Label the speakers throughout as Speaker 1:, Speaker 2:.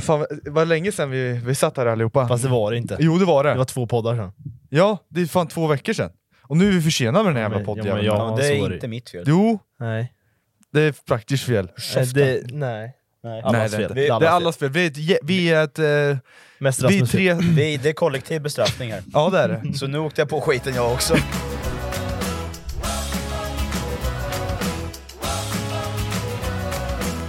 Speaker 1: fan, det var länge sedan vi, vi satt här allihopa.
Speaker 2: Fast det var det inte.
Speaker 1: Jo, det var det.
Speaker 2: Det var två poddar sen.
Speaker 1: Ja, det är fan två veckor sedan. Och nu är vi försenade med den här jävla
Speaker 2: Ja, men- ja, men
Speaker 1: poddjäveln.
Speaker 2: jag-
Speaker 3: Ja, det
Speaker 2: så var
Speaker 3: är
Speaker 2: det.
Speaker 3: inte mitt fel.
Speaker 1: Jo,
Speaker 2: Nej.
Speaker 1: det är praktiskt fel.
Speaker 2: Det, nej. nej.
Speaker 1: Nej,
Speaker 2: Allas
Speaker 1: det är
Speaker 2: fel.
Speaker 1: inte.
Speaker 2: Det är
Speaker 1: Det är
Speaker 2: allas Äh, fel.
Speaker 1: allas fel. Vi är ett, ge- vi är ett, eh,
Speaker 2: Mest
Speaker 1: vi är
Speaker 2: Rasmus
Speaker 1: tre...
Speaker 3: Vi, det är kollektiv bestraffning här.
Speaker 1: Ja, det är det.
Speaker 3: Så nu åkte jag på skiten jag också.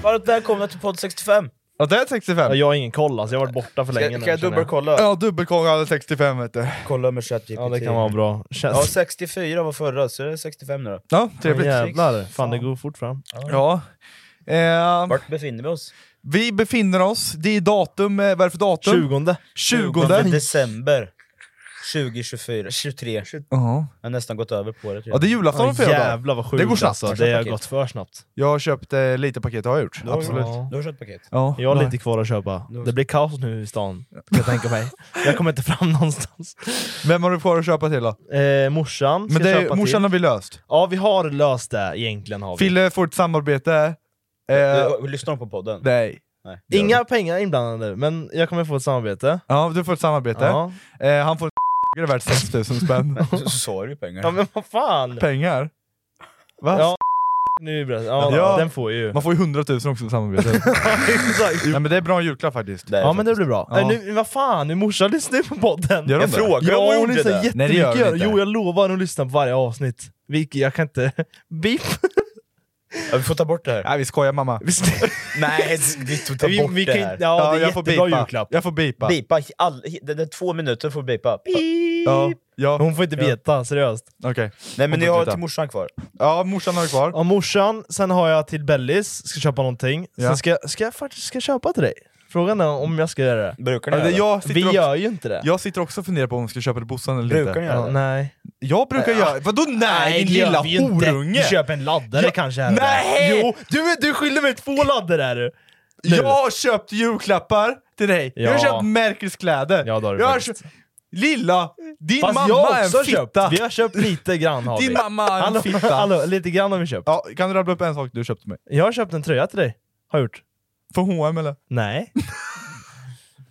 Speaker 3: Varmt välkomna till podd 65!
Speaker 1: Ja, det är
Speaker 2: Ja,
Speaker 1: 65.
Speaker 2: jag har ingen koll alltså, jag har varit borta för länge
Speaker 3: Ska,
Speaker 2: nu,
Speaker 3: kan jag
Speaker 2: känner
Speaker 3: dubbelkolla?
Speaker 1: Ja, dubbelkånga hade 65 vet du.
Speaker 3: Kolla med ChatGPT.
Speaker 2: Ja det kan vara bra.
Speaker 3: Ja,
Speaker 2: Känns...
Speaker 3: 64 var förra, så det är 65 nu då.
Speaker 1: Ja,
Speaker 2: Ja,
Speaker 1: trevligt.
Speaker 2: jävlar, fan
Speaker 3: Fan.
Speaker 2: det går fort fram.
Speaker 1: Ja. Eh,
Speaker 3: Vart befinner vi oss?
Speaker 1: vi befinner oss, det är datum, eh, vad är det för datum?
Speaker 2: 20
Speaker 1: 20.
Speaker 3: december 2024, 23.
Speaker 1: Ja.
Speaker 3: Jag har nästan gått över på det. tror
Speaker 1: Ja,
Speaker 3: jag.
Speaker 1: det är julafton om fyra dagar.
Speaker 2: jävlar vad sjukt
Speaker 1: Det går snabbt.
Speaker 2: alltså, det har
Speaker 3: Paket.
Speaker 2: gått för snabbt.
Speaker 1: Jag har köpt eh, lite paket, har jag gjort.
Speaker 3: Du har-
Speaker 1: Absolut.
Speaker 2: Ja.
Speaker 3: Du har köpt paket?
Speaker 1: Ja.
Speaker 2: Jag har lite kvar att köpa. Det blir kaos nu i stan, kan jag tänka mig. Jag kommer inte fram någonstans.
Speaker 1: Vem har du kvar att köpa till då?
Speaker 2: Eh, morsan ska
Speaker 1: Men det, är-
Speaker 2: köpa
Speaker 1: morsan
Speaker 2: till.
Speaker 1: har vi löst.
Speaker 2: Ja vi har löst det egentligen har vi.
Speaker 1: Fille får ett samarbete. Eh,
Speaker 3: Du, lyssnar de på podden?
Speaker 1: nej.
Speaker 3: Nej.
Speaker 2: Inga pengar inblandade, men jag kommer få ett samarbete.
Speaker 1: Ja, du får ett samarbete.
Speaker 2: Ja.
Speaker 1: Eh, han får en värt 6000 spänn.
Speaker 3: Så- Så sa du ju pengar.
Speaker 2: ja men vad fan!
Speaker 1: Pengar. Va?
Speaker 2: Ja. Nu berättar jag.
Speaker 1: Ja.
Speaker 2: Ja, den får jag ju.
Speaker 1: Man får ju 100 000 också i samarbete. Nej men det är bra julklapp faktiskt.
Speaker 3: är
Speaker 2: Ja men det
Speaker 3: faktiskt-
Speaker 2: blir bra.
Speaker 1: Ja.
Speaker 2: Äh, nu, vad fan, nu morsan lyssnar ju på podden!
Speaker 1: Gör de
Speaker 3: Jag
Speaker 1: det?
Speaker 3: frågar
Speaker 2: Ja,
Speaker 3: om
Speaker 2: hon
Speaker 3: hon gjorde
Speaker 2: lyssnar
Speaker 3: det.
Speaker 1: Nej, det gör
Speaker 2: jättemycket!
Speaker 1: hon inte.
Speaker 2: jo jag lovar, hon lyssnar på varje avsnitt. Vilket jag kan inte... Beep!
Speaker 3: Ja, vi får ta bort det här.
Speaker 1: Nej vi skojar mamma.
Speaker 2: Visst?
Speaker 3: Nej, vi får ta
Speaker 2: Vi-
Speaker 3: bort
Speaker 2: vi
Speaker 3: det
Speaker 2: kan-
Speaker 3: här.
Speaker 2: Ja, det är
Speaker 1: jag får
Speaker 2: jättebra
Speaker 1: bipa.
Speaker 2: julklapp.
Speaker 1: Jag får bipa.
Speaker 3: Bipa, all, det är två minuter får vi bipa.
Speaker 1: Ja, ja.
Speaker 2: Hon får inte veta, seriöst.
Speaker 1: okej.
Speaker 3: Nej men
Speaker 1: Hon
Speaker 3: jag har
Speaker 1: fortsätter.
Speaker 3: till morsan kvar.
Speaker 1: Ja, morsan har vi kvar.
Speaker 2: Ja, morsan, sen har jag till Bellis, ska köpa någonting.
Speaker 1: Ja.
Speaker 2: Sen ska, ska jag faktiskt ska jag köpa till dig. Frågan är om jag ska göra det.
Speaker 3: Brukar ni
Speaker 1: Ja,
Speaker 3: göra
Speaker 1: det-
Speaker 3: det?
Speaker 1: Jag sitter,
Speaker 2: Vi
Speaker 1: också,
Speaker 2: gör ju inte det.
Speaker 1: jag sitter också och funderar på om vi ska köpa till Bossan eller
Speaker 3: Brukar ni
Speaker 1: inte.
Speaker 3: göra
Speaker 2: Ja,
Speaker 3: det?
Speaker 2: nej.
Speaker 1: Jag brukar göra... Vadå nej? Din
Speaker 2: det gör
Speaker 1: lilla
Speaker 2: vi ju inte.
Speaker 1: horunge!
Speaker 2: Du köper en laddare
Speaker 1: Ja,
Speaker 2: kanske här och
Speaker 1: nej!
Speaker 2: där. Jo, du, du skyller mig två laddare är du! Nu.
Speaker 1: Jag har köpt julklappar till dig. Jag har
Speaker 2: Ja.
Speaker 1: köpt Merkels kläder.
Speaker 2: Ja, det har du
Speaker 1: jag har
Speaker 2: faktiskt.
Speaker 1: köpt... Lilla! Din
Speaker 2: Fast
Speaker 1: mamma
Speaker 2: jag har
Speaker 1: är
Speaker 2: också
Speaker 1: en
Speaker 2: köpt.
Speaker 1: fitta!
Speaker 2: Vi har köpt lite grann har
Speaker 1: Din
Speaker 2: vi.
Speaker 1: mamma är en
Speaker 2: Hallå,
Speaker 1: fitta.
Speaker 2: hallå, lite grann har vi köpt.
Speaker 1: Ja, kan du rabbla upp en sak du köpte till mig?
Speaker 2: Jag har köpt en tröja till dig. Har jag gjort?
Speaker 1: Från H&M eller?
Speaker 2: Nej.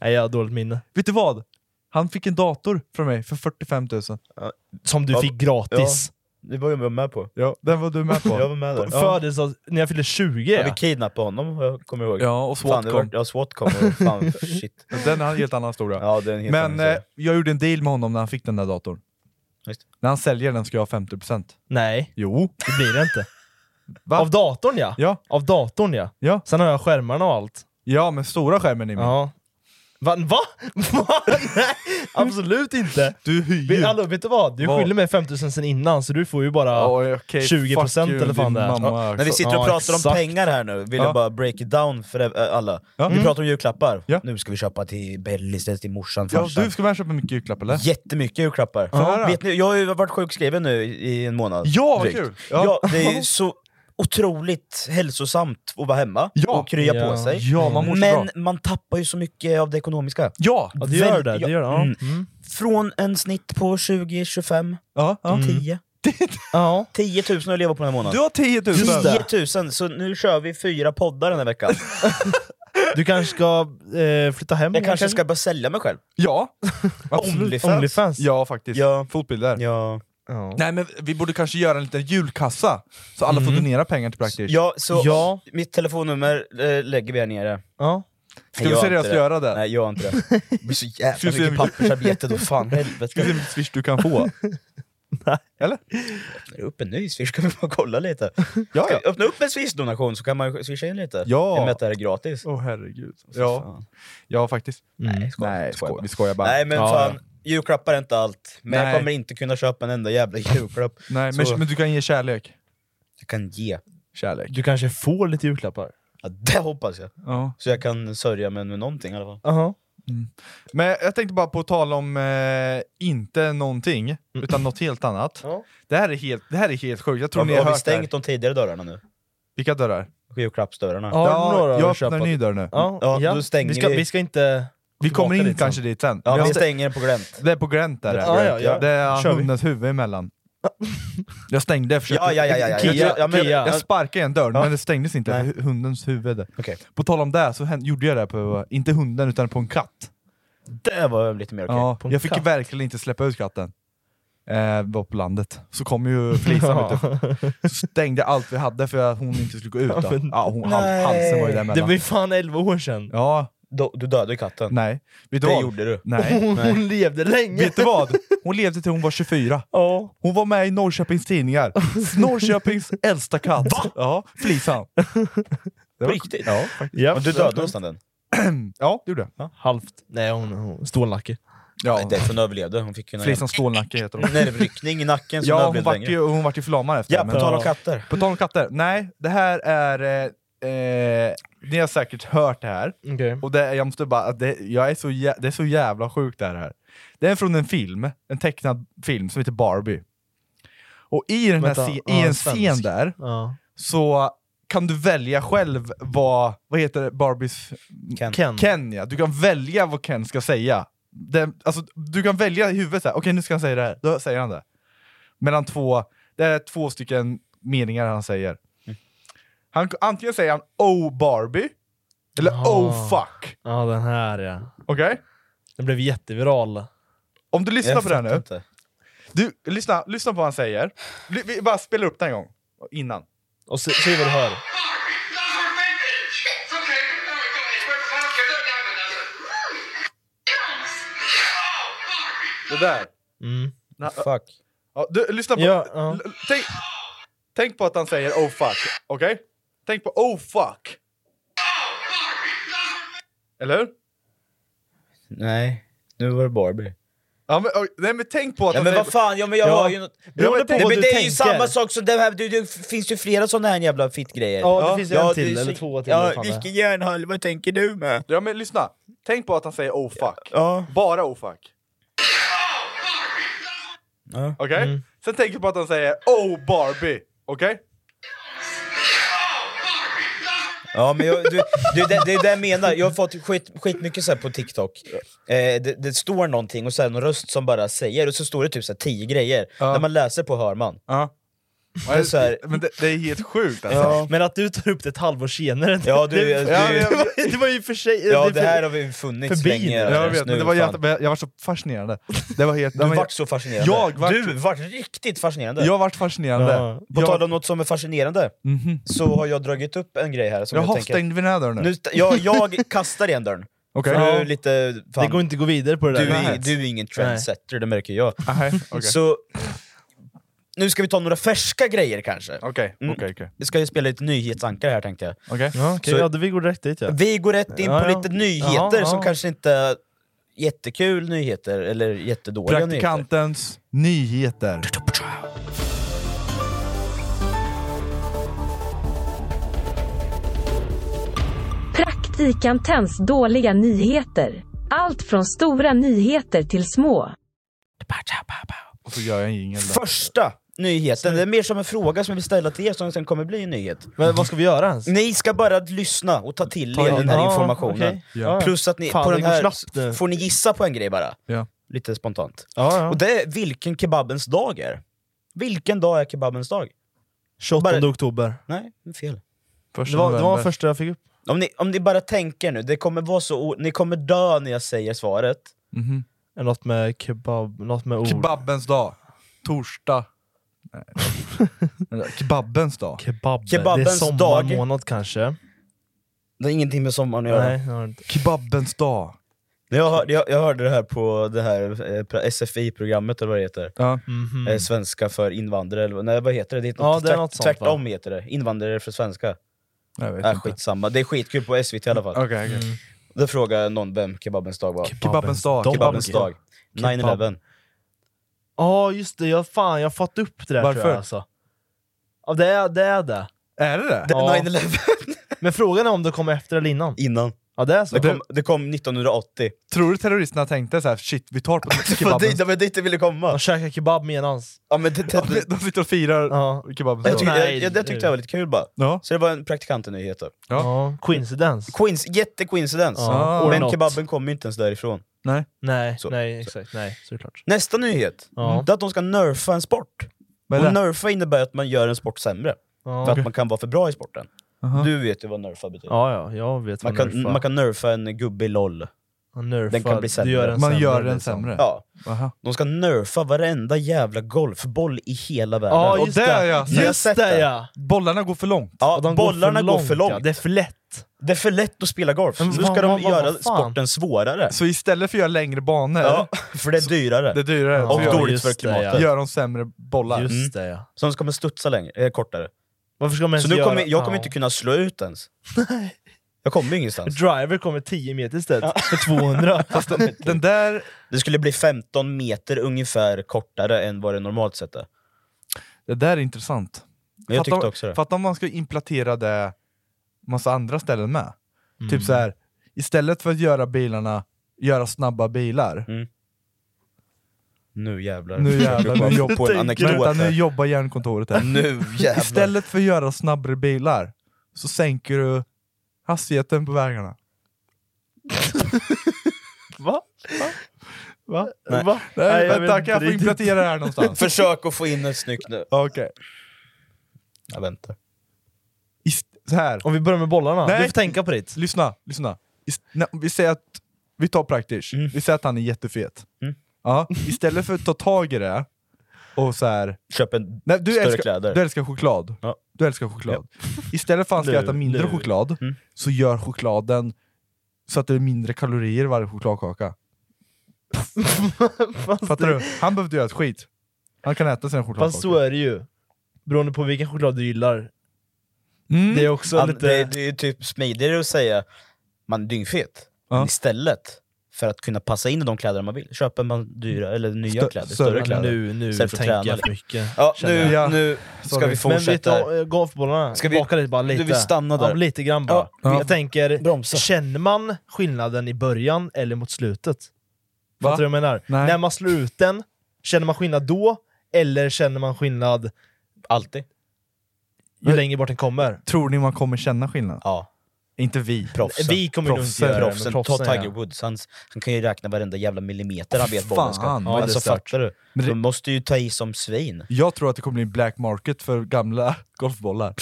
Speaker 2: Nej, jag har dåligt minne.
Speaker 1: Vet du vad? Han fick en dator från mig för 45 000.
Speaker 2: Som du
Speaker 3: Ja,
Speaker 2: fick gratis.
Speaker 3: Det var jag med på.
Speaker 1: Ja, den var du med på.
Speaker 3: Jag var med där. Ja.
Speaker 2: Födelsedag, när jag fyllde 20.
Speaker 3: Ja, vi
Speaker 2: Ja.
Speaker 3: kidnappade honom, jag kommer ihåg.
Speaker 1: Ja, och
Speaker 3: Fan, det var,
Speaker 1: Swatcom.
Speaker 3: ja, SWAT kom. och Fan, shit.
Speaker 1: Den är en helt annan historia.
Speaker 3: Ja, det är en helt
Speaker 1: Men
Speaker 3: annan
Speaker 1: eh,
Speaker 3: historia.
Speaker 1: jag gjorde en deal med honom när han fick den där datorn.
Speaker 3: Just.
Speaker 1: När han säljer den ska jag ha 50%.
Speaker 2: Nej,
Speaker 1: Jo.
Speaker 2: det blir det inte.
Speaker 1: Va?
Speaker 2: Av datorn ja.
Speaker 1: Ja,
Speaker 2: Av datorn ja.
Speaker 1: Ja.
Speaker 2: Sen har jag skärmarna och allt.
Speaker 1: ja men stora skärmen är min.
Speaker 2: Ja. Va? Va? Va? Nej, absolut inte!
Speaker 1: Du
Speaker 2: Vi-
Speaker 1: hyr.
Speaker 2: Hallå, vet du vad? Du
Speaker 1: Vad?
Speaker 2: skyller mig 5000 sen innan, så du får ju bara...
Speaker 1: Ja, okej,
Speaker 2: 20%
Speaker 1: fuck you,
Speaker 2: eller fan
Speaker 1: din
Speaker 2: det är.
Speaker 1: mamma
Speaker 3: När vi
Speaker 1: också.
Speaker 3: sitter och
Speaker 2: Ja,
Speaker 3: pratar om
Speaker 2: exakt.
Speaker 3: pengar här nu, vill
Speaker 1: Ja.
Speaker 3: jag bara break it down för eh, alla.
Speaker 1: Ja.
Speaker 3: Vi pratar om julklappar.
Speaker 1: Ja.
Speaker 3: Nu ska vi köpa till Bellis, till morsan,
Speaker 1: Ja,
Speaker 3: farsan.
Speaker 1: du ska väl köpa mycket julklapp eller?
Speaker 3: Jättemycket julklappar.
Speaker 1: Får jag höra?
Speaker 3: Vet ni, jag har ju varit sjukskriven nu i en månad.
Speaker 1: Ja, vad
Speaker 3: drygt.
Speaker 1: kul!
Speaker 3: Ja. det är ju så otroligt hälsosamt att vara hemma
Speaker 1: Ja.
Speaker 3: och krya
Speaker 2: Ja.
Speaker 3: på sig.
Speaker 1: Ja, man mår så
Speaker 3: Men
Speaker 1: bra.
Speaker 3: man tappar ju så mycket av det ekonomiska.
Speaker 1: Ja!
Speaker 2: Ja, det gör
Speaker 3: Väl-
Speaker 2: det.
Speaker 3: ja,
Speaker 2: det, gör det. Ja.
Speaker 3: mm.
Speaker 2: Mm.
Speaker 3: Från en snitt på 20, 25,
Speaker 1: ja, ja.
Speaker 3: 10.
Speaker 2: ja.
Speaker 3: 10 000 att leva på den här
Speaker 1: Du
Speaker 3: månaden.
Speaker 1: har 10 000!
Speaker 3: 10 000, så nu kör vi fyra poddar den här veckan.
Speaker 2: Du kanske ska eh, flytta hem?
Speaker 3: Jag kanske ska börja sälja mig själv.
Speaker 1: Ja, absolut.
Speaker 3: Onlyfans.
Speaker 2: Onlyfans?
Speaker 1: Ja, faktiskt.
Speaker 3: Ja.
Speaker 1: Fotbilder.
Speaker 3: Ja.
Speaker 2: Ja.
Speaker 1: Nej men vi borde kanske göra en liten julkassa, så alla får donera pengar till Praktish.
Speaker 3: Mm. ja, så
Speaker 2: Ja.
Speaker 3: mitt telefonnummer eh, lägger vi här nere.
Speaker 2: Ja.
Speaker 1: Ska vi
Speaker 3: Jag har
Speaker 1: seriöst
Speaker 3: inte
Speaker 1: göra det?
Speaker 3: Nej, gör inte det. Det blir så
Speaker 1: Ska vi
Speaker 3: jävla
Speaker 1: se
Speaker 3: mycket
Speaker 1: hur mycket-
Speaker 3: pappersarbete då, fan
Speaker 1: Ska vi se
Speaker 3: helvete.
Speaker 1: hur mycket swish du kan få?
Speaker 3: Öppnar upp en ny swish, kan vi bara kolla lite?
Speaker 1: Ja,
Speaker 3: Ska
Speaker 1: ja.
Speaker 3: vi öppna upp en swish-donation så kan man ju swisha in lite?
Speaker 1: Ja.
Speaker 3: I och med att det här är gratis.
Speaker 1: Åh herregud. Ja. ja, faktiskt.
Speaker 2: Mm.
Speaker 3: Skoja,
Speaker 1: Nej,
Speaker 3: skoja
Speaker 1: sko-
Speaker 3: bara.
Speaker 1: vi skojar bara.
Speaker 3: Nej men
Speaker 2: Ja,
Speaker 3: fan, julklappar är inte allt. Men
Speaker 1: Nej.
Speaker 3: jag kommer inte kunna köpa en enda jävla julklapp.
Speaker 1: Nej, men,
Speaker 3: Så-
Speaker 1: men du kan ge kärlek.
Speaker 3: Jag kan ge.
Speaker 1: Kärlek.
Speaker 2: Du kanske får lite julklappar?
Speaker 3: Ja, det hoppas jag.
Speaker 1: Ja.
Speaker 3: Så jag kan sörja mig med någonting i alla fall.
Speaker 2: Aha.
Speaker 1: Men jag tänkte bara på tal om eh, inte någonting, utan något helt annat.
Speaker 2: Ja.
Speaker 1: Det, här är helt, det här är helt sjukt, jag tror
Speaker 3: Har,
Speaker 1: ni har,
Speaker 3: har vi
Speaker 1: hört det här.
Speaker 3: stängt de tidigare dörrarna nu?
Speaker 1: Vilka dörrar?
Speaker 3: Julklappsdörrarna?
Speaker 2: Har du några
Speaker 1: jag
Speaker 2: att köpa?
Speaker 1: öppnar en ny dörr nu.
Speaker 2: Ja,
Speaker 3: Ja,
Speaker 2: ja,
Speaker 3: då stänger
Speaker 2: vi. Ska,
Speaker 3: vi-
Speaker 2: vi ska inte...
Speaker 1: Vi
Speaker 2: Tillbaka
Speaker 1: kommer in
Speaker 2: dit sen.
Speaker 1: kanske dit sen.
Speaker 3: Ja,
Speaker 1: Vi har
Speaker 3: vi
Speaker 1: stä-
Speaker 3: stänger den på glänt.
Speaker 1: det är på gränt där.
Speaker 2: Ja, ja, ja.
Speaker 1: Det är
Speaker 2: Kör vi.
Speaker 1: hundens huvud emellan. Jag stängde, jag försökte.
Speaker 3: Ja, ja, ja, ja, ja.
Speaker 1: Kia,
Speaker 2: Ja, ja, men-
Speaker 1: Kia. jag sparkade i en dörr,
Speaker 3: Ja.
Speaker 1: men det stängdes inte.
Speaker 3: Nej.
Speaker 1: Hu- Hundens huvud.
Speaker 3: Okej.
Speaker 1: På tal om det, så hän- gjorde jag det på, inte hunden, utan på en katt.
Speaker 3: Det var lite mer okej.
Speaker 1: ja,
Speaker 2: på en
Speaker 1: jag fick
Speaker 2: katt.
Speaker 1: verkligen inte släppa ut katten. Eh, var på landet. Så kom ju Felicia vet du. Så stängde jag allt vi hade för att hon inte skulle gå ut.
Speaker 2: Ja,
Speaker 1: Då.
Speaker 2: men-
Speaker 1: Ja, hon, han,
Speaker 3: Nej.
Speaker 1: halsen var ju
Speaker 2: Det
Speaker 1: däremellan.
Speaker 2: var ju fan 11 år sedan.
Speaker 1: Ja,
Speaker 3: Du, du dödade katten.
Speaker 1: nej. Vet du
Speaker 3: det
Speaker 1: vad?
Speaker 3: gjorde du.
Speaker 1: Nej.
Speaker 2: Hon, hon levde länge.
Speaker 1: Vet du vad? Hon levde till hon var 24.
Speaker 2: Ja.
Speaker 1: Hon var med i Norrköpings tidningar. Norrköpings äldsta katt. Ja, Flisan. Det
Speaker 3: På riktigt?
Speaker 1: Ja, faktiskt.
Speaker 2: Japp.
Speaker 3: Men du dödade nästan den.
Speaker 1: ja, det gjorde jag.
Speaker 2: Halvt. Nej, hon, hon stålnacke.
Speaker 3: Nej,
Speaker 1: Ja.
Speaker 3: det hon överlevde. Hon fick ju en
Speaker 1: Flisan Stålnacke heter hon.
Speaker 3: nervryckning i nacken som
Speaker 1: Ja, hon
Speaker 3: överlevde
Speaker 1: vart
Speaker 3: länge.
Speaker 1: ju, hon vart ju förlamad efter
Speaker 3: Ja,
Speaker 1: det.
Speaker 3: på tal om
Speaker 2: Ja.
Speaker 3: katter.
Speaker 1: på tal om katter. Nej, det här är... Eh, eh, ni har säkert hört det här.
Speaker 2: Okej.
Speaker 1: Och det, jag måste bara, att det, jag är så jä, det är så jävla sjukt det här. Det är från en film, en tecknad film som heter Barbie. Och i, den här
Speaker 2: Vänta,
Speaker 1: scen-
Speaker 2: ja,
Speaker 1: i en
Speaker 2: svensk.
Speaker 1: scen där
Speaker 2: Ja.
Speaker 1: så kan du välja själv vad, vad heter det, Barbies
Speaker 3: Ken.
Speaker 2: Ken.
Speaker 1: Ken ja. Du kan välja vad Ken ska säga. Det, alltså, du kan välja i huvudet såhär, okej nu ska han säga det här, då säger han det. Mellan två, det är två stycken meningar han säger. Han, antingen säger han oh Barbie, eller
Speaker 2: Ah.
Speaker 1: oh fuck.
Speaker 2: Ja, den här ja.
Speaker 1: Okej?
Speaker 2: Den blev jätteviral.
Speaker 1: Om du lyssnar
Speaker 3: Jag
Speaker 1: på det här
Speaker 3: fattar
Speaker 1: nu.
Speaker 3: inte.
Speaker 1: Du, lyssna, lyssna på vad han säger. Ly- Vi bara spelar upp det en gång, innan.
Speaker 2: Och se, se vad du hör.
Speaker 1: Det där.
Speaker 2: Mm.
Speaker 3: Fuck.
Speaker 1: Ja, du, lyssna på...
Speaker 2: Ja, ja.
Speaker 1: l- Tänk, tänk på att han säger oh fuck, okej? Tänk på oh fuck. Eller hur?
Speaker 3: Nej, nu var det Barbie.
Speaker 1: Ja, men, oj, nej men tänk på att
Speaker 3: Ja
Speaker 1: han
Speaker 3: men
Speaker 1: säger-
Speaker 3: vad fan, ja, men jag
Speaker 2: Ja.
Speaker 3: hör ju något.
Speaker 2: Beroende på
Speaker 3: Nej,
Speaker 2: vad
Speaker 3: men
Speaker 2: du
Speaker 3: det är
Speaker 2: tänker.
Speaker 3: ju samma sak som det här, det, det finns ju flera såna här jävla fittgrejer.
Speaker 2: Ja, det finns ju en
Speaker 3: det
Speaker 2: till,
Speaker 3: är
Speaker 2: eller
Speaker 3: så-
Speaker 2: två till, vad
Speaker 3: Ja,
Speaker 2: fan det är.
Speaker 3: vilken hjärnhalva tänker du med?
Speaker 1: Ja men lyssna, tänk på att han säger oh fuck.
Speaker 3: Ja.
Speaker 1: Bara oh fuck.
Speaker 3: Ja.
Speaker 1: Okej? Sen tänk på att han säger oh Barbie, okej?
Speaker 3: Ja, men jag, du, du, det, det är det jag menar. Jag har fått skit, skitmycket så här på TikTok. Eh, det, det står någonting och så här, någon röst som bara säger, och så står det typ så här, tio grejer.
Speaker 1: Ja.
Speaker 3: När man läser på hör man.
Speaker 1: Ja.
Speaker 3: är så här-
Speaker 1: Men det, det är helt sjukt alltså.
Speaker 3: Ja,
Speaker 2: Men att du tar upp det ett halvår senare,
Speaker 3: Ja, du-
Speaker 2: det,
Speaker 3: du-
Speaker 2: ja, det, var, det var ju för sig...
Speaker 3: ja
Speaker 2: är
Speaker 3: det
Speaker 2: för-
Speaker 3: här har vi funnits
Speaker 2: förbi
Speaker 3: länge.
Speaker 2: nu. Ja,
Speaker 1: Jag
Speaker 3: just
Speaker 1: vet, men
Speaker 3: nu,
Speaker 1: det var
Speaker 3: fan.
Speaker 1: jätte, jag var så fascinerande. Det var helt...
Speaker 3: Du
Speaker 1: men,
Speaker 3: vart så fascinerande.
Speaker 1: Jag vart-
Speaker 3: Du vart riktigt fascinerande.
Speaker 1: jag vart fascinerande.
Speaker 2: Ja.
Speaker 3: På
Speaker 1: Jag,
Speaker 3: tal om något som är fascinerande,
Speaker 1: Mhm.
Speaker 3: så har jag dragit upp en grej här som jag,
Speaker 1: Jaha,
Speaker 3: tänker...
Speaker 1: stängde vi den här dörren nu?
Speaker 3: Nu, st- jag, jag kastar igen dörren.
Speaker 1: Okej.
Speaker 3: För
Speaker 1: Okay.
Speaker 3: Du är lite... Fan,
Speaker 2: Det går inte att gå vidare på det där.
Speaker 3: du, är,
Speaker 1: Nej.
Speaker 3: du är ingen trendsetter, det märker jag.
Speaker 1: Okej, okej.
Speaker 3: Så... Nu ska vi ta några färska grejer kanske.
Speaker 1: Okej,
Speaker 3: Mm.
Speaker 1: okej, okej.
Speaker 3: Vi ska ju spela lite nyhetsankar här tänkte jag.
Speaker 1: Okej.
Speaker 2: Ja, okej,
Speaker 3: Så- Mm.
Speaker 2: ja, då vi går direkt dit ja.
Speaker 3: Vi går rätt in
Speaker 2: Ja,
Speaker 3: på
Speaker 2: ja.
Speaker 3: lite nyheter
Speaker 2: Ja, ja.
Speaker 3: som kanske inte är jättekul nyheter, eller jättedåliga nyheter.
Speaker 1: Praktikantens nyheter.
Speaker 4: Praktikantens dåliga nyheter. Allt från stora nyheter till små.
Speaker 1: Och så gör jag en jingel där.
Speaker 3: Första nyheten, det är mer som en fråga som jag vill ställa till er som sen kommer bli en nyhet.
Speaker 2: Men vad ska vi göra ens?
Speaker 3: Ni ska bara lyssna och ta till
Speaker 1: Ta
Speaker 3: er den här
Speaker 2: Ja,
Speaker 3: informationen.
Speaker 2: okej.
Speaker 1: Ja.
Speaker 2: Ja.
Speaker 3: Plus att ni
Speaker 2: Fan,
Speaker 3: på
Speaker 2: det
Speaker 3: den
Speaker 2: går
Speaker 3: här
Speaker 2: snabbt nu.
Speaker 3: får ni gissa på en grej bara.
Speaker 1: Ja.
Speaker 3: Lite spontant.
Speaker 2: Ja, ja.
Speaker 3: Och det är vilken kebabens dag är. Vilken dag är kebabens dag?
Speaker 2: 28
Speaker 3: bara-
Speaker 2: oktober.
Speaker 3: Nej, det är fel.
Speaker 1: Första
Speaker 2: Det var, det var
Speaker 1: november.
Speaker 2: den första jag fick upp.
Speaker 3: Om ni, om ni bara tänker nu, det kommer vara så, o- ni kommer dö när jag säger svaret.
Speaker 1: Mhm.
Speaker 2: Något med kebab, något med ord.
Speaker 1: Kebabbens dag. Torsdag. Nej. Kebabbens dag.
Speaker 2: Kebab. det är
Speaker 3: Kebabens
Speaker 2: sommarmånad kanske.
Speaker 3: Det är ingenting med sommaren att göra.
Speaker 2: Nej, jag har inte.
Speaker 1: Kebabbens dag.
Speaker 3: Jag, hör, jag, jag hörde det här på det här eh, pra- SFI-programmet eller vad det heter.
Speaker 1: Ja.
Speaker 2: Mhm.
Speaker 3: Eh, Svenska för invandrare, eller vad- nej, vad heter det? det heter
Speaker 2: Ja, det är
Speaker 3: tvärt-
Speaker 2: något sånt, va?
Speaker 3: tvärtom heter det. Invandrare för svenska.
Speaker 1: Jag vet
Speaker 3: Äh, Mm.
Speaker 1: inte.
Speaker 3: skitsamma, det är skitkul på SVT i alla fall.
Speaker 1: Okej, okej.
Speaker 3: Då frågade någon vem kebabens dag var.
Speaker 1: Kebabbens dag.
Speaker 3: Kebabens
Speaker 1: Kebab.
Speaker 3: dag. 9-11.
Speaker 2: Ja, just det. Jag, fan, jag har fått upp det där tror
Speaker 1: Varför?
Speaker 2: jag. Alltså. Ja, det, är, det är det.
Speaker 1: Är det det?
Speaker 3: Det-
Speaker 2: Ja.
Speaker 3: 9-11
Speaker 2: Men frågan är om det kommer efter eller innan.
Speaker 3: innan.
Speaker 2: Ja, det är så.
Speaker 3: Det kom, det kom 1980.
Speaker 1: Tror du terroristerna tänkte så här, shit vi tar på
Speaker 3: För dit,
Speaker 1: kebabbens
Speaker 3: det var dit jag ville komma.
Speaker 2: De käkar kebab medans.
Speaker 3: Ja, men det, det,
Speaker 1: dag? De sitter och firar
Speaker 2: Ja.
Speaker 1: kebabbens
Speaker 3: jag,
Speaker 1: dag.
Speaker 3: tyckte, jag,
Speaker 2: Nej,
Speaker 3: jag, det tyckte jag var lite kul bara.
Speaker 1: Ja.
Speaker 3: Så det var en praktikanten-nyhet då.
Speaker 2: Ja. Coincidence.
Speaker 3: Queens, jättecoincidence.
Speaker 1: Ja.
Speaker 2: or
Speaker 3: Men
Speaker 2: not.
Speaker 3: kebaben kommer ju inte ens därifrån.
Speaker 1: Nej.
Speaker 2: Nej,
Speaker 3: Så.
Speaker 2: nej, exakt. Nej, såklart.
Speaker 3: Nästa nyhet,
Speaker 2: Ja.
Speaker 3: det är att de ska nerfa en sport.
Speaker 1: Vad är
Speaker 3: Och
Speaker 1: det?
Speaker 3: nerfa innebär att man gör en sport sämre. För
Speaker 2: Ja,
Speaker 3: att man kan vara för bra i sporten.
Speaker 1: Aha.
Speaker 3: Du vet ju vad nerfa betyder.
Speaker 2: ja, ja jag vet
Speaker 3: Man
Speaker 2: vad
Speaker 3: kan,
Speaker 2: nerfa.
Speaker 3: man kan nerfa en gubbe i LOL.
Speaker 2: Man nerfa.
Speaker 3: den kan bli sämre.
Speaker 2: Du gör den
Speaker 1: Man
Speaker 2: sämre,
Speaker 1: gör den
Speaker 2: liksom.
Speaker 1: sämre?
Speaker 3: Ja.
Speaker 1: Aha.
Speaker 3: De ska nerfa varenda jävla golfboll i hela världen.
Speaker 2: Ja,
Speaker 1: Och
Speaker 2: just
Speaker 1: där,
Speaker 2: det.
Speaker 1: ja.
Speaker 3: Jag har
Speaker 2: Just
Speaker 3: sett
Speaker 2: det
Speaker 3: det.
Speaker 2: ja!
Speaker 1: Bollarna går för långt.
Speaker 3: Ja,
Speaker 2: Och de
Speaker 3: bollarna går för långt.
Speaker 2: Ja. Det är för lätt.
Speaker 3: Det är för lätt att spela golf.
Speaker 2: Men
Speaker 3: Nu
Speaker 2: vad-
Speaker 3: ska de
Speaker 2: vad- vad-
Speaker 3: göra
Speaker 2: vad fan?
Speaker 3: sporten svårare.
Speaker 1: Så istället för att göra längre banor,
Speaker 3: Ja, för det är dyrare.
Speaker 1: det är dyrare,
Speaker 2: Ja.
Speaker 1: så
Speaker 3: Och
Speaker 1: gör,
Speaker 3: dåligt
Speaker 2: just
Speaker 3: för
Speaker 2: det,
Speaker 3: klimatet.
Speaker 2: ja.
Speaker 1: gör de sämre bollar.
Speaker 2: Just
Speaker 3: Mm.
Speaker 2: det ja.
Speaker 3: Så de ska man studsa längre, eh, kortare.
Speaker 2: Varför ska man
Speaker 3: Så
Speaker 2: ens
Speaker 3: nu
Speaker 2: göra...
Speaker 3: kommer, jag kommer
Speaker 2: ja.
Speaker 3: inte kunna slå ut ens. Jag kommer ingenstans.
Speaker 2: Driver kommer 10 meter istället för 200.
Speaker 1: Fast den, Mm. den där,
Speaker 3: Det skulle bli 15 meter ungefär kortare än vad det normalt sett är.
Speaker 1: det där är intressant.
Speaker 3: Men jag
Speaker 1: Fatta-
Speaker 3: tyckte också det.
Speaker 1: Fatta om man ska implantera det massa andra ställen med.
Speaker 2: Mm.
Speaker 1: Typ så här, istället för att göra bilarna, göra snabba bilar.
Speaker 3: Nu jävlar.
Speaker 1: Nu jävlar, nu
Speaker 3: Mm. Jag kom
Speaker 1: jobbar-
Speaker 3: på en
Speaker 2: tänker du-
Speaker 3: anekdot
Speaker 1: Vänta, nu
Speaker 3: här.
Speaker 1: jobbar hjärnkontoret här.
Speaker 3: Nu jävlar.
Speaker 1: Istället för att göra snabbare bilar, så sänker du hastigheten på vägarna.
Speaker 2: Va? Va?
Speaker 3: Nej.
Speaker 1: Nej,
Speaker 2: Va? Nej,
Speaker 1: vänta,
Speaker 2: jag vet
Speaker 1: kan jag
Speaker 2: inte
Speaker 1: få
Speaker 2: riktigt.
Speaker 1: implantera det här någonstans?
Speaker 3: Försök att få in ett snyggt nu.
Speaker 1: Okej.
Speaker 3: Jag väntar.
Speaker 1: Ist- Så här.
Speaker 2: Om vi börjar med bollarna.
Speaker 1: Nej.
Speaker 2: Du får tänka på ditt.
Speaker 1: Lyssna, lyssna. Ist- när- vi säger att vi tar praktiskt.
Speaker 3: Mm.
Speaker 1: Vi säger att han är jättefet.
Speaker 3: Mm.
Speaker 1: Ja, istället för att ta tag i det och så här.
Speaker 3: Köp en
Speaker 1: Nej, du,
Speaker 3: Större
Speaker 1: älskar,
Speaker 3: kläder.
Speaker 1: du älskar choklad.
Speaker 3: Ja.
Speaker 1: Du älskar choklad. Istället för att han ska
Speaker 2: Nu-
Speaker 1: äta mindre
Speaker 2: nu.
Speaker 1: choklad,
Speaker 3: Mm.
Speaker 1: så gör chokladen så att det är mindre kalorier i varje chokladkaka.
Speaker 2: Fast,
Speaker 1: Fattar du? Han behöver inte göra ett skit. Han kan äta sina
Speaker 2: fast så
Speaker 1: chokladkakor.
Speaker 2: är det ju. Beroende på vilken choklad du gillar.
Speaker 1: Mm.
Speaker 2: Det är också
Speaker 3: An,
Speaker 2: lite...
Speaker 3: det, det är ju typ smidigare att säga man är dyngfet,
Speaker 1: Ja.
Speaker 3: men istället för att kunna passa in i de kläder man vill, köper man dyra eller nya
Speaker 1: Stö-
Speaker 3: kläder,
Speaker 1: större
Speaker 3: större
Speaker 2: Men
Speaker 3: kläder.
Speaker 2: Nu, nu
Speaker 3: Istället för att
Speaker 2: tänker
Speaker 3: träna
Speaker 2: jag för mycket.
Speaker 3: Ja, nu,
Speaker 2: känner jag.
Speaker 1: Ja.
Speaker 3: nu ska
Speaker 1: Sorry.
Speaker 3: vi
Speaker 2: Men vet du,
Speaker 3: fortsätta.
Speaker 2: eh, golfbollarna,
Speaker 3: Ska
Speaker 2: Ska
Speaker 3: vi-
Speaker 2: vi, lite bara lite.
Speaker 3: Du, vi stannar där.
Speaker 2: Ja, lite grann bara.
Speaker 1: Ja.
Speaker 2: Jag tänker,
Speaker 3: Bromsa.
Speaker 2: känner man skillnaden i början eller mot slutet?
Speaker 1: Va?
Speaker 2: Fattar du vad jag menar?
Speaker 1: Nej.
Speaker 2: När man slår ut den, känner man skillnad då? Eller känner man skillnad
Speaker 3: Alltid.
Speaker 2: ju längre bort den kommer?
Speaker 1: Tror ni man kommer känna skillnad?
Speaker 3: Ja,
Speaker 1: Inte vi.
Speaker 3: proffsen.
Speaker 2: Vi kommer nog inte
Speaker 1: Proffsen.
Speaker 2: göra det, men
Speaker 3: proffsen. Ta
Speaker 2: proffsen,
Speaker 3: Tiger
Speaker 2: ja.
Speaker 3: Woods, han, han kan ju räkna varenda jävla millimeter han vet
Speaker 1: Fan,
Speaker 3: bollen ska.
Speaker 1: vad
Speaker 2: det är
Speaker 3: alltså
Speaker 2: stört.
Speaker 3: fattar du?
Speaker 1: Men det-
Speaker 3: De måste ju ta i som svin.
Speaker 1: Jag tror att det kommer bli en black market för gamla golfbollar.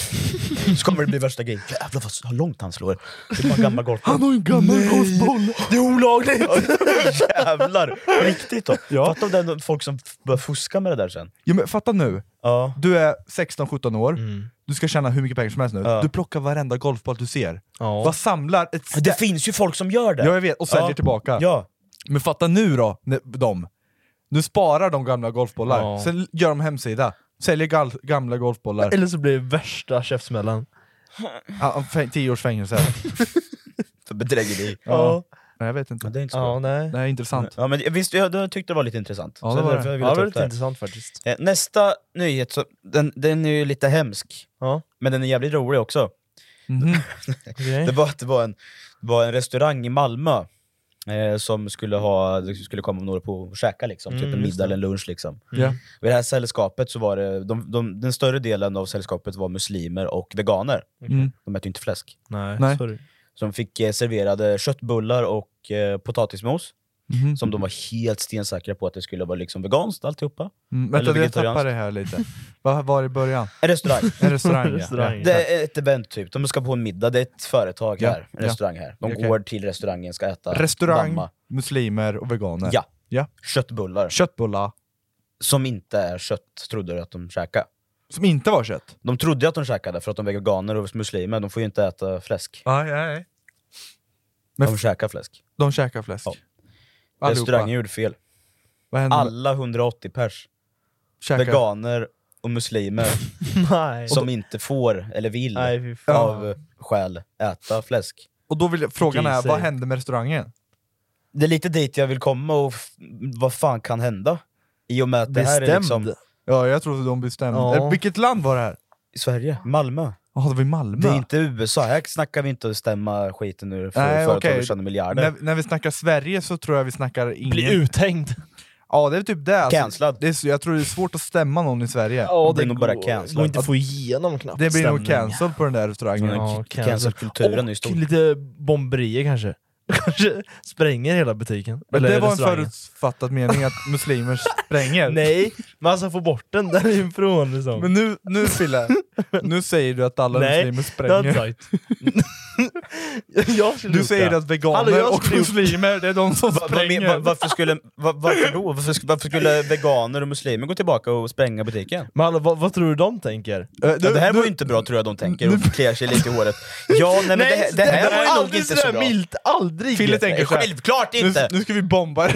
Speaker 3: Så kommer det bli värsta grejen. Jävlar vad vad långt han slår. Det är bara gammal golf.
Speaker 1: Han har ju en gammal golfboll!
Speaker 3: Det är olagligt! Jävlar! På riktigt då.
Speaker 1: Ja.
Speaker 3: Fatta om det är folk som f- börjar fuska med det där sen.
Speaker 1: Ja, men fatta nu,
Speaker 3: Ja.
Speaker 1: du är 16-17 år,
Speaker 2: Mm.
Speaker 1: du ska tjäna hur mycket pengar som helst nu.
Speaker 3: Ja.
Speaker 1: Du plockar varenda golfboll du ser.
Speaker 2: Ja.
Speaker 1: Vad samlar ett
Speaker 3: Det
Speaker 1: stä-
Speaker 3: finns ju folk som gör det.
Speaker 1: Ja jag vet, och säljer
Speaker 3: Ja.
Speaker 1: tillbaka.
Speaker 3: Ja.
Speaker 1: Men fatta nu då, när- de. Nu sparar de gamla golfbollar,
Speaker 2: Ja.
Speaker 1: sen gör de hemsida. Säljer gal- gamla golfbollar.
Speaker 2: Eller så blir det värsta käftsmällen.
Speaker 1: Ah, fäng- Tio års fängelse.
Speaker 3: För bedrägeri.
Speaker 1: ja. Nej jag vet inte.
Speaker 3: Ja,
Speaker 1: Det
Speaker 3: det är inte så
Speaker 2: Ja,
Speaker 3: bra.
Speaker 2: nej.
Speaker 1: är intressant.
Speaker 3: Ja, men visst, jag, jag tyckte det var lite intressant.
Speaker 1: Ja,
Speaker 3: Så
Speaker 1: det var
Speaker 3: därför
Speaker 1: det.
Speaker 3: Jag ville
Speaker 2: Ja, det
Speaker 3: ta
Speaker 2: var
Speaker 3: upp
Speaker 2: lite
Speaker 3: det här.
Speaker 2: intressant faktiskt.
Speaker 3: Eh, Nästa nyhet, så, den, den är ju lite hemsk,
Speaker 2: Ja,
Speaker 3: men den är jävligt rolig också.
Speaker 1: Mhm.
Speaker 2: okej.
Speaker 3: Det var att det var en, det var en restaurang i Malmö eh, som skulle, ha, det skulle komma några på och käka, liksom, typ
Speaker 2: Mm,
Speaker 3: en
Speaker 2: just
Speaker 3: middag eller en lunch. Liksom.
Speaker 1: Mm. Ja.
Speaker 3: Och I det här sällskapet så var det, de, de, den större delen av sällskapet var muslimer och veganer.
Speaker 1: Mm.
Speaker 3: De äter ju inte fläsk.
Speaker 2: Nej,
Speaker 1: Nej.
Speaker 2: sorry.
Speaker 3: Så de fick eh, serverade köttbullar och eh, potatismos,
Speaker 1: Mhm.
Speaker 3: som de var helt stensäkra på att det skulle vara liksom veganskt alltihopa.
Speaker 1: Mm. Vänta,
Speaker 3: Eller
Speaker 1: jag tappar
Speaker 3: vegetarianskt.
Speaker 1: det här lite. Vad var det i början?
Speaker 3: En restaurang.
Speaker 1: En restaurang,
Speaker 2: Restaurang.
Speaker 1: Ja.
Speaker 3: Det är ett event typ, de ska på en middag, det är ett företag
Speaker 1: Ja,
Speaker 3: här, en
Speaker 1: ja.
Speaker 3: restaurang här. De
Speaker 1: Okej.
Speaker 3: går till restaurangen, ska äta,
Speaker 1: Restaurang,
Speaker 3: damma.
Speaker 1: muslimer och veganer.
Speaker 3: Ja.
Speaker 1: Ja.
Speaker 3: köttbullar.
Speaker 1: Köttbullar,
Speaker 3: Som inte är kött, trodde de att de käkade.
Speaker 1: som inte var kött.
Speaker 3: De trodde ju att de käkade för att de är veganer och muslimer, de får ju inte äta fläsk.
Speaker 1: Aj, aj. Men
Speaker 3: De käkar fläsk.
Speaker 1: de käkar fläsk.
Speaker 3: Ja.
Speaker 1: Allihopa.
Speaker 3: Restaurangen gjorde fel.
Speaker 1: Vad händer? med-
Speaker 3: Alla 180 pers,
Speaker 1: käkar.
Speaker 3: veganer och muslimer,
Speaker 2: Nej.
Speaker 3: som inte får, eller vill,
Speaker 2: Nej, fy fan.
Speaker 3: av skäl äta fläsk.
Speaker 1: Och då vill jag, frågan är,
Speaker 2: Grisar.
Speaker 1: vad hände med restaurangen?
Speaker 3: Det är lite dit jag vill komma och f- vad fan kan hända? I och med att det här är
Speaker 2: Bestämd.
Speaker 3: liksom
Speaker 1: Ja, jag trodde de bestämde.
Speaker 2: Ja.
Speaker 1: Eh, Vilket land var det här?
Speaker 3: Sverige, Malmö.
Speaker 1: Jaha, det var i Malmö.
Speaker 3: Det är inte USA, här snackar vi inte att stämma skiten ur för
Speaker 1: Nej,
Speaker 3: företag
Speaker 1: okej.
Speaker 3: och tjäna miljarder.
Speaker 1: när, när vi snackar Sverige så tror jag vi snackar ingen...
Speaker 2: Bli uthängd.
Speaker 1: Ja, det är typ det. Alltså,
Speaker 3: Cancellad.
Speaker 1: det är, så- jag tror det är svårt att stämma någon i Sverige.
Speaker 2: Ja,
Speaker 3: blir nog bara
Speaker 2: går-
Speaker 3: cancellad.
Speaker 2: går inte att få igenom knappt.
Speaker 1: det blir nog
Speaker 2: stämning.
Speaker 1: cancel på den där restaurangen.
Speaker 2: Ja,
Speaker 3: Cancelkulturen är ju
Speaker 2: Och
Speaker 3: stor.
Speaker 2: lite bomberier kanske. kanske spränger hela butiken.
Speaker 1: Men
Speaker 2: Eller
Speaker 1: det var en
Speaker 2: restaurangen.
Speaker 1: förutfattad mening att muslimer spränger.
Speaker 2: Nej, men alltså få bort den därifrån liksom.
Speaker 1: Men nu, nu Fille, nu säger du att alla
Speaker 2: Nej,
Speaker 1: muslimer
Speaker 2: det har jag
Speaker 1: spränger.
Speaker 2: inte sagt. jag skulle
Speaker 1: Du
Speaker 2: gjort
Speaker 1: säger
Speaker 2: det.
Speaker 1: att veganer
Speaker 2: Hallå, jag
Speaker 1: och
Speaker 2: skulle gjort-
Speaker 1: muslimer, det är de som
Speaker 3: Va- vad men-
Speaker 1: spränger.
Speaker 3: va- varför, skulle, va- varför då? Varför, sk- varför skulle veganer och muslimer gå tillbaka och spränga butiken?
Speaker 2: Men hallå, vad, vad tror du de tänker?
Speaker 1: Eh,
Speaker 3: ja, det här
Speaker 1: du-
Speaker 3: var ju inte bra tror jag de tänker, och kliar sig lite i håret. Ja, nej, men det, det här var ju nog
Speaker 2: aldrig
Speaker 3: inte
Speaker 2: sådär
Speaker 3: så bra.
Speaker 2: milt, aldrig!
Speaker 1: Fille
Speaker 3: Nej,
Speaker 1: tänker så här,
Speaker 3: Självklart
Speaker 1: nu,
Speaker 3: inte!
Speaker 1: nu ska vi bomba det.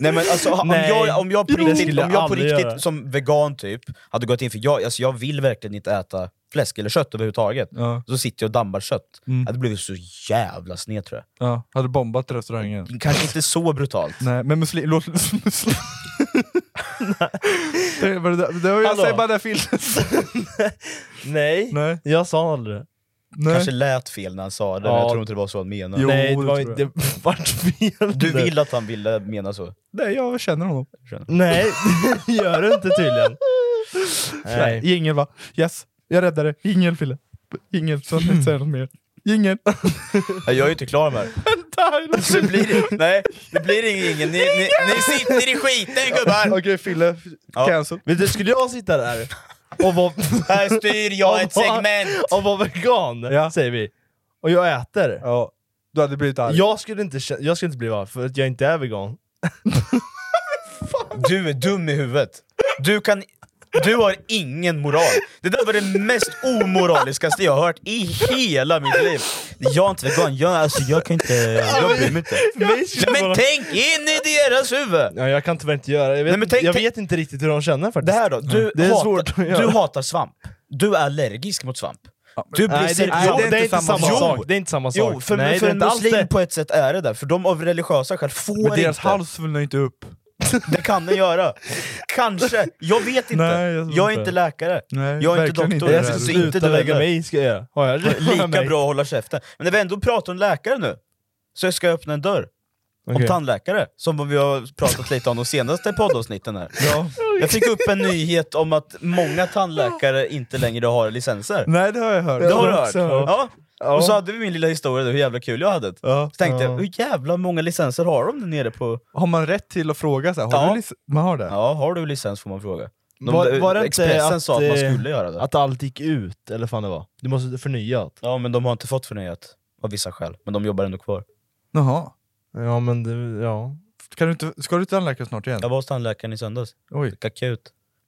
Speaker 3: Nej men alltså, om,
Speaker 2: Nej,
Speaker 3: jag, om jag på
Speaker 2: det
Speaker 3: riktigt,
Speaker 2: skulle
Speaker 3: om
Speaker 2: jag
Speaker 3: jag på
Speaker 2: aldrig
Speaker 3: riktigt
Speaker 2: göra.
Speaker 3: som vegan typ, hade gått in för jag, alltså, jag vill verkligen inte äta fläsk eller kött överhuvudtaget.
Speaker 1: Ja,
Speaker 3: Så sitter jag och dambar kött.
Speaker 1: Mm.
Speaker 3: Jag hade blivit så jävla sned tror jag.
Speaker 1: ja, hade bombat restaurangen.
Speaker 3: Kanske inte så brutalt.
Speaker 1: Nej, men muslim... Låt muslim... det var det, där- det var jag
Speaker 2: Hallå.
Speaker 1: säger bara det Fille.
Speaker 2: Nej,
Speaker 1: Nej,
Speaker 2: jag sa aldrig det.
Speaker 1: nej.
Speaker 3: Kanske lät fel när han sa det, men
Speaker 2: Ja.
Speaker 3: jag tror inte det var så han menade.
Speaker 1: Jo,
Speaker 2: Nej, det,
Speaker 1: det
Speaker 2: var,
Speaker 1: tror jag.
Speaker 2: det vart fel.
Speaker 3: Du vill att han ville mena så?
Speaker 1: nej, jag känner honom.
Speaker 2: Nej, det gör du inte tydligen.
Speaker 1: Nej.
Speaker 2: Nej.
Speaker 1: Jingel va? Yes, jag räddade det. Jingel Fille. Jingel, så att jag inte säger något mer. Jingel.
Speaker 3: Nej, jag är ju inte klar med det. Så det blir, nej, det blir ingen. Ni, ni, ni sitter i skiten gubbar!
Speaker 1: Okej Fille,
Speaker 3: Ja.
Speaker 1: cancel.
Speaker 2: Vet du, skulle jag sitta där och vara,
Speaker 3: Här styr jag ett segment!
Speaker 2: och vara vegan,
Speaker 1: Ja.
Speaker 2: säger vi, och jag äter,
Speaker 1: Ja. Du hade blivit arg.
Speaker 2: jag, skulle inte, kä- jag skulle inte bli varm för att jag inte är vegan.
Speaker 3: Du är dum i huvudet. Du, kan, du har ingen moral. Det där var det mest omoraliskaste jag har hört i hela mitt liv. Jag är inte vegan, jag, alltså, jag kan inte... Jag bryr mig inte.
Speaker 2: Mig
Speaker 3: Nej,
Speaker 2: skulle
Speaker 3: men
Speaker 2: vara-
Speaker 3: tänk in i deras huvud!
Speaker 2: Ja, jag kan tyvärr inte göra det. jag vet,
Speaker 3: Nej, men tänk-
Speaker 2: jag
Speaker 3: tänk-
Speaker 2: vet inte riktigt hur de känner faktiskt.
Speaker 3: Mm. Det här då, du,
Speaker 2: Det är
Speaker 3: hatar,
Speaker 2: svårt att göra.
Speaker 3: du hatar svamp. Du är allergisk mot svamp. Du
Speaker 2: Nej,
Speaker 3: blir
Speaker 2: det, nej,
Speaker 3: seriös.
Speaker 2: det, är inte samma
Speaker 3: Jo,
Speaker 2: sak. Det är inte samma sak.
Speaker 3: Jo, för,
Speaker 2: nej,
Speaker 3: för
Speaker 2: det är
Speaker 3: en
Speaker 2: inte alls
Speaker 3: muslim
Speaker 2: det.
Speaker 3: på ett sätt är det där, för de av religiösa skäl får
Speaker 1: Men deras
Speaker 3: inte.
Speaker 1: hals svullnar inte upp.
Speaker 3: Det kan den göra. Kanske. Jag vet inte.
Speaker 1: Nej, jag
Speaker 3: jag,
Speaker 1: vet
Speaker 3: är
Speaker 1: inte.
Speaker 3: inte läkare.
Speaker 1: Nej,
Speaker 3: jag är inte
Speaker 1: verkligen
Speaker 3: doktor.
Speaker 1: inte.
Speaker 2: Jag
Speaker 1: det
Speaker 2: ska
Speaker 1: är
Speaker 3: så
Speaker 2: sluta
Speaker 3: inte du
Speaker 2: lägga
Speaker 3: heller.
Speaker 2: mig i, ska jag göra. Har jag
Speaker 3: Lika
Speaker 2: har jag
Speaker 3: bra att hålla käften. Men när vi ändå pratar om läkare nu, så ska jag öppna en dörr. Om
Speaker 2: Okej.
Speaker 3: tandläkare, som vi har pratat lite om de senaste poddavsnitten här.
Speaker 1: Ja.
Speaker 3: Jag fick upp en nyhet om att många tandläkare inte längre har licenser.
Speaker 1: Nej det har jag hört.
Speaker 3: Det har du
Speaker 1: jag
Speaker 3: hört?
Speaker 1: också hört.
Speaker 3: Ja.
Speaker 2: Ja.
Speaker 3: Och så hade vi min lilla historia där, hur jävla kul jag hade. Så
Speaker 1: Ja.
Speaker 3: tänkte jag, hur jävla många licenser har de där nere på...
Speaker 1: Har man rätt till att fråga så här, har
Speaker 3: Ja.
Speaker 1: du lic- Man har det?
Speaker 3: Ja, har du licens får man fråga. De,
Speaker 2: Var- var det inte
Speaker 3: Expressen
Speaker 2: att,
Speaker 3: sa att man
Speaker 2: eh,
Speaker 3: skulle göra det.
Speaker 2: Att allt gick ut, eller fan det var. Du måste förnya allt.
Speaker 3: Ja, men de har inte fått förnyat. Av vissa skäl. Men de jobbar ändå kvar.
Speaker 1: Jaha.
Speaker 2: Ja men det, ja.
Speaker 1: Kan du inte, ska du till tandläkaren snart igen?
Speaker 3: Jag var hos tandläkaren i söndags.
Speaker 1: Oj,
Speaker 3: Fick akut.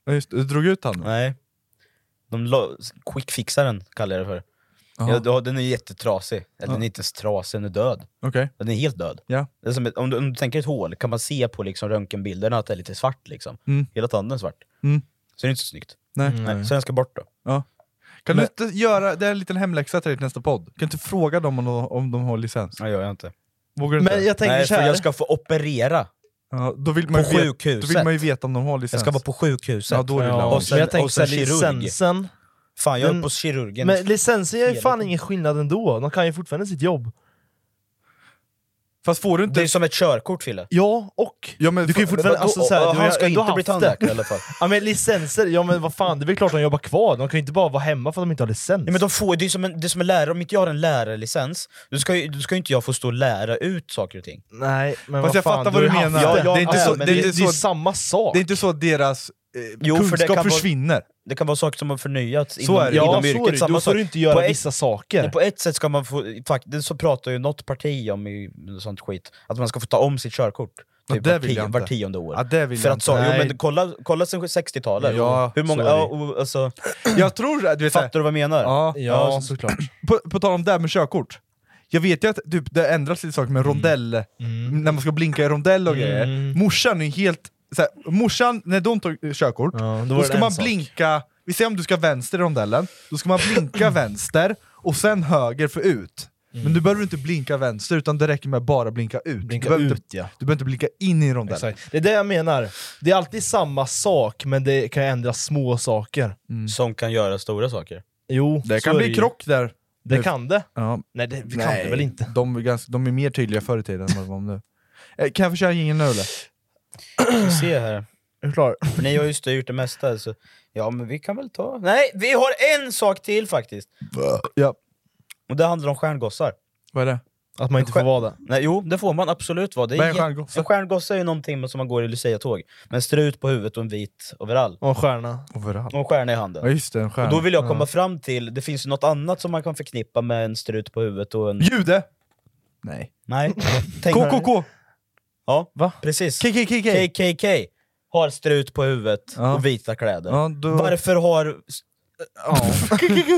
Speaker 1: ja, just, det. du drog ut tanden?
Speaker 3: Nej. De la- quickfixaren kallar jag det för.
Speaker 1: Jaha,
Speaker 3: Ja, då- den är jättetrasig. Eller
Speaker 1: Ja.
Speaker 3: den är inte ens trasig, den är död.
Speaker 1: Okej.
Speaker 3: Den är helt död.
Speaker 1: Ja.
Speaker 3: Det är som ett, om, du, om du tänker ett hål, kan man se på liksom röntgenbilderna att det är lite svart. Liksom.
Speaker 1: Mm.
Speaker 3: Hela tanden är svart.
Speaker 1: Mm.
Speaker 3: Så det är inte så snyggt.
Speaker 1: Nej.
Speaker 3: Nej. Så den ska bort då.
Speaker 1: Kan
Speaker 3: Mm. Men-
Speaker 1: du inte göra, det är en liten hemläxa till dig till nästa podd. Kan du inte fråga dem om de, om de har licens?
Speaker 3: Nej, gör jag inte.
Speaker 1: Vågar du inte?
Speaker 2: Men jag tänker
Speaker 3: Nej, för
Speaker 2: såhär,
Speaker 3: jag ska få operera
Speaker 1: ja, då, vill
Speaker 3: på
Speaker 1: man ju veta, då
Speaker 3: sjukhuset.
Speaker 1: vill man ju veta om de har licens.
Speaker 3: Jag ska vara på sjukhuset.
Speaker 1: Ja, då är det
Speaker 2: ja,
Speaker 1: illa.
Speaker 3: Och sen-
Speaker 2: men jag tänker
Speaker 3: och sen
Speaker 2: såhär
Speaker 3: kirurg.
Speaker 2: licensen.
Speaker 3: Fan, jag är
Speaker 2: Men-
Speaker 3: på kirurgen.
Speaker 2: Men licensen gör ju
Speaker 3: Hela
Speaker 2: fan
Speaker 3: tiden.
Speaker 2: ingen skillnad ändå, de kan ju fortfarande sitt jobb.
Speaker 1: Fast får du inte...
Speaker 3: Det är som ett körkort Fille.
Speaker 2: Ja, och?
Speaker 1: Ja, men,
Speaker 2: Du kan ju
Speaker 1: fan-
Speaker 2: fortfarande,
Speaker 3: Vadå?
Speaker 2: alltså såhär, du har
Speaker 3: han ska
Speaker 2: ju ändå
Speaker 3: inte bli
Speaker 2: haft
Speaker 3: tandläkare i
Speaker 2: det.
Speaker 3: alla fall.
Speaker 2: Ja men licenser, ja men vad fan, det är väl klart de jobbar kvar, de kan ju inte bara vara hemma för att de inte har licens.
Speaker 3: Ja, men de får, det är som en, det är som en lärare, om inte jag har en lärarlicens, då ska ju, då ska ju inte jag få stå och lära ut saker och ting.
Speaker 2: Nej, men
Speaker 1: Fast
Speaker 2: vad
Speaker 1: jag fattar
Speaker 2: fan,
Speaker 1: vad
Speaker 2: har
Speaker 1: du
Speaker 2: ju haft
Speaker 1: menar.
Speaker 2: det.
Speaker 3: Ja, ja,
Speaker 1: det är inte
Speaker 3: ja,
Speaker 1: så,
Speaker 3: men
Speaker 1: det är
Speaker 2: det
Speaker 1: inte
Speaker 2: är ju
Speaker 1: så,
Speaker 2: samma sak.
Speaker 1: det är inte så att deras eh,
Speaker 3: Jo, för det
Speaker 1: kunskap
Speaker 3: kan vara-
Speaker 1: försvinner.
Speaker 3: Det kan vara saker som har förnyats inom,
Speaker 1: Så är det.
Speaker 2: ja,
Speaker 3: inom
Speaker 2: så är
Speaker 3: yrket.
Speaker 2: det.
Speaker 3: Samma
Speaker 2: Då får
Speaker 3: sak.
Speaker 2: du inte göra
Speaker 3: På ett-
Speaker 2: vissa
Speaker 3: Men
Speaker 2: saker.
Speaker 3: På ett sätt ska man få, faktiskt så pratar ju något parti om i, sånt skit, att man ska få ta om sitt körkort.
Speaker 1: Ja,
Speaker 3: Typ
Speaker 1: det
Speaker 3: var,
Speaker 1: vill jag
Speaker 3: tio,
Speaker 1: inte.
Speaker 3: var tionde år.
Speaker 1: Ja, det vill
Speaker 3: För
Speaker 1: jag
Speaker 3: att
Speaker 1: inte.
Speaker 3: så, jo,
Speaker 2: Nej.
Speaker 3: men kolla, kolla sen 60-talet,
Speaker 1: Ja,
Speaker 3: hur många,
Speaker 2: så är det.
Speaker 3: ja, och, alltså,
Speaker 1: Jag tror att, du vet, så här-
Speaker 3: fattar du vad jag menar?
Speaker 1: ja,
Speaker 2: Ja, såklart.
Speaker 1: på, på tal om det här med körkort. Jag vet ju att typ, det ändras lite saker med
Speaker 3: Mm.
Speaker 1: rondell, när man ska blinka i rondell och grejer. Morsan är ju helt... Så här, morsan, när de tog eh, körkort,
Speaker 2: Ja, då var
Speaker 1: då
Speaker 2: det
Speaker 1: ska
Speaker 2: en
Speaker 1: man
Speaker 2: sak.
Speaker 1: blinka... Vi säger om du ska vänster i rondellen, då ska man blinka vänster och sen höger för ut.
Speaker 3: Mm.
Speaker 1: Men du behöver inte blinka vänster, utan det räcker med att bara blinka ut. du,
Speaker 2: Blinka
Speaker 1: behöver
Speaker 2: ut
Speaker 1: inte,
Speaker 2: ja.
Speaker 1: du behöver inte blinka in i rondellen.
Speaker 2: Exakt. Det är det jag menar. Det är alltid samma sak, men det kan ändra små saker.
Speaker 1: Mm.
Speaker 3: Som kan göra stora saker.
Speaker 2: Jo,
Speaker 1: Det
Speaker 2: så
Speaker 1: kan
Speaker 2: är
Speaker 1: bli
Speaker 2: ju.
Speaker 1: krock där.
Speaker 2: Det kan det.
Speaker 1: Ja,
Speaker 2: Nej, det kan det väl inte.
Speaker 1: De, är ganska, de är mer tydliga förr i tiden än vad de var nu. Eh, Kan jag få köra ingen nu eller?
Speaker 3: Vi ser här.
Speaker 2: Är du klar?
Speaker 3: För ni har ju styrt det mesta. Så. Ja, men vi kan väl ta... Nej, vi har en sak till faktiskt!
Speaker 1: Ja.
Speaker 3: Och det handlar om stjärngossar.
Speaker 1: Vad är det?
Speaker 2: Att man inte får vara det.
Speaker 3: Nej, jo, det får man absolut vara. Det
Speaker 1: Vad är en
Speaker 3: jätte-
Speaker 1: stjärngosse?
Speaker 3: En stjärngosse är ju någonting som man går i luciatåg. Men strut på huvudet och en vit overall.
Speaker 2: Och en stjärna.
Speaker 1: Överallt.
Speaker 3: Och en stjärna i handen.
Speaker 1: Ja just det, en
Speaker 3: Och
Speaker 1: stjärna.
Speaker 3: då vill jag komma fram till, det finns ju något annat som man kan förknippa med en strut på huvudet och en...
Speaker 1: Jude! Nej.
Speaker 3: Nej. Tänk-
Speaker 1: KKK!
Speaker 3: Ja,
Speaker 1: Va?
Speaker 3: precis.
Speaker 1: KKKK!
Speaker 3: KKK har strut på huvudet
Speaker 1: Ja.
Speaker 3: och vita kläder.
Speaker 1: Ja, då...
Speaker 3: Varför har...
Speaker 1: Ja.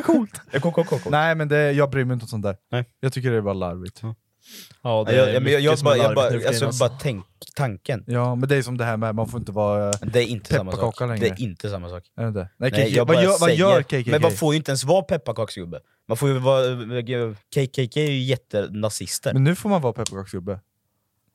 Speaker 3: Coolt! KKK. Nej,
Speaker 1: Nej men det, jag bryr mig inte om sånt där.
Speaker 3: Nej.
Speaker 1: Jag tycker det är bara larvigt.
Speaker 2: Ja,
Speaker 3: jag, jag, jag,
Speaker 2: mycket
Speaker 3: jag,
Speaker 2: som är
Speaker 3: bara, jag
Speaker 2: larvigt
Speaker 3: bara,
Speaker 2: nu för
Speaker 3: alltså,
Speaker 2: tiden,
Speaker 3: jag bara tänk, tanken.
Speaker 1: Ja, men det är som det här med man får inte vara...
Speaker 3: Men Det är inte samma sak.
Speaker 1: Pepparkaka längre.
Speaker 3: Det är inte samma sak.
Speaker 1: Är det inte? Nej,
Speaker 3: Nej,
Speaker 1: KKK.
Speaker 3: jag
Speaker 1: vad,
Speaker 3: bara
Speaker 1: gör, vad
Speaker 3: säger.
Speaker 1: gör KKK?
Speaker 3: Men man får ju inte ens vara pepparkaksgubbe. Man får ju vara... KKK är ju jättenazister.
Speaker 1: Men nu får man vara pepparkaksgubbe.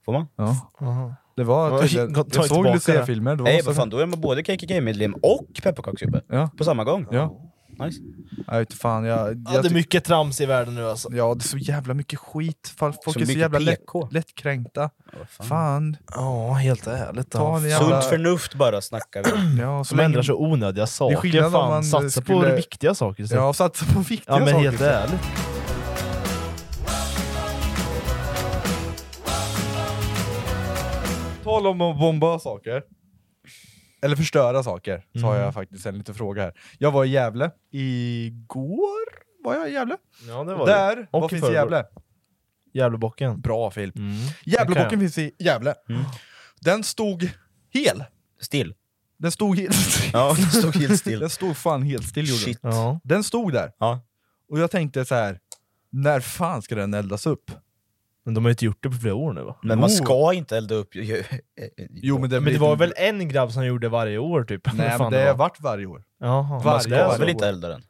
Speaker 3: Får man?
Speaker 1: Ja.
Speaker 2: Jaha.
Speaker 1: Det var
Speaker 2: Oj,
Speaker 1: tydligen...
Speaker 2: ta
Speaker 1: Jag
Speaker 2: tillbaka
Speaker 1: såg
Speaker 2: det.
Speaker 1: Lucia-filmer. det var
Speaker 3: Nej,
Speaker 1: så-
Speaker 3: vad fan, då är man både KKK-medlem och pepparkaksgubbe.
Speaker 1: Ja.
Speaker 3: På samma gång.
Speaker 1: Ja.
Speaker 3: Nice.
Speaker 1: Jag vet inte fan, jag... jag
Speaker 2: Ja, det är
Speaker 1: ty-
Speaker 2: mycket trams i världen nu alltså.
Speaker 1: Ja, det är så jävla mycket skit. Fan, Folk
Speaker 3: Så
Speaker 1: är så
Speaker 3: mycket
Speaker 1: jävla lätt,
Speaker 3: PK.
Speaker 1: lättkränkta.
Speaker 3: Ja, vad fan.
Speaker 1: Fan.
Speaker 2: Ja, helt ärligt.
Speaker 1: Ta en
Speaker 2: alltså.
Speaker 1: jävla-
Speaker 3: Sunt förnuft bara snackar vi om.
Speaker 1: Ja, så
Speaker 2: Som ändrar
Speaker 1: länge...
Speaker 2: så onödiga saker.
Speaker 1: skillnad om
Speaker 2: fan,
Speaker 1: man
Speaker 2: satsa
Speaker 1: skulle-
Speaker 2: på viktiga saker istället.
Speaker 1: Ja, satsa på viktiga
Speaker 2: Ja, men
Speaker 1: saker.
Speaker 2: helt ärligt.
Speaker 1: Tal om att bomba saker. Eller förstöra saker, så har jag faktiskt en liten fråga här. Jag var i Gävle igår. Var jag i Gävle?
Speaker 2: Ja, det
Speaker 1: Där!
Speaker 2: Och
Speaker 1: vad
Speaker 2: i
Speaker 1: finns i
Speaker 2: förrgår.
Speaker 1: Gävle?
Speaker 2: Gävlebocken.
Speaker 1: Bra film.
Speaker 2: Mm.
Speaker 1: Gävlebocken
Speaker 2: Den kan
Speaker 1: finns i Gävle. Den stod hel.
Speaker 3: Still.
Speaker 1: Den stod helt still.
Speaker 3: Ja, det stod helt still.
Speaker 1: Den stod fan helt still. gjorde den.
Speaker 3: Shit.
Speaker 2: Ja.
Speaker 1: Den stod där.
Speaker 3: Ja.
Speaker 1: Och jag tänkte så här. när fan ska den eldas upp?
Speaker 2: Men de har ju inte gjort det på flera år nu va?
Speaker 3: Men man
Speaker 1: Oh.
Speaker 3: ska inte elda upp...
Speaker 1: Jo men det,
Speaker 2: Men det
Speaker 1: blir-
Speaker 2: var väl en grabb som gjorde varje år typ? Vad
Speaker 1: Nej
Speaker 2: fan
Speaker 1: men det har
Speaker 2: var.
Speaker 1: varit varje år.
Speaker 2: Jaha.
Speaker 1: varje
Speaker 3: Man
Speaker 1: år.
Speaker 3: ska väl inte elda den?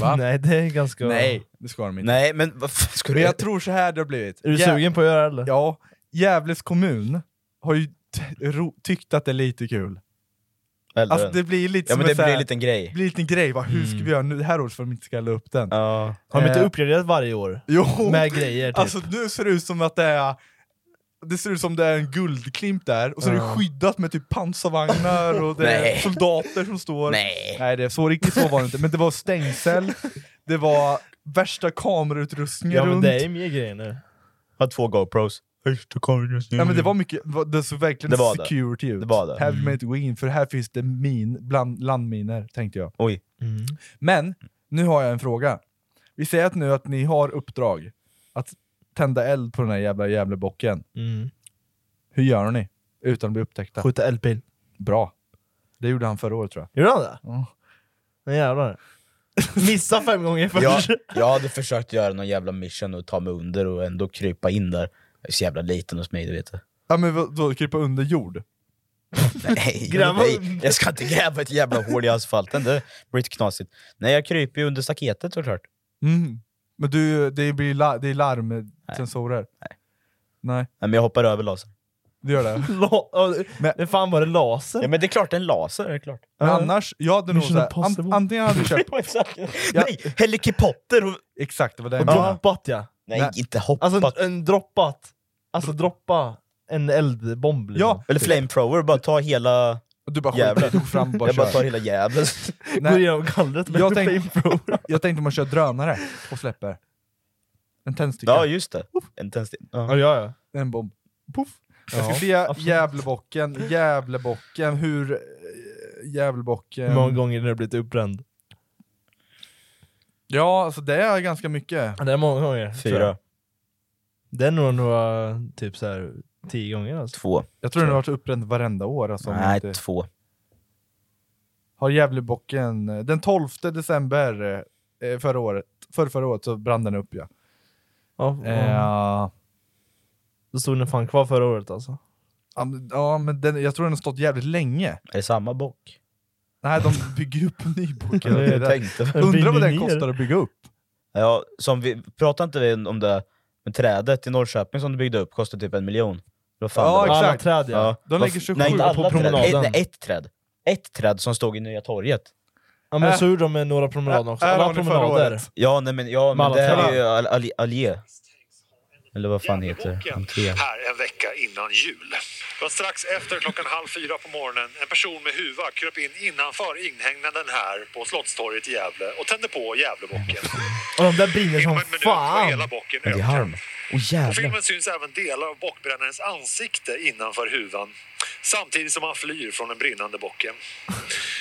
Speaker 1: Va?
Speaker 2: Nej, det är ganska...
Speaker 1: Nej, det ska de inte.
Speaker 3: Nej, men vad fan ska
Speaker 1: Men
Speaker 3: du...
Speaker 1: jag tror så här det har blivit.
Speaker 2: Är du
Speaker 1: Jä-
Speaker 2: sugen på att göra det eller?
Speaker 1: Ja, Gävles kommun har ju t- ro- tyckt att det är lite kul.
Speaker 3: elda
Speaker 1: Alltså
Speaker 3: den?
Speaker 1: det blir lite
Speaker 3: ja,
Speaker 1: som
Speaker 3: men det
Speaker 1: så här-
Speaker 3: blir en liten grej.
Speaker 1: blir en liten grej, bara, hur ska vi göra nu det här året för att de inte ska elda upp den?
Speaker 3: Ja.
Speaker 2: Mm. Har de inte
Speaker 1: Eh.
Speaker 2: uppgraderat varje år?
Speaker 1: Jo!
Speaker 2: Med grejer typ?
Speaker 1: Alltså nu ser det ut som att det är det ser ut som det är en guldklimp där, och så är det
Speaker 2: Ja.
Speaker 1: skyddat med typ pansarvagnar och det är
Speaker 3: Nej.
Speaker 1: soldater som står...
Speaker 3: Nej.
Speaker 1: Nej, det är så riktigt så var det inte, men det var stängsel, det var värsta kamerautrustningen
Speaker 2: ja men
Speaker 1: runt.
Speaker 2: det är ju mer grejer nu.
Speaker 3: Har två GoPros.
Speaker 1: Ja, men det var mycket, va- det såg verkligen
Speaker 3: Mm. Det var det.
Speaker 1: security ut.
Speaker 3: Det var det. Mm.
Speaker 1: Här vill man inte gå in, för här finns det min, bland, landminer, tänkte jag.
Speaker 3: Oj.
Speaker 2: Mm,
Speaker 1: Men, nu har jag en fråga. Vi säger att nu att ni har uppdrag att tända eld på den här jävla Gävlebocken.
Speaker 2: Mm.
Speaker 1: Hur gör ni? Utan att bli upptäckta.
Speaker 2: Skjuta eldpil.
Speaker 1: Bra. Det gjorde han förra året tror jag.
Speaker 2: Gjorde han det?
Speaker 1: Ja.
Speaker 2: Nej jävlar. Missa fem gånger först.
Speaker 3: Jag, jag hade försökt göra någon jävla mission och ta mig under och ändå krypa in där. Jag är så jävla liten och smidig vet du.
Speaker 1: Ja men vadå, krypa under jord?
Speaker 3: Nej,
Speaker 2: Gräva
Speaker 3: nej,
Speaker 2: under.
Speaker 3: jag ska inte gräva ett jävla hål i asfalten, det blir lite knasigt. Nej, jag kryper ju under staketet såklart.
Speaker 1: Mm. Men du, det, blir la, det är larmsensorer? Nej. Nej,
Speaker 3: Nej, men jag hoppar över lasern.
Speaker 1: du gör det?
Speaker 2: La- ja,
Speaker 1: Men-
Speaker 2: det fan var det laser?
Speaker 3: Ja, men det är klart, det är en laser. Det är klart.
Speaker 1: Men
Speaker 2: Ja.
Speaker 1: annars, jag hade nog
Speaker 2: Mission
Speaker 1: såhär, an,
Speaker 2: impossible.
Speaker 1: antingen hade du köpt... Ja.
Speaker 3: Nej, helikopotter! Och...
Speaker 1: Exakt, det var det jag menade.
Speaker 2: Droppat ja.
Speaker 3: Nej,
Speaker 1: Nej.
Speaker 3: inte hoppat.
Speaker 2: Alltså en, en droppat. Alltså droppa en eldbomb. liksom.
Speaker 1: Ja,
Speaker 3: Eller flamethrower, bara ta hela...
Speaker 1: och du bara
Speaker 3: Jävlar.
Speaker 1: skjuter fram och bara
Speaker 3: jag bara tar
Speaker 1: kör.
Speaker 3: hela jävla...
Speaker 2: Går
Speaker 1: Nej,
Speaker 2: igenom gallret med
Speaker 1: Jag
Speaker 2: en
Speaker 1: tänk-
Speaker 2: flamethrower.
Speaker 1: jag tänkte man kör drönare och släpper. En tändsticka,
Speaker 3: ja, just det. En tändstick.
Speaker 2: Ja,
Speaker 3: Ja.
Speaker 2: ja, ja.
Speaker 1: en bomb. Puff. Jag
Speaker 2: Ja,
Speaker 1: ska be Gävlebocken, Gävlebocken, hur... eh, Gävlebocken...
Speaker 2: Hur många gånger har du blivit uppbränd?
Speaker 1: Ja, alltså det är ganska mycket.
Speaker 2: Ja, Det är många gånger. tror jag.
Speaker 3: Fyra,
Speaker 2: Det är nog några, typ så här, tio gånger alltså.
Speaker 3: två.
Speaker 1: Jag tror den har varit uppbränd varenda år. Alltså, om
Speaker 3: Nej,
Speaker 1: inte...
Speaker 3: två.
Speaker 1: Har Gävlebocken... eh, Den 12 december eh, förra året, för förra året så brann den upp ja.
Speaker 2: Ja, ja.
Speaker 1: Eh,
Speaker 2: Då stod den fan kvar förra året alltså.
Speaker 1: ja, men- ja, men den, jag tror den har stått jävligt länge.
Speaker 3: Är det samma bock?
Speaker 1: Nej, de bygger upp en ny bok hela
Speaker 2: Det är
Speaker 1: tiden.
Speaker 3: Jag tänkte.
Speaker 1: Undrar vad den
Speaker 2: Brinner ner.
Speaker 1: kostar att bygga upp?
Speaker 3: Ja, som vi, pratade inte vi om det med trädet i Norrköping som du byggde upp kostade typ en miljon? Vad fan
Speaker 1: Ja,
Speaker 3: det var.
Speaker 1: exakt.
Speaker 2: Alla träd ja.
Speaker 3: Ja.
Speaker 1: De lägger
Speaker 3: Vad-
Speaker 1: 27
Speaker 3: Nej, inte
Speaker 2: på
Speaker 3: alla
Speaker 2: promenaden.
Speaker 3: Träd. Ett, nej, ett träd. Ett träd som stod i Nya torget.
Speaker 2: ja men
Speaker 1: Äh.
Speaker 2: så gjorde de med några promenader också.
Speaker 1: Äh, här
Speaker 2: Alla
Speaker 1: har ni förra
Speaker 2: promenader.
Speaker 1: året.
Speaker 3: Ja, nej, men, ja,
Speaker 2: Med
Speaker 3: men
Speaker 2: alla
Speaker 3: det här
Speaker 2: träd.
Speaker 3: är ju all, all, allé. Eller vad fan heter
Speaker 5: Gävlebocken
Speaker 3: Entré.
Speaker 5: här en vecka innan jul. Det var strax efter klockan halv fyra på morgonen en person med huva kröp in innanför inhägnaden här på Slottstorget i Gävle och tände på Gävlebocken.
Speaker 2: Och de där brinner
Speaker 5: Inom
Speaker 2: som
Speaker 5: en minut var
Speaker 2: fan!
Speaker 5: hela bocken
Speaker 3: Det är
Speaker 5: övertänd.
Speaker 3: harm. Åh
Speaker 5: På
Speaker 3: jävlar.
Speaker 5: filmen syns även delar av bockbrännarens ansikte innanför huvan samtidigt som han flyr från den brinnande bocken.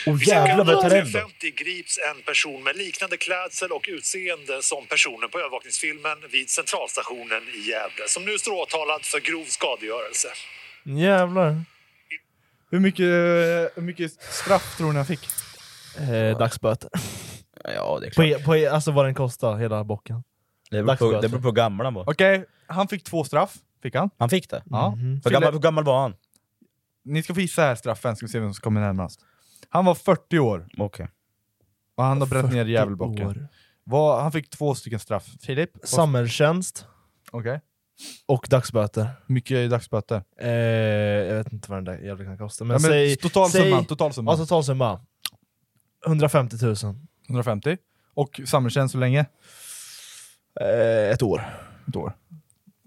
Speaker 3: Åh
Speaker 5: Vid
Speaker 3: jävlar vad jag tar
Speaker 5: cirka
Speaker 3: rädd
Speaker 5: 19.50 grips en person med liknande klädsel och utseende som personen på övervakningsfilmen vid centralstationen i Gävle som nu står åtalad för grov skadegörelse.
Speaker 2: Jävlar.
Speaker 1: Hur mycket, hur mycket straff tror ni han fick?
Speaker 2: Eh, dagsböter.
Speaker 3: Ja, det är
Speaker 2: På,
Speaker 3: klart.
Speaker 2: e- på, e- alltså vad den kostar, hela bocken.
Speaker 3: Det beror på,
Speaker 2: Dagsböter.
Speaker 3: det beror på hur gammal han var.
Speaker 1: Okej, han fick två straff. Fick han?
Speaker 3: Han fick det.
Speaker 1: alltså. Ja.
Speaker 3: Hur
Speaker 1: Fille-
Speaker 3: gammal, hur gammal var han?
Speaker 1: Ni ska få gissa här straffen, ska vi se vem som kommer närmast. Han var 40 år
Speaker 3: Okej.
Speaker 1: och han har bränt ner Djävulbocken.
Speaker 2: år.
Speaker 1: Vad- Han fick två stycken straff. Filip? vad-
Speaker 2: Samhällstjänst
Speaker 1: Okej.
Speaker 2: och dagsböter.
Speaker 1: Hur mycket är dagsböter?
Speaker 2: Eh, jag vet inte vad den där jävla kan kosta. Men,
Speaker 1: Ja, men
Speaker 2: säg...
Speaker 1: Totalsumman,
Speaker 2: säg, Alltså-
Speaker 1: totalsumman.
Speaker 2: ja, totalsumma. 150 000.
Speaker 1: 150. Och samhällstjänst så länge?
Speaker 2: Eh, ett år.
Speaker 1: Ett år.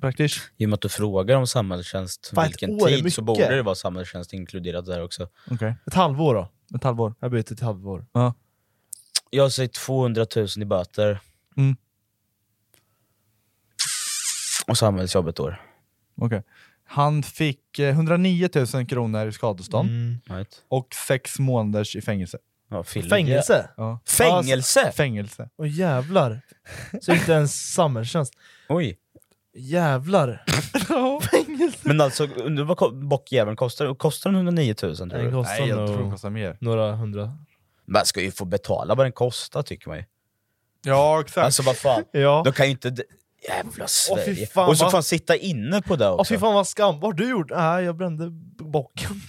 Speaker 1: Praktiskt.
Speaker 3: I och med att du frågar om samhällstjänst
Speaker 2: Fan, ett
Speaker 3: vilken
Speaker 2: år är
Speaker 3: tid så
Speaker 2: mycket.
Speaker 3: borde det vara samhällstjänst inkluderat där också.
Speaker 1: Okej.
Speaker 2: Ett halvår då.
Speaker 1: Ett halvår.
Speaker 2: Jag byter till halvår.
Speaker 3: Jag säger 200 000 i böter.
Speaker 1: Mm.
Speaker 3: Och samhällsjobb ett år.
Speaker 1: Okej. Han fick eh, 109 000 kronor i skadestånd
Speaker 2: Mm.
Speaker 3: Right.
Speaker 1: och sex månaders i fängelse.
Speaker 3: Ja, Fille.
Speaker 2: Fängelse?
Speaker 1: Ja.
Speaker 3: Fängelse?
Speaker 1: Fängelse.
Speaker 2: Åh jävlar. Så inte ens samhällstjänst.
Speaker 3: Oj.
Speaker 2: Jävlar. Fängelse.
Speaker 3: Men alltså, undrar vad ko- bockjäveln kostar? Kostar den 109 000 tror
Speaker 2: Den
Speaker 3: du?
Speaker 1: Nej,
Speaker 2: kostar
Speaker 1: jag tror det
Speaker 2: nog
Speaker 1: kostar mer.
Speaker 2: några hundra.
Speaker 3: Man ska ju få betala vad den kostar tycker man ju.
Speaker 1: Ja, exakt.
Speaker 3: Alltså vad fan.
Speaker 2: Ja.
Speaker 3: De kan ju inte... Jävla Sverige.
Speaker 2: fy fan,
Speaker 3: och så
Speaker 2: vad-
Speaker 3: får han sitta inne på det
Speaker 2: Åh
Speaker 3: också.
Speaker 2: fy fan vad skam. Vad har du gjort? Nej, jag brände b- bocken.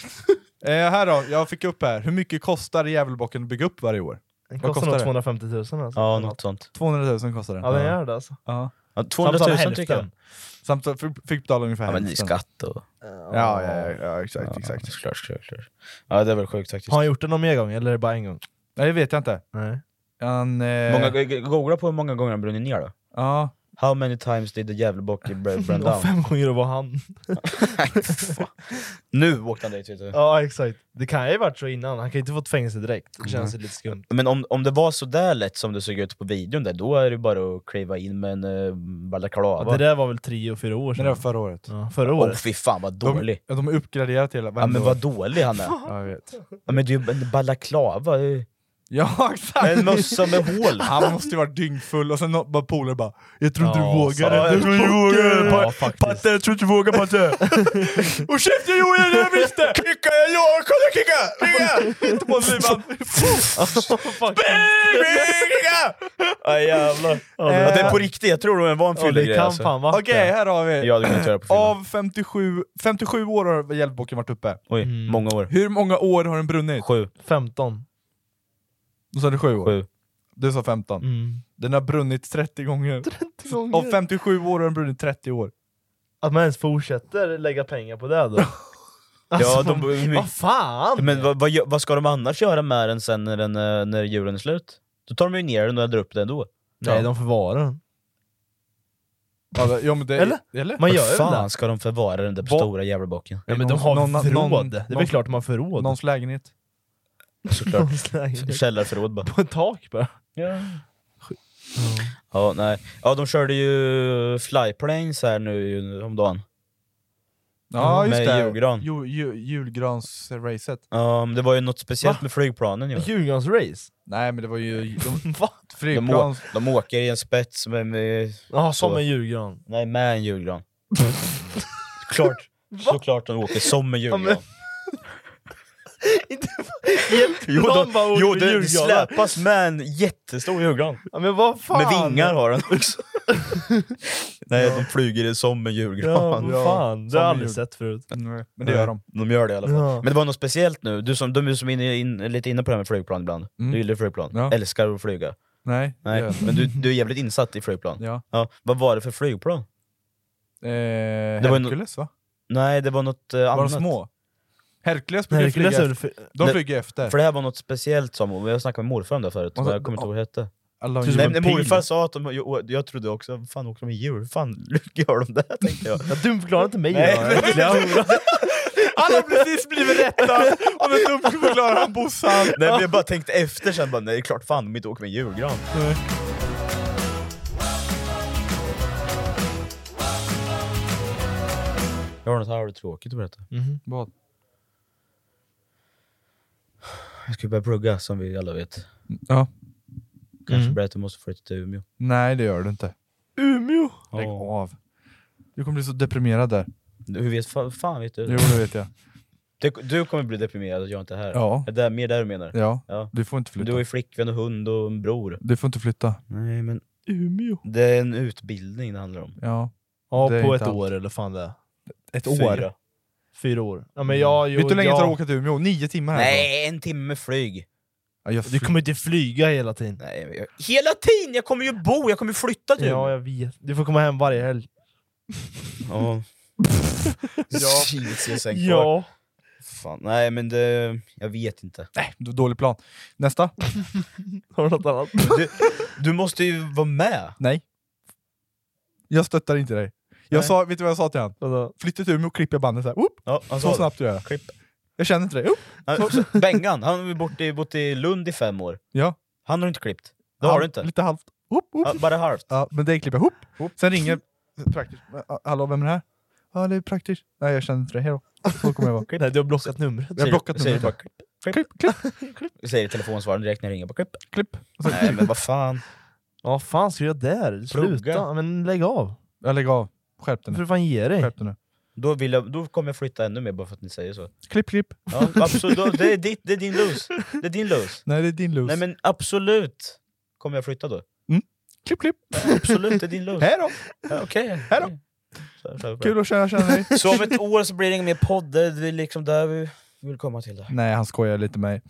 Speaker 1: Eh, här då, jag fick upp här. Hur mycket kostar Djävulbocken att bygga upp varje år?
Speaker 2: Den
Speaker 1: Vad kostar
Speaker 2: kostar nog
Speaker 1: det?
Speaker 2: 250 000 alltså.
Speaker 3: ja, något sånt.
Speaker 1: 200 000 kostar den.
Speaker 2: Ja, den gör det alltså.
Speaker 1: Ja.
Speaker 3: Ja, 200
Speaker 2: Samtala
Speaker 3: 000 tycker jag.
Speaker 2: hälften.
Speaker 1: Samt att fick fick betala ungefär
Speaker 3: Ja, men det är
Speaker 1: hälften.
Speaker 3: skatt och...
Speaker 1: Ja, ja, ja, ja exakt.
Speaker 3: Ja,
Speaker 1: exakt.
Speaker 3: Såklart, såklart, såklart. Ja, det är väl sjukt faktiskt.
Speaker 2: Har han gjort det någon mer gång eller är det bara en gång?
Speaker 1: Nej, det vet jag inte.
Speaker 2: Nej.
Speaker 1: Han, eh,
Speaker 3: Många, googla på hur många gånger han brunnit ner då.
Speaker 1: ja,
Speaker 3: How many times did the Gävlebock burn down?
Speaker 2: Och fem gånger det var han.
Speaker 3: Nu åkte han dit vet du.
Speaker 2: Ja exakt. Det kan ju varit så innan, han kan ju inte fått fängelse direkt. Det känns ju lite skumt.
Speaker 3: Men om, om det var sådär lätt som det såg ut på videon där, då är det bara att kliva in med en uh,
Speaker 2: Ja,
Speaker 3: balaklava.
Speaker 2: det där var väl tre och fyra år
Speaker 1: men
Speaker 2: sedan?
Speaker 1: det var förra året.
Speaker 2: Ja, förra
Speaker 3: Åh
Speaker 2: året.
Speaker 3: fy fan vad
Speaker 1: De,
Speaker 3: dålig.
Speaker 1: ja, de är uppgraderade till
Speaker 3: Ja, men vad dålig han är.
Speaker 1: Ja, jag vet.
Speaker 3: Ja, men det är ju en balaklava. det är ju-
Speaker 1: Ja, exakt.
Speaker 3: En mössa med hål.
Speaker 1: Han måste ju varit dyngfull och sen nå- bara polare bara Jag tror inte du
Speaker 2: Ja, så-
Speaker 1: vågar det.
Speaker 2: jag tror inte du vågar det.
Speaker 3: Ja, faktiskt.
Speaker 1: Patte, jag tror inte du vågar Patte! Och käften jag gjorde det jag visste! Kicka jag gör! Kolla kicka! Kicka! Inte på luvan!
Speaker 3: Ja, jävlar. Ja, det är på riktigt, jag tror det var en
Speaker 2: Ja,
Speaker 3: fyllig
Speaker 2: det
Speaker 3: grej
Speaker 2: kan
Speaker 3: alltså.
Speaker 2: fan vara.
Speaker 1: Okej, här har vi.
Speaker 3: Jag hade kunnat göra på filmen.
Speaker 1: Av 57, 57 år har Hjälpboken varit uppe.
Speaker 3: Oj,
Speaker 2: Mm.
Speaker 3: många år.
Speaker 1: Hur många år har den brunnit?
Speaker 3: Sju.
Speaker 2: 15.
Speaker 1: Du sa det sju år?
Speaker 3: Sju.
Speaker 1: Du sa 15.
Speaker 2: Mm.
Speaker 1: Den har brunnit 30 gånger. Av 57 år har den brunnit 30 år.
Speaker 2: Att man ens fortsätter lägga pengar på det då.
Speaker 3: Ja,
Speaker 2: Alltså,
Speaker 3: de, hur mycket-
Speaker 2: Vad fan!
Speaker 3: Men vad, vad, gö- vad ska de annars göra med den sen när, den, eh, när julen är slut? Då tar de ju ner den och eldar upp den då.
Speaker 2: Nej, de förvarar den.
Speaker 1: Alltså, ja, men det,
Speaker 2: Eller?
Speaker 1: eller?
Speaker 2: Man gör
Speaker 3: Vad
Speaker 2: ju det.
Speaker 3: fan
Speaker 2: där.
Speaker 3: ska de förvara den där
Speaker 1: Vad-
Speaker 3: stora jävla bocken?
Speaker 2: Ja, men de har
Speaker 1: Någon- någon-
Speaker 2: förråd.
Speaker 1: någon-
Speaker 2: det är
Speaker 1: någon-
Speaker 2: väl klart de har förråd.
Speaker 1: Någons lägenhet.
Speaker 3: Såklart.
Speaker 2: Någons lägenhet.
Speaker 3: Källarförråd bara.
Speaker 2: På ett tak bara.
Speaker 3: Ja. ja, nej. Ja, de körde ju flyplanes här nu om dagen.
Speaker 1: Ja, just
Speaker 3: Med
Speaker 1: det.
Speaker 3: julgran.
Speaker 1: Ju, ju, julgransracet.
Speaker 3: Ja, men det var ju något speciellt
Speaker 2: Va?
Speaker 3: med flygplanen ju.
Speaker 2: Djurgårdens race?
Speaker 1: Nej men det var ju... De,
Speaker 2: Va?
Speaker 3: De, å-
Speaker 1: flygplans...
Speaker 3: de åker i en spets med, med,
Speaker 2: Ja, som
Speaker 3: Så.
Speaker 2: en julgran.
Speaker 3: nej, med en julgran. Klart. Såklart de åker som en julgran.
Speaker 2: men- Inte-
Speaker 3: Jo,
Speaker 2: Någon
Speaker 3: de,
Speaker 2: bara åker
Speaker 3: jo
Speaker 2: med
Speaker 3: det, det
Speaker 2: julgran.
Speaker 3: släpas med en jättestor julgran.
Speaker 2: Ja, men vad fan!
Speaker 3: Med vingar har den också. Nej, de flyger det som en
Speaker 2: Ja,
Speaker 3: julgran.
Speaker 2: vad
Speaker 1: Ja,
Speaker 2: fan. Det
Speaker 1: som en
Speaker 2: har jag aldrig
Speaker 1: jul.
Speaker 2: sett förut.
Speaker 1: Nej, Mm, Men det gör de.
Speaker 3: De gör det i alla fall.
Speaker 2: Ja.
Speaker 3: Men det var något speciellt nu, du som, de är ju som inne, in, lite inne på det här med flygplan ibland.
Speaker 1: Mm.
Speaker 3: Du gillar flygplan,
Speaker 1: Ja.
Speaker 3: älskar att flyga.
Speaker 1: Nej, det
Speaker 3: Nej.
Speaker 1: gör de.
Speaker 3: Men du, du är jävligt insatt i flygplan.
Speaker 1: Ja.
Speaker 3: Vad var det för flygplan?
Speaker 1: Eh,
Speaker 3: Det var ju no-
Speaker 1: Hercules va?
Speaker 3: Nej, det var något eh,
Speaker 1: Var de
Speaker 3: annat.
Speaker 1: små? Hercules brukar ju
Speaker 2: Nej,
Speaker 1: flyga
Speaker 2: det är
Speaker 1: efter.
Speaker 2: för...
Speaker 1: De
Speaker 3: Nej,
Speaker 1: flyger efter.
Speaker 3: För det här var något speciellt som, jag snackade med morfar om det förut,
Speaker 1: Och så-
Speaker 3: men jag kommer inte ihåg vad det hette.
Speaker 1: Alla
Speaker 2: Tusen-
Speaker 1: djur.
Speaker 3: Nej,
Speaker 2: Typ en
Speaker 3: men morfar
Speaker 2: pil.
Speaker 3: sa att de... Jag, jag trodde också, "Vad fan åker de med djur? Hur fan gör de det? Tänkte jag.
Speaker 2: Ja, Dumförklara inte mig.
Speaker 3: Nej,
Speaker 2: då,
Speaker 3: men-
Speaker 2: äckliga hora.
Speaker 1: Alla har precis blivit rättade! Och nu dumförklarar han Bossan!
Speaker 3: Nej, men jag bara tänkte efter sen, bara, nej det är klart fan de inte åker med en julgran. Jag har något här tråkigt att berätta.
Speaker 1: Vad?
Speaker 3: Jag ska börja plugga som vi alla vet.
Speaker 1: Ja.
Speaker 3: Kanske
Speaker 2: Mm.
Speaker 3: berätta att jag måste flytta till Umeå.
Speaker 1: Nej, det gör du inte.
Speaker 2: Umeå.
Speaker 1: Lägg
Speaker 3: Ja.
Speaker 1: av. Du kommer bli så deprimerad där.
Speaker 3: Hur vet fan, fan vet du?
Speaker 1: Jo, det vet jag.
Speaker 3: Du, du kommer bli deprimerad att jag inte är här.
Speaker 1: Ja.
Speaker 3: Är det mer där du menar?
Speaker 1: Ja,
Speaker 3: Ja.
Speaker 1: du får inte
Speaker 3: Du
Speaker 1: flytta.
Speaker 3: har ju flickvän och hund och en bror.
Speaker 1: Du får inte flytta.
Speaker 3: Nej men
Speaker 2: Umeå.
Speaker 3: det är en utbildning det handlar om.
Speaker 1: Ja.
Speaker 2: Ja,
Speaker 1: Det är
Speaker 2: på
Speaker 1: inte
Speaker 2: ett
Speaker 1: allt.
Speaker 2: år eller fan det är.
Speaker 1: Ett
Speaker 3: Fyra.
Speaker 2: Fyra år. Mm. Ja, men jag,
Speaker 1: Vet
Speaker 2: jo,
Speaker 1: du hur länge det
Speaker 2: jag,
Speaker 1: tar att åka till Umeå? Nio timmar härifrån.
Speaker 3: Nej, en timme med flyg.
Speaker 1: Ja, jag
Speaker 2: Du
Speaker 1: fly-
Speaker 2: kommer inte flyga hela tiden.
Speaker 3: Nej, men jag, hela tiden! Jag kommer ju bo, jag kommer ju flytta till
Speaker 2: Ja, typ. jag vet. Du får komma hem varje helg.
Speaker 3: Ja.
Speaker 1: Ja.
Speaker 3: Shit, jag sen kvar. Fan, nej men det, jag vet inte.
Speaker 1: Nej, d- dålig plan. Nästa?
Speaker 2: Har du något annat?
Speaker 3: Du, du måste ju vara med.
Speaker 1: Nej. Jag stöttar inte dig. Jag
Speaker 3: Nej.
Speaker 1: sa, vet du vad jag sa till han?
Speaker 2: Vadå?
Speaker 1: Flytta till Umeå och klippa bandet så här. Oop,
Speaker 3: Ja, han
Speaker 1: så
Speaker 3: sa
Speaker 1: snabbt du gör.
Speaker 3: Klipp.
Speaker 1: Jag känner inte dig. Oop.
Speaker 3: det. Han- Bengan, han har ju bott i, bott i Lund i fem år.
Speaker 1: Ja.
Speaker 3: Han har inte klippt. Det har
Speaker 1: Ja,
Speaker 3: du inte.
Speaker 1: Lite halvt. Oop, oop.
Speaker 3: Ja, bara halvt.
Speaker 1: Ja, men det klipper jag ihop. Sen ringer praktiskt. Hallå, vem är det här? Ja, det är praktiskt. Nej, jag känner inte dig. Hejdå. Så kommer jag vara.
Speaker 2: Nej, du har blockat numret.
Speaker 1: Jag har blockat
Speaker 3: säger
Speaker 1: numret.
Speaker 3: bara klipp,
Speaker 1: Klipp, klipp,
Speaker 3: Jag säger i telefonsvararen direkt när jag ringer, bara klipp.
Speaker 1: klipp. Alltså, Och så-
Speaker 3: Nej men vad fan.
Speaker 2: Ja, fan ska jag där? Sluta. Men lägg av.
Speaker 1: Jag lägger av. Skärp dig
Speaker 2: Du
Speaker 1: nu.
Speaker 2: får fan ge dig.
Speaker 1: Skärp dig nu.
Speaker 3: Då, vill jag, då kommer jag flytta ännu mer bara för att ni säger så.
Speaker 1: Klipp, klipp.
Speaker 3: Ja, absolut, då, det, är ditt, det är din los. Det är din los.
Speaker 1: Nej, det är din loose.
Speaker 3: Nej men absolut kommer jag flytta då.
Speaker 1: Klipp, klipp.
Speaker 3: Absolut, det är din los.
Speaker 1: Hejdå.
Speaker 3: Ja, Okej.
Speaker 1: Hej då.
Speaker 3: okej. Så- så-
Speaker 1: Kul att känna, känna dig.
Speaker 3: Så om ett år så blir det inga mer poddar, det är liksom där vi vill komma till. Det.
Speaker 1: Nej, han skojar lite med mig.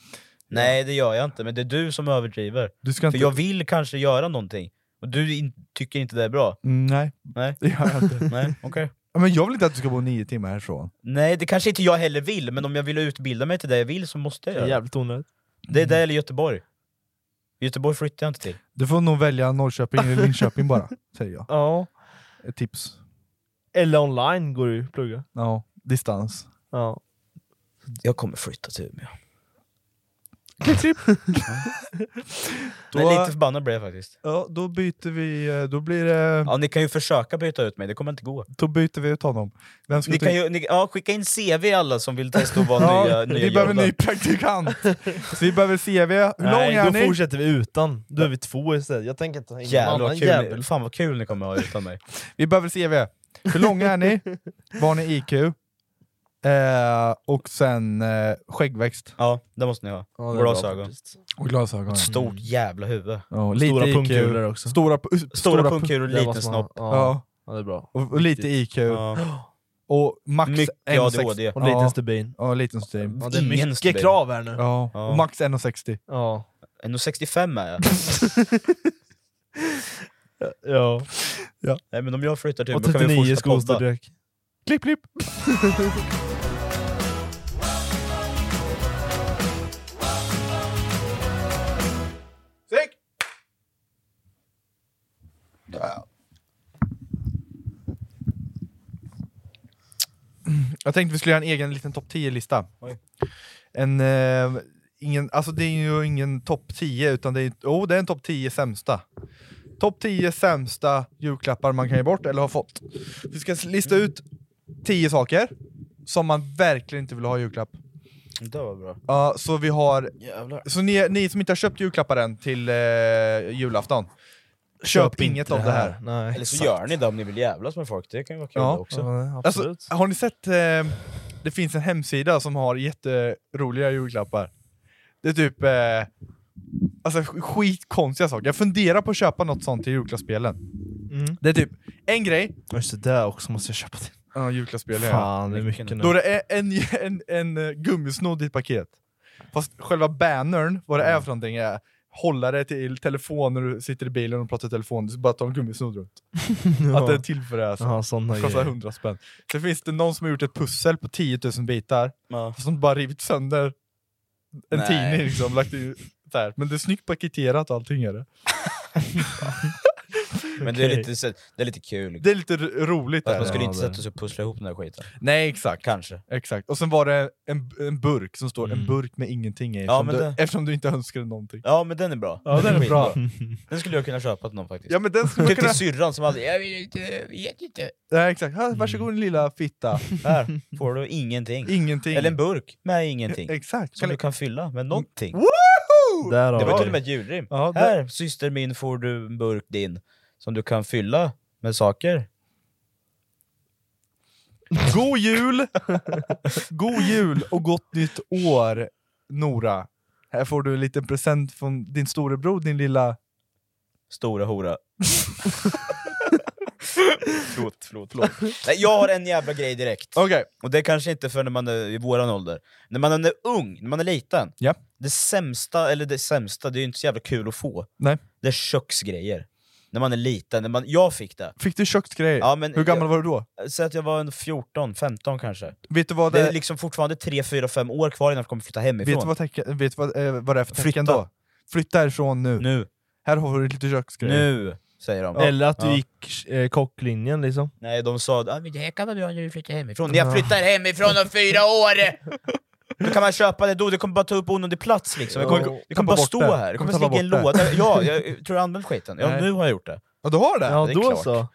Speaker 3: Nej det gör jag inte, men det är du som överdriver.
Speaker 1: Du ska
Speaker 3: För
Speaker 1: inte...
Speaker 3: jag vill kanske göra någonting, och du in, tycker inte det är bra.
Speaker 1: Mm, Nej,
Speaker 3: Nej,
Speaker 1: det gör jag inte.
Speaker 3: nej, okej.
Speaker 1: Ja, Men jag vill inte att du ska bo nio timmar härifrån.
Speaker 3: Nej, det kanske inte jag heller vill, men om jag vill utbilda mig till det jag vill så måste jag
Speaker 2: Det är
Speaker 3: göra det.
Speaker 2: jävligt onödigt.
Speaker 3: Det är det eller Göteborg. Göteborg flyttar jag inte till.
Speaker 1: Du får nog välja Norrköping eller Linköping bara, säger jag.
Speaker 2: Ja.
Speaker 1: Ett tips.
Speaker 2: Eller online går du att plugga.
Speaker 1: Ja, distans.
Speaker 2: Ja.
Speaker 3: Jag kommer flytta till Umeå.
Speaker 1: Klipp, klipp.
Speaker 3: Men
Speaker 1: Då-
Speaker 3: lite förbannad blev jag faktiskt.
Speaker 1: Ja, då byter vi... eh, Då blir det...
Speaker 3: Ja, ni kan ju försöka byta ut mig, det kommer inte gå.
Speaker 1: Då byter vi ut honom. Vem ska
Speaker 3: Ni
Speaker 1: du-
Speaker 3: kan ju, ni, ja, skicka in CV alla som vill testa att vara
Speaker 1: Ja,
Speaker 3: nya, nya
Speaker 1: vi behöver
Speaker 3: jobbar.
Speaker 1: ny praktikant! Så vi behöver CV. Hur lång
Speaker 2: Nej,
Speaker 1: är
Speaker 2: då
Speaker 1: ni?
Speaker 2: fortsätter vi utan. Då är vi två istället. Jag tänker inte ha in någon
Speaker 3: Jävlar
Speaker 2: annan
Speaker 3: vad kul,
Speaker 2: jävel.
Speaker 3: ni, fan vad kul ni kommer ha utan mig.
Speaker 1: Vi behöver CV. Hur långa är ni? Vad har ni IQ? Eh, och sen eh, skäggväxt.
Speaker 3: Ja, det måste ni ha.
Speaker 2: Ja, det är bra
Speaker 3: Glasögon.
Speaker 2: faktiskt. Mm.
Speaker 1: Och glasögon.
Speaker 3: Stort jävla huvud.
Speaker 1: Ja, lite
Speaker 2: Stora
Speaker 1: IQ.
Speaker 2: pungkulor också.
Speaker 1: Stora, pu-
Speaker 3: Stora
Speaker 1: pung-
Speaker 3: pungkulor och
Speaker 2: Det är vad
Speaker 3: liten
Speaker 2: som har-
Speaker 3: snopp.
Speaker 2: Ja.
Speaker 1: Ja.
Speaker 2: ja, det är bra.
Speaker 1: Och, och lite IQ.
Speaker 3: Ja.
Speaker 1: Och max
Speaker 3: Mycket
Speaker 1: 1,60.
Speaker 3: ADHD.
Speaker 2: Och en liten
Speaker 1: Ja.
Speaker 2: stubin.
Speaker 1: Ja, liten stream.
Speaker 2: Ja, det är
Speaker 3: Ingen
Speaker 2: mycket
Speaker 3: stubin.
Speaker 2: krav här nu.
Speaker 1: Ja.
Speaker 3: Ja.
Speaker 1: Och max 1,60.
Speaker 2: Ja.
Speaker 3: 1,65 är jag.
Speaker 2: ja.
Speaker 3: Nej men om jag flyttar till
Speaker 2: Och
Speaker 3: Umeå kan vi
Speaker 2: 39
Speaker 3: fortsätta podda.
Speaker 2: skostorlek.
Speaker 1: Klipp, klipp! Jag tänkte vi skulle göra en egen liten topp 10-lista.
Speaker 3: Oj.
Speaker 1: En, eh, ingen, alltså det är ju ingen topp 10, utan det är, oh, det är en topp 10 sämsta. Topp 10 sämsta julklappar man kan ge bort eller har fått. Vi ska lista ut 10 saker som man verkligen inte vill ha i julklapp.
Speaker 3: Mm, Det var bra.
Speaker 1: Ja, så vi har...
Speaker 3: Jävlar.
Speaker 1: Så ni, ni som inte har köpt julklappar än till eh, julafton, köp,
Speaker 2: inte
Speaker 1: inget av det här.
Speaker 2: Nej.
Speaker 3: Eller så gör ni det om ni vill jävlas med folk, det kan ju vara kul
Speaker 1: Ja.
Speaker 3: det också.
Speaker 2: Ja,
Speaker 1: Alltså,
Speaker 2: absolut.
Speaker 1: har ni sett, eh, det finns en hemsida som har jätteroliga julklappar. Det är typ eh, alltså, sk- skitkonstiga saker. Jag funderar på att köpa något sånt till julklappsspelen.
Speaker 2: Mm.
Speaker 1: Det är typ en grej,
Speaker 2: Just det, där också måste jag köpa till.
Speaker 1: ja julklappsspel ja.
Speaker 2: Fan, det är mycket
Speaker 3: Vilken
Speaker 2: nu.
Speaker 1: Då det är en, en, en eh, gummisnodd i ett paket. Fast själva bannern, vad det
Speaker 3: Mm.
Speaker 1: är för någonting, är hållare till telefon när du sitter i bilen och pratar i telefon. Du ska bara ta en gummisnodd runt. Att det är till för det här. så.
Speaker 2: Ja, såna
Speaker 1: Kostar
Speaker 2: grejer.
Speaker 1: 100 spänn. Sen finns det någon som har gjort ett pussel på 10 000 bitar,
Speaker 3: Ja.
Speaker 1: som bara rivit sönder en
Speaker 3: Nej.
Speaker 1: tidning liksom. Lagt i, så här. Men det är snyggt paketerat och allting är det.
Speaker 3: Men det är lite, så- det är lite kul.
Speaker 1: Det är lite r- roligt.
Speaker 3: Fast man
Speaker 1: där.
Speaker 3: skulle
Speaker 1: Ja,
Speaker 3: inte
Speaker 1: där.
Speaker 3: sätta sig och pussla ihop den där skiten.
Speaker 1: Nej, exakt.
Speaker 3: Kanske.
Speaker 1: Exakt. Och sen var det en, en burk som står en
Speaker 2: Mm.
Speaker 1: burk med ingenting i,
Speaker 3: Ja,
Speaker 1: eftersom,
Speaker 3: men
Speaker 1: du,
Speaker 3: det-
Speaker 1: eftersom du inte önskade någonting.
Speaker 3: Ja men den är bra.
Speaker 1: Ja, den är bra.
Speaker 2: Mm.
Speaker 3: Den skulle jag kunna köpa till någon faktiskt.
Speaker 1: Ja, men den skulle man
Speaker 3: Typ
Speaker 1: kunna...
Speaker 3: till syrran som aldrig... Jag vill inte, jag vet inte.
Speaker 1: Ja, exakt. Ha,
Speaker 3: Mm.
Speaker 1: varsågod din lilla fitta.
Speaker 3: Här får du ingenting.
Speaker 1: Ingenting.
Speaker 3: Eller en burk med ingenting.
Speaker 1: Exakt.
Speaker 3: Som du kan fylla med någonting.
Speaker 1: Woho!
Speaker 2: Där har
Speaker 3: Det var
Speaker 2: vi
Speaker 3: till och med ett julrim.
Speaker 1: Ja, det-
Speaker 3: Här syster min får du en burk din. Som du kan fylla med saker.
Speaker 1: God jul! God jul och gott nytt år, Nora. Här får du en liten present från din storebror, din lilla...
Speaker 3: Stora hora. förlåt, förlåt, förlåt. Nej, jag har en jävla grej direkt.
Speaker 1: Okej.
Speaker 3: Och det är kanske inte för när man är i våran ålder. När man är ung, när man är liten.
Speaker 1: Ja.
Speaker 3: Det sämsta, eller det sämsta, det är ju inte så jävla kul att få.
Speaker 1: Nej.
Speaker 3: Det är köksgrejer. När man är liten. När man, jag fick det.
Speaker 1: Fick du köksgrejer?
Speaker 3: Ja, men
Speaker 1: Hur gammal var du då?
Speaker 3: jag, Säg att jag var en 14, 15 kanske.
Speaker 1: Vet du vad
Speaker 3: Det är
Speaker 1: det,
Speaker 3: liksom fortfarande 3, 4, 5 år kvar innan jag kommer flytta hemifrån.
Speaker 1: vet du vad tecken, vet du vad, eh, vad det är för tecken
Speaker 3: Flytta.
Speaker 1: då? Flytta härifrån nu.
Speaker 3: Nu,
Speaker 1: Här har du lite köksgrejer.
Speaker 3: nu, säger de.
Speaker 2: Eller att du
Speaker 3: Ja.
Speaker 2: gick eh, kocklinjen liksom.
Speaker 3: Nej, de sa ah, men det här kan man göra när du flyttar hemifrån. Jag flyttar hemifrån om fyra år! Då kan man köpa det då, det kommer bara ta upp onödig plats liksom. Det
Speaker 1: Ja.
Speaker 3: kommer, det kommer bara
Speaker 1: Tappa bort
Speaker 3: stå
Speaker 1: det.
Speaker 3: här, det
Speaker 1: Kommer
Speaker 3: kommer
Speaker 1: tappa
Speaker 3: ligga i en
Speaker 1: bort
Speaker 3: låda. Ja, jag tror jag använt skiten. Ja,
Speaker 1: Nej.
Speaker 3: nu har jag gjort det.
Speaker 1: Ja, du har det?
Speaker 2: Ja,
Speaker 3: det är
Speaker 2: då
Speaker 3: klart.
Speaker 2: så.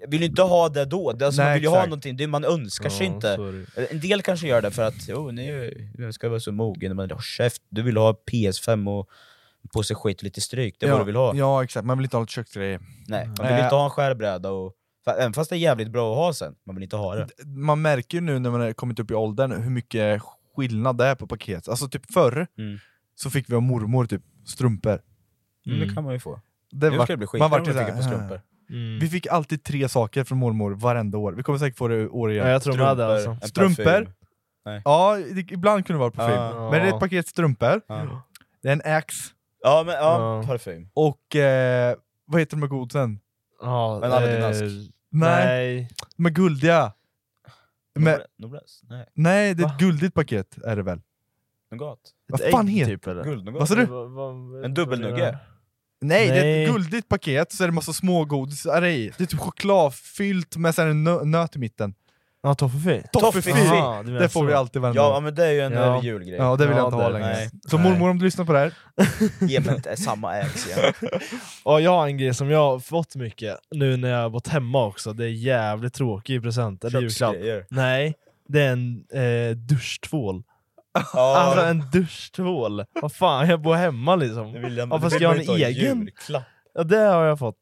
Speaker 3: Jag vill ju inte ha det då, det, alltså,
Speaker 1: Nej,
Speaker 3: man vill ju
Speaker 1: exakt.
Speaker 3: ha någonting, det, man önskar sig
Speaker 2: Ja,
Speaker 3: inte.
Speaker 2: så är det ju.
Speaker 3: En del kanske gör det för att, jo, ni jag ska vara så mogen, men oh, käft, du vill ha PS5 och på sig skit och lite stryk, det är
Speaker 1: ja,
Speaker 3: vad du vill ha.
Speaker 1: Ja, exakt. Man vill inte ha lite köksgrejer.
Speaker 3: Nej, man
Speaker 1: Nej.
Speaker 3: vill inte ha en skärbräda, och, fa- även fast det är jävligt bra att ha sen, man vill inte ha det.
Speaker 1: man märker ju nu när man har kommit upp i åldern hur mycket skillnad det är på paket. Alltså typ förr
Speaker 3: Mm.
Speaker 1: så fick vi av mormor typ strumpor. Mm.
Speaker 3: Men Det kan man ju få.
Speaker 1: Det
Speaker 3: Nu
Speaker 1: vart-
Speaker 3: ska det bli skit
Speaker 1: man
Speaker 3: man
Speaker 1: vart
Speaker 3: om
Speaker 1: ju
Speaker 3: jag tänker på
Speaker 1: så här,
Speaker 3: strumpor.
Speaker 2: Mm.
Speaker 1: Vi fick alltid tre saker från mormor varenda år. Vi kommer säkert få det i år igen.
Speaker 2: Ja, jag tror med det alltså.
Speaker 3: en
Speaker 1: Strumpor.
Speaker 3: parfym.
Speaker 1: Ja, det, ibland kunde det vara parfym.
Speaker 3: Ah.
Speaker 1: Men det är ett paket strumpor,
Speaker 3: Ja.
Speaker 1: det är en ax
Speaker 3: Ja, men, ja,
Speaker 2: Ja.
Speaker 3: parfym.
Speaker 1: och eh, vad heter de med godsen?
Speaker 2: Ja,
Speaker 3: Men använder din
Speaker 2: eh,
Speaker 3: ask.
Speaker 1: Nej, de är guldiga. Men,
Speaker 3: Nobla- Nobless? Nej.
Speaker 1: nej, det är ett
Speaker 2: Va?
Speaker 1: guldigt paket är det väl?
Speaker 3: Nougat?
Speaker 1: Vad
Speaker 2: Ett
Speaker 1: fan
Speaker 2: ägg,
Speaker 1: heter-
Speaker 2: typ, eller?
Speaker 1: Vad
Speaker 3: Guldnougat?
Speaker 1: sa du?
Speaker 2: Vad- vad-
Speaker 3: En dubbelnugge?
Speaker 1: Nej, det är ett
Speaker 2: Nej.
Speaker 1: guldigt paket, så är det massa smågodisar i. Det är typ choklad fyllt med så här en nö- nöt i mitten.
Speaker 2: Ja, toffefee.
Speaker 1: Toffifee!
Speaker 2: Aha, du menar
Speaker 1: Det får vi
Speaker 2: så.
Speaker 1: alltid varenda
Speaker 3: Ja,
Speaker 1: år.
Speaker 3: men det är ju en
Speaker 2: Ja.
Speaker 3: eh, julgrej.
Speaker 1: Ja, det vill jag
Speaker 2: Ja,
Speaker 1: inte
Speaker 2: det
Speaker 1: ha
Speaker 2: är det.
Speaker 1: längre.
Speaker 3: Nej.
Speaker 1: Så mormor, om du lyssnar på det här.
Speaker 3: Ge mig inte samma ax igen.
Speaker 2: Ja, jag har en grej som jag har fått mycket nu när jag har bott hemma också. Det är jävligt tråkig present. Eller julklapp.
Speaker 3: Köksgrejer.
Speaker 2: Nej, det är en eh, duschtvål.
Speaker 3: Ja,
Speaker 2: Alltså en duschtvål! Vad fan, jag bor hemma
Speaker 3: det
Speaker 2: liksom.
Speaker 3: vill jag,
Speaker 2: Ja,
Speaker 3: det
Speaker 2: fast
Speaker 3: vill
Speaker 2: jag
Speaker 3: man
Speaker 2: har
Speaker 3: inte
Speaker 2: en
Speaker 3: ha i
Speaker 2: egen.
Speaker 3: Julklapp.
Speaker 2: Ja, det har jag fått.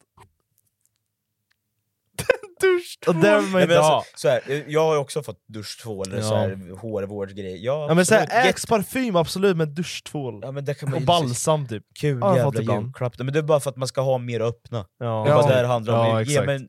Speaker 1: Duschtvål!
Speaker 2: Och det vill man
Speaker 3: Nej,
Speaker 2: inte
Speaker 3: men
Speaker 2: ha.
Speaker 3: alltså, så här, eh, jag har ju också fått duschtvål, eller
Speaker 2: Ja.
Speaker 3: så här, hårvårdsgrej. Ja,
Speaker 2: Ja, men så
Speaker 3: absolut.
Speaker 2: här,
Speaker 3: Jätte-
Speaker 2: Axe parfym absolut, men duschtvål.
Speaker 3: ja, men det kan man
Speaker 2: Och
Speaker 3: ju-
Speaker 2: balsam typ.
Speaker 3: Kul
Speaker 2: Ja, jag har fått
Speaker 3: jävla
Speaker 2: ibland.
Speaker 3: julklapp. Nej, Men det är bara för att man ska ha mer att öppna.
Speaker 2: Ja,
Speaker 3: Det är bara
Speaker 1: Ja.
Speaker 3: det det handlar om.
Speaker 2: Ja,
Speaker 3: Ge mig en-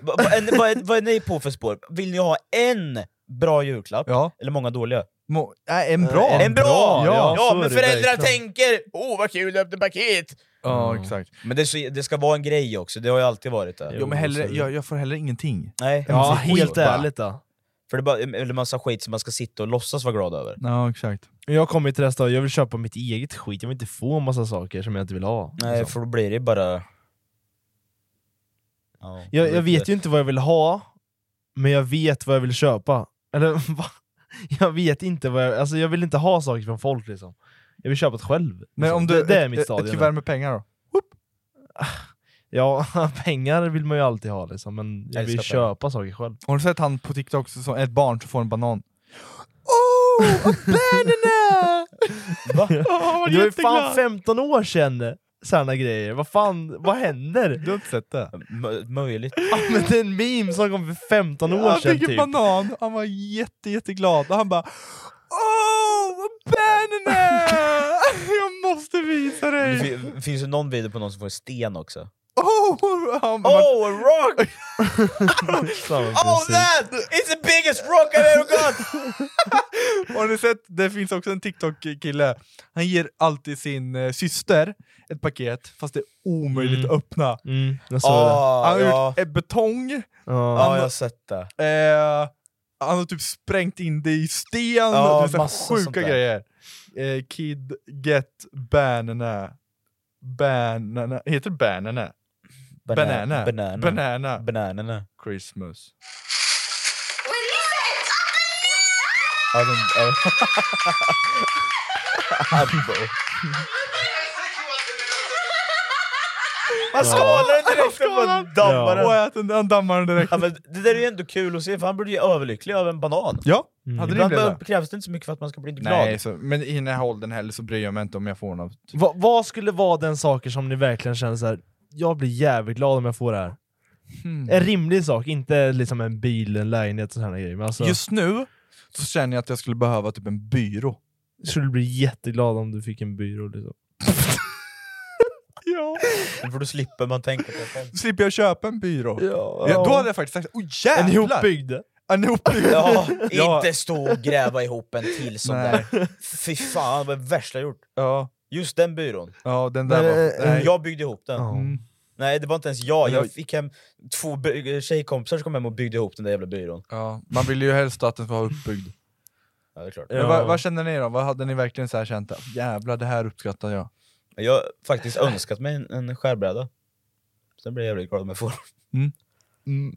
Speaker 3: vad, vad, är- vad, är- vad är ni på för spår? Vill ni ha en bra julklapp?
Speaker 1: Ja.
Speaker 3: Eller många dåliga?
Speaker 1: Må- nej, en bra!
Speaker 2: En
Speaker 3: En bra!
Speaker 2: bra,
Speaker 1: ja.
Speaker 3: Ja,
Speaker 2: så är
Speaker 3: men
Speaker 2: det
Speaker 3: föräldrar
Speaker 2: verkligen.
Speaker 3: tänker åh vad kul, jag öppnade paket!
Speaker 1: Ja, exakt.
Speaker 3: Men det, är så, det ska vara en grej också, det har ju alltid varit det.
Speaker 2: Jo,
Speaker 1: Jo, men
Speaker 2: så
Speaker 1: hellre,
Speaker 2: är det.
Speaker 1: jag, jag får hellre ingenting.
Speaker 3: Nej,
Speaker 1: Ja,
Speaker 2: ja
Speaker 1: men så skit
Speaker 2: helt
Speaker 1: bara.
Speaker 2: ärligt då.
Speaker 3: för det är bara eller massa skit som man ska sitta och låtsas vara glad över.
Speaker 1: Ja, exakt.
Speaker 2: Men Jag kommer ju till nästa dag, jag vill köpa mitt eget skit, jag vill inte få en massa saker som jag inte vill ha.
Speaker 3: Nej, för då blir det bara... Ja,
Speaker 2: Jag, jag vet ju inte vad jag vill ha, men jag vet vad jag vill köpa. Eller va? Jag vet inte vad jag... Alltså jag vill inte ha saker från folk liksom. Jag vill köpa det själv.
Speaker 1: Men
Speaker 2: liksom.
Speaker 1: om du,
Speaker 2: det, det är
Speaker 1: ett-
Speaker 2: mitt
Speaker 1: Ett
Speaker 2: stadie
Speaker 1: kuvert
Speaker 2: nu.
Speaker 1: med pengar då?
Speaker 2: Ja, pengar vill man ju alltid ha liksom, men jag vill
Speaker 3: Älskar
Speaker 2: köpa saker själv.
Speaker 1: Har du sett han på TikTok, som ett barn som får en banan? Oh, a banana!
Speaker 3: Va?
Speaker 1: oh,
Speaker 2: Det var ju fan 15 år sedan! Sådana grejer, vad fan, vad händer?
Speaker 1: Du har inte sett det?
Speaker 3: M- möjligt.
Speaker 2: Ja, men det är en meme som kom för 15 år
Speaker 1: Han
Speaker 2: sedan
Speaker 1: fick en
Speaker 2: typ.
Speaker 1: banan, han var jätte, jätteglad och han bara Oh, a banana! Jag måste visa
Speaker 3: Det
Speaker 1: dig!
Speaker 3: fin- finns ju någon video på någon som får en sten också.
Speaker 1: Oh, han, man,
Speaker 3: Oh, a rock!
Speaker 2: Samma
Speaker 3: Oh
Speaker 2: princip.
Speaker 3: that! It's the biggest rock I've ever got! Oh!
Speaker 1: har ni sett? Det finns också en TikTok-kille. Han ger alltid sin eh, syster ett paket, fast det är omöjligt
Speaker 2: Mm.
Speaker 1: att öppna.
Speaker 2: Mm, jag såg det.
Speaker 1: Han har
Speaker 3: Ah, ja.
Speaker 1: gjort eh, betong, eh,
Speaker 2: Ja.
Speaker 3: ja, jag har sett det.
Speaker 1: han har typ sprängt in det i sten,
Speaker 3: Ja,
Speaker 1: och det är så här
Speaker 3: massa sånt
Speaker 1: sjuka
Speaker 3: där.
Speaker 1: grejer. Eh, kid get banana. Banana. Heter det banana? Banana.
Speaker 3: Banana.
Speaker 1: Banana.
Speaker 3: Bananerna.
Speaker 1: Christmas.
Speaker 3: Ja, de, ja. Abbo.
Speaker 1: Han skalar den direkt! Han
Speaker 3: dammar den.
Speaker 1: Och äter den, han dammar den direkt.
Speaker 3: Ja, men det där är ju ändå kul att se, för han blir ju överlycklig av en banan.
Speaker 1: Ja,
Speaker 2: mm.
Speaker 1: hade du
Speaker 3: Ibland
Speaker 1: det?
Speaker 3: be- krävs det inte så mycket för att man ska bli glad.
Speaker 1: Nej, så, men i den här åldern heller så bryr jag mig inte om jag får något.
Speaker 2: Va, vad skulle vara den saker som ni verkligen känner så här? jag blir jävligt glad om jag får det här?
Speaker 1: Hmm. Eh,
Speaker 2: En rimlig sak, inte liksom en bil, en lägenhet och sådana grejer. Men alltså,
Speaker 1: Just nu så känner jag att jag skulle behöva typ en byrå.
Speaker 2: skulle du bli jätteglad om du fick en byrå liksom.
Speaker 1: Ja.
Speaker 3: För då slipper man tänka på det själv.
Speaker 1: Slipper jag köpa en byrå?
Speaker 2: Ja.
Speaker 1: Ja, då hade jag faktiskt sagt oh,
Speaker 2: En
Speaker 1: jävlar!
Speaker 2: ihopbyggd!
Speaker 1: En ihopbyggd!
Speaker 3: Ja,
Speaker 1: Ja.
Speaker 3: inte stå och gräva ihop en till sån
Speaker 1: Nej.
Speaker 3: där. Fy fan, vad värsta jag gjort.
Speaker 1: Ja,
Speaker 3: Just den byrån.
Speaker 1: eh, ja, den där var... Nej.
Speaker 3: Jag byggde ihop den.
Speaker 2: Ja.
Speaker 1: Mm.
Speaker 3: Nej, det var inte ens jag. Jag
Speaker 1: Jag-
Speaker 3: fick hem två by- tjejkompisar som kom hem och byggde ihop den där jävla byrån.
Speaker 1: Ja, man vill ju helst att den får vara uppbyggd.
Speaker 3: Ja, det är klart.
Speaker 1: Men
Speaker 2: Ja.
Speaker 1: vad, vad känner ni då? Vad hade ni verkligen så här känt? Jävlar, det här uppskattar jag.
Speaker 3: Men Jag har faktiskt önskat mig en, en skärbräda. Sen blir jag jävligt glad om jag får
Speaker 1: Mm.
Speaker 2: Mm.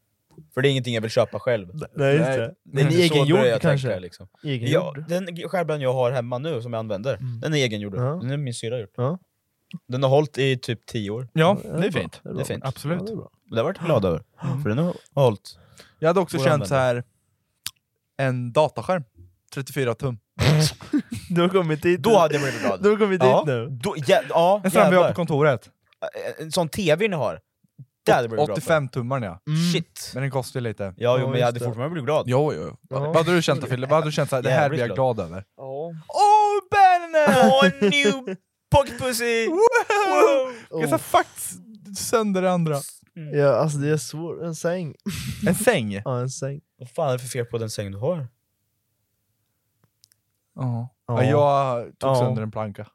Speaker 3: För det är ingenting jag vill köpa själv.
Speaker 2: Nej, just
Speaker 1: Nej.
Speaker 2: det.
Speaker 3: Det är
Speaker 2: En
Speaker 3: inte så
Speaker 2: Mm. egengjord
Speaker 3: börjar jag
Speaker 2: kanske?
Speaker 3: tänka, liksom. Ja,
Speaker 2: Egengjord?
Speaker 3: den g- skärbrädan jag har hemma nu som jag använder,
Speaker 2: Mm.
Speaker 3: den är egengjord.
Speaker 2: Ja.
Speaker 3: Den är min syrra gjort.
Speaker 2: Ja.
Speaker 3: Den har hållit i typ 10 år.
Speaker 1: Ja,
Speaker 2: Ja,
Speaker 1: det är
Speaker 2: bra.
Speaker 1: fint.
Speaker 2: bra.
Speaker 3: Det är fint.
Speaker 1: Absolut.
Speaker 2: Ja, det är bra.
Speaker 3: Det har jag varit glad över. För den har hållit.
Speaker 1: Jag hade också
Speaker 3: Får
Speaker 1: känt
Speaker 3: använda.
Speaker 1: så här en dataskärm. 34 tum.
Speaker 2: Du har kommit dit
Speaker 3: Då
Speaker 2: nu.
Speaker 3: hade jag blivit glad.
Speaker 2: Du har kommit dit
Speaker 3: Ja.
Speaker 2: nu.
Speaker 3: Då, ja, ja,
Speaker 1: En sån här vi har
Speaker 3: jävlar.
Speaker 1: på kontoret.
Speaker 3: eh, En sån TV ni har. Det hade jag blivit glad för.
Speaker 1: 85 tummar ja.
Speaker 3: Shit.
Speaker 1: Men den kostar ju lite.
Speaker 3: Ja, jo,
Speaker 2: Mm. Ja,
Speaker 3: men jag hade
Speaker 2: just det.
Speaker 3: fortfarande blivit glad.
Speaker 1: Jo, jo. jo.
Speaker 2: Ja.
Speaker 1: Vad hade du känt då Fille? Vad hade du känt såhär, det här blir jag
Speaker 3: Jävligt
Speaker 1: glad över?
Speaker 2: Ja.
Speaker 1: Oh banana!
Speaker 3: Åh, new pocket pussy!
Speaker 1: Wow!
Speaker 2: Oh.
Speaker 1: Jag sa faktiskt sönder det andra.
Speaker 2: Ja, alltså det är svårt. En säng.
Speaker 1: En säng?
Speaker 2: Ja, en säng.
Speaker 3: Vad fan är det för fel på den säng du har?
Speaker 1: Ja.
Speaker 2: Ja.
Speaker 1: Jag tog
Speaker 2: Ja.
Speaker 1: sönder en planka.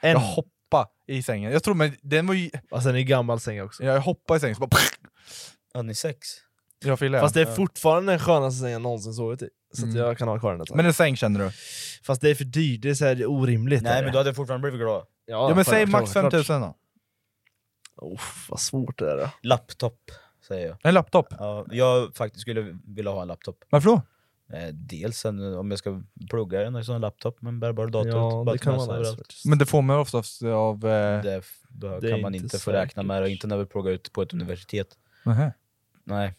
Speaker 2: En.
Speaker 1: Jag hoppade i sängen. Jag tror men den var ju...
Speaker 2: Alltså en är gammal säng också.
Speaker 1: Jag hoppade i sängen så bara...
Speaker 3: Ja, ni sex.
Speaker 1: Jag Fille.
Speaker 2: Fast det är fortfarande den skönaste sängen jag någonsin sovit i. Så att
Speaker 1: Mm.
Speaker 2: jag kan ha kvar den ett tag.
Speaker 1: Men en säng känner du?
Speaker 2: Fast det är för dyrt, det är, så här, det är orimligt. är
Speaker 3: Nej,
Speaker 2: det.
Speaker 3: men du hade fortfarande blivit glad.
Speaker 1: Ja, men säg max 5000 då.
Speaker 2: Oh, vad svårt det är då.
Speaker 3: Laptop, säger jag.
Speaker 1: En laptop.
Speaker 3: Ja, jag faktiskt skulle vilja ha en laptop.
Speaker 1: Varför då?
Speaker 3: Eh, Dels en, om jag ska plugga den, så en laptop med en bärbar dator.
Speaker 2: Ja,
Speaker 3: bara
Speaker 2: det
Speaker 3: till
Speaker 2: kan
Speaker 3: nästa
Speaker 2: vara nice.
Speaker 3: överallt.
Speaker 2: faktiskt.
Speaker 1: Men det får man oftast av... Eh...
Speaker 3: Det, f- då
Speaker 2: Det är
Speaker 3: kan man
Speaker 2: inte
Speaker 3: inte få räkna med, och
Speaker 2: säkert.
Speaker 3: inte när vi pluggar ut på ett universitet.
Speaker 1: nähä.
Speaker 3: Nej.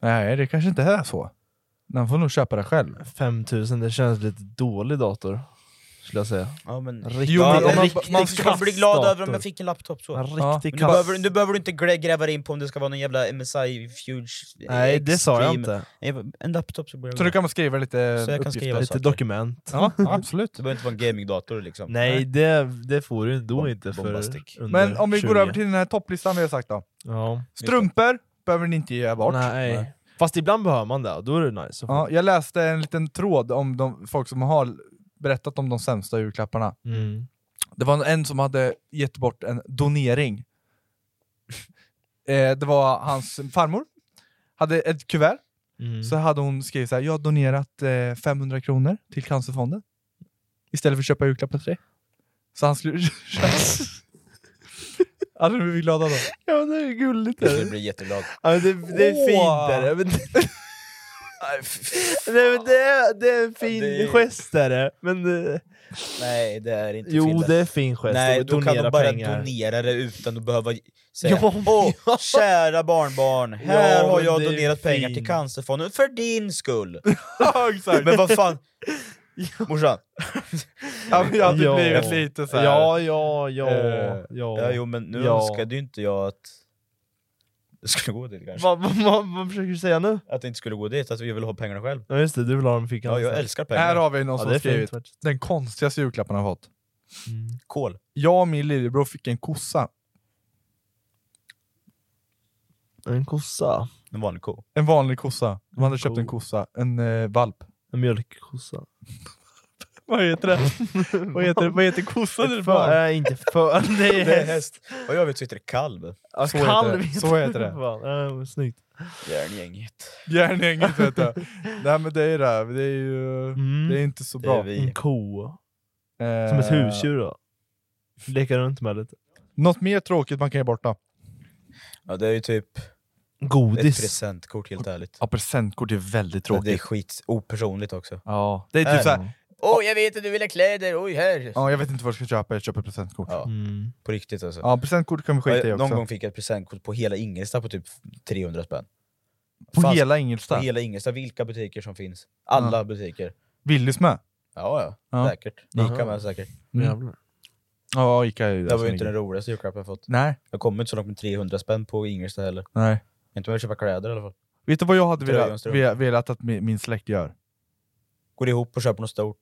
Speaker 1: Nej, det kanske inte är så. Man får nog köpa det själv.
Speaker 2: 5000, det känns lite dålig dator. Skulle jag säga.
Speaker 3: Ja, men...
Speaker 2: Riktigt,
Speaker 1: Jo, men
Speaker 3: Ja,
Speaker 1: om
Speaker 3: men
Speaker 1: man-
Speaker 3: man,
Speaker 1: man
Speaker 3: man skulle bli glad över om jag fick en laptop så.
Speaker 2: En
Speaker 3: Men
Speaker 1: Ja,
Speaker 2: riktig
Speaker 1: men
Speaker 3: Du
Speaker 2: kass.
Speaker 3: behöver, du behöver inte grä- gräva dig in på om det ska vara någon jävla MSI Fuge...
Speaker 2: Nej, det sa jag
Speaker 3: eh, Extreme.
Speaker 2: inte.
Speaker 3: Nej, En laptop så blir jag
Speaker 1: Så du
Speaker 3: glad.
Speaker 1: kan man skriva lite
Speaker 3: Så jag kan
Speaker 1: uppgifter.
Speaker 3: skriva.
Speaker 2: Lite
Speaker 3: saker.
Speaker 2: dokument.
Speaker 1: Ja, absolut.
Speaker 3: Det behöver inte vara en gamingdator liksom.
Speaker 2: Nej, det, det får du då
Speaker 3: Bom-
Speaker 2: inte för
Speaker 3: bombastic.
Speaker 2: under
Speaker 1: Men om vi
Speaker 2: 20.
Speaker 1: går över till den här topplistan vi har sagt då.
Speaker 2: Ja.
Speaker 1: Strumpor behöver ni inte ge bort.
Speaker 2: Nej. Fast ibland behöver man det, och då är det nice. att få.
Speaker 1: Ja, jag läste en liten tråd om de folk som har berättat om de sämsta julklapparna.
Speaker 2: Mm.
Speaker 1: Det var en som hade gett bort en donering. Eh, det var hans farmor. Hade ett kuvert,
Speaker 2: Mm.
Speaker 1: så hade hon skrivit så här, jag har donerat eh, 500 kronor till Cancerfonden. Istället för att köpa julklappar till dig. Så han skulle... hade du blivit glada då?
Speaker 2: Ja, det är gulligt.
Speaker 3: Jag skulle bli jätteglad.
Speaker 2: Ja, men det, det är
Speaker 1: Åh.
Speaker 2: fint. Är det. Men,
Speaker 3: Nej, f-
Speaker 2: nej, men det, är, det är en fin
Speaker 3: Ja, det-
Speaker 2: gest. Är det. Men, eh,
Speaker 3: Nej, det är inte
Speaker 2: jo,
Speaker 3: Fille.
Speaker 2: det är en fin gest.
Speaker 3: Nej,
Speaker 2: att
Speaker 3: då kan de bara
Speaker 2: pengar.
Speaker 3: donera det utan att behöva säga
Speaker 2: Ja,
Speaker 3: Åh, kära barnbarn, här
Speaker 2: Ja,
Speaker 3: har jag
Speaker 2: det är
Speaker 3: donerat pengar
Speaker 2: fint.
Speaker 3: till Cancerfonden för din skull.
Speaker 1: ja, exakt.
Speaker 3: Men vad fan, morsan.
Speaker 1: Ja, men jag hade
Speaker 2: Ja.
Speaker 1: blivit lite så här.
Speaker 2: Ja, ja, ja.
Speaker 1: Eh,
Speaker 2: ja.
Speaker 3: Ja, jo, men nu
Speaker 2: Ja.
Speaker 3: önskade ju inte jag att det skulle gå dit kanske.
Speaker 2: Vad vad- vad- vad försöker du säga nu?
Speaker 3: Att det inte skulle gå dit, att jag vill ha pengarna själv.
Speaker 2: Ja, just det, du vill ha dem i fickan.
Speaker 3: Ja, jag älskar
Speaker 1: Här
Speaker 3: pengar.
Speaker 1: har vi någon
Speaker 2: Ja,
Speaker 1: som
Speaker 2: det är
Speaker 1: skrivit.
Speaker 2: fint. faktiskt.
Speaker 1: Den konstigaste julklappen han fått.
Speaker 2: Mm.
Speaker 3: Kol.
Speaker 1: Jag och min lillebror fick en kossa.
Speaker 2: En kossa.
Speaker 3: En vanlig ko.
Speaker 1: En vanlig kossa. De hade köpt en
Speaker 2: Cool.
Speaker 1: kossa. En eh, valp.
Speaker 2: En mjölkkossa.
Speaker 1: Vad heter det? vad, heter, vad heter kossan eller
Speaker 2: För,
Speaker 1: fan?
Speaker 2: äh, inte för. Det
Speaker 3: Det
Speaker 2: är
Speaker 3: är
Speaker 2: häst.
Speaker 3: häst. Och jag vet så heter det kalv.
Speaker 2: Ja,
Speaker 1: Så heter
Speaker 2: kalv
Speaker 1: det.
Speaker 2: vet
Speaker 1: Så
Speaker 2: jag
Speaker 1: heter det.
Speaker 2: Fan. Äh, snyggt.
Speaker 3: Järngänget.
Speaker 1: Järngänget vet du. Nej men det är det. här. Det är ju...
Speaker 2: Mm.
Speaker 1: Det är inte så
Speaker 3: Det är
Speaker 1: bra. Mm.
Speaker 3: vi.
Speaker 2: En ko.
Speaker 1: Eh,
Speaker 2: Som ett husdjur då. Leka runt med lite.
Speaker 1: Något mer tråkigt man kan ge bort då?
Speaker 3: Ja, det är ju typ ett
Speaker 2: Godis.
Speaker 3: presentkort helt ärligt.
Speaker 1: Ja, presentkort är väldigt
Speaker 3: Men
Speaker 1: tråkigt.
Speaker 3: Det är skit opersonligt också.
Speaker 1: ja. det är typ
Speaker 3: Nej.
Speaker 1: såhär,
Speaker 3: Åh jag vet att du vill ha kläder, oj här!
Speaker 1: ja, jag vet inte vad jag ska köpa, jag köper presentkort. Ja,
Speaker 3: Ja,
Speaker 2: Mm.
Speaker 3: på riktigt alltså.
Speaker 1: presentkort kan vi skita i
Speaker 3: Jag,
Speaker 1: också.
Speaker 3: någon gång fick jag ett presentkort på hela Ingelstad på typ 300 spänn.
Speaker 1: På
Speaker 3: Fanns-
Speaker 1: hela
Speaker 3: på
Speaker 1: Ingelstad?
Speaker 3: hela Ingelstad, vilka butiker som finns. Alla butiker.
Speaker 1: Willys med?
Speaker 3: Ja, ja,
Speaker 1: Ja.
Speaker 3: säkert. Ica
Speaker 2: Jaha.
Speaker 3: med säkert.
Speaker 2: Jävlar.
Speaker 1: Ja, Ica är ju
Speaker 3: Det var ju inte den roligaste julklappen jag fått.
Speaker 1: Nej,
Speaker 3: Jag kom inte så långt med 300 spänn på Ingelstad heller.
Speaker 1: nej.
Speaker 3: Inte med att köpa kläder i alla fall.
Speaker 1: Vet du vad jag hade
Speaker 3: Tröjan,
Speaker 1: velat,
Speaker 3: strumpor.
Speaker 1: ve- velat att mi- min släkt gör?
Speaker 3: Går ihop och köper något stort.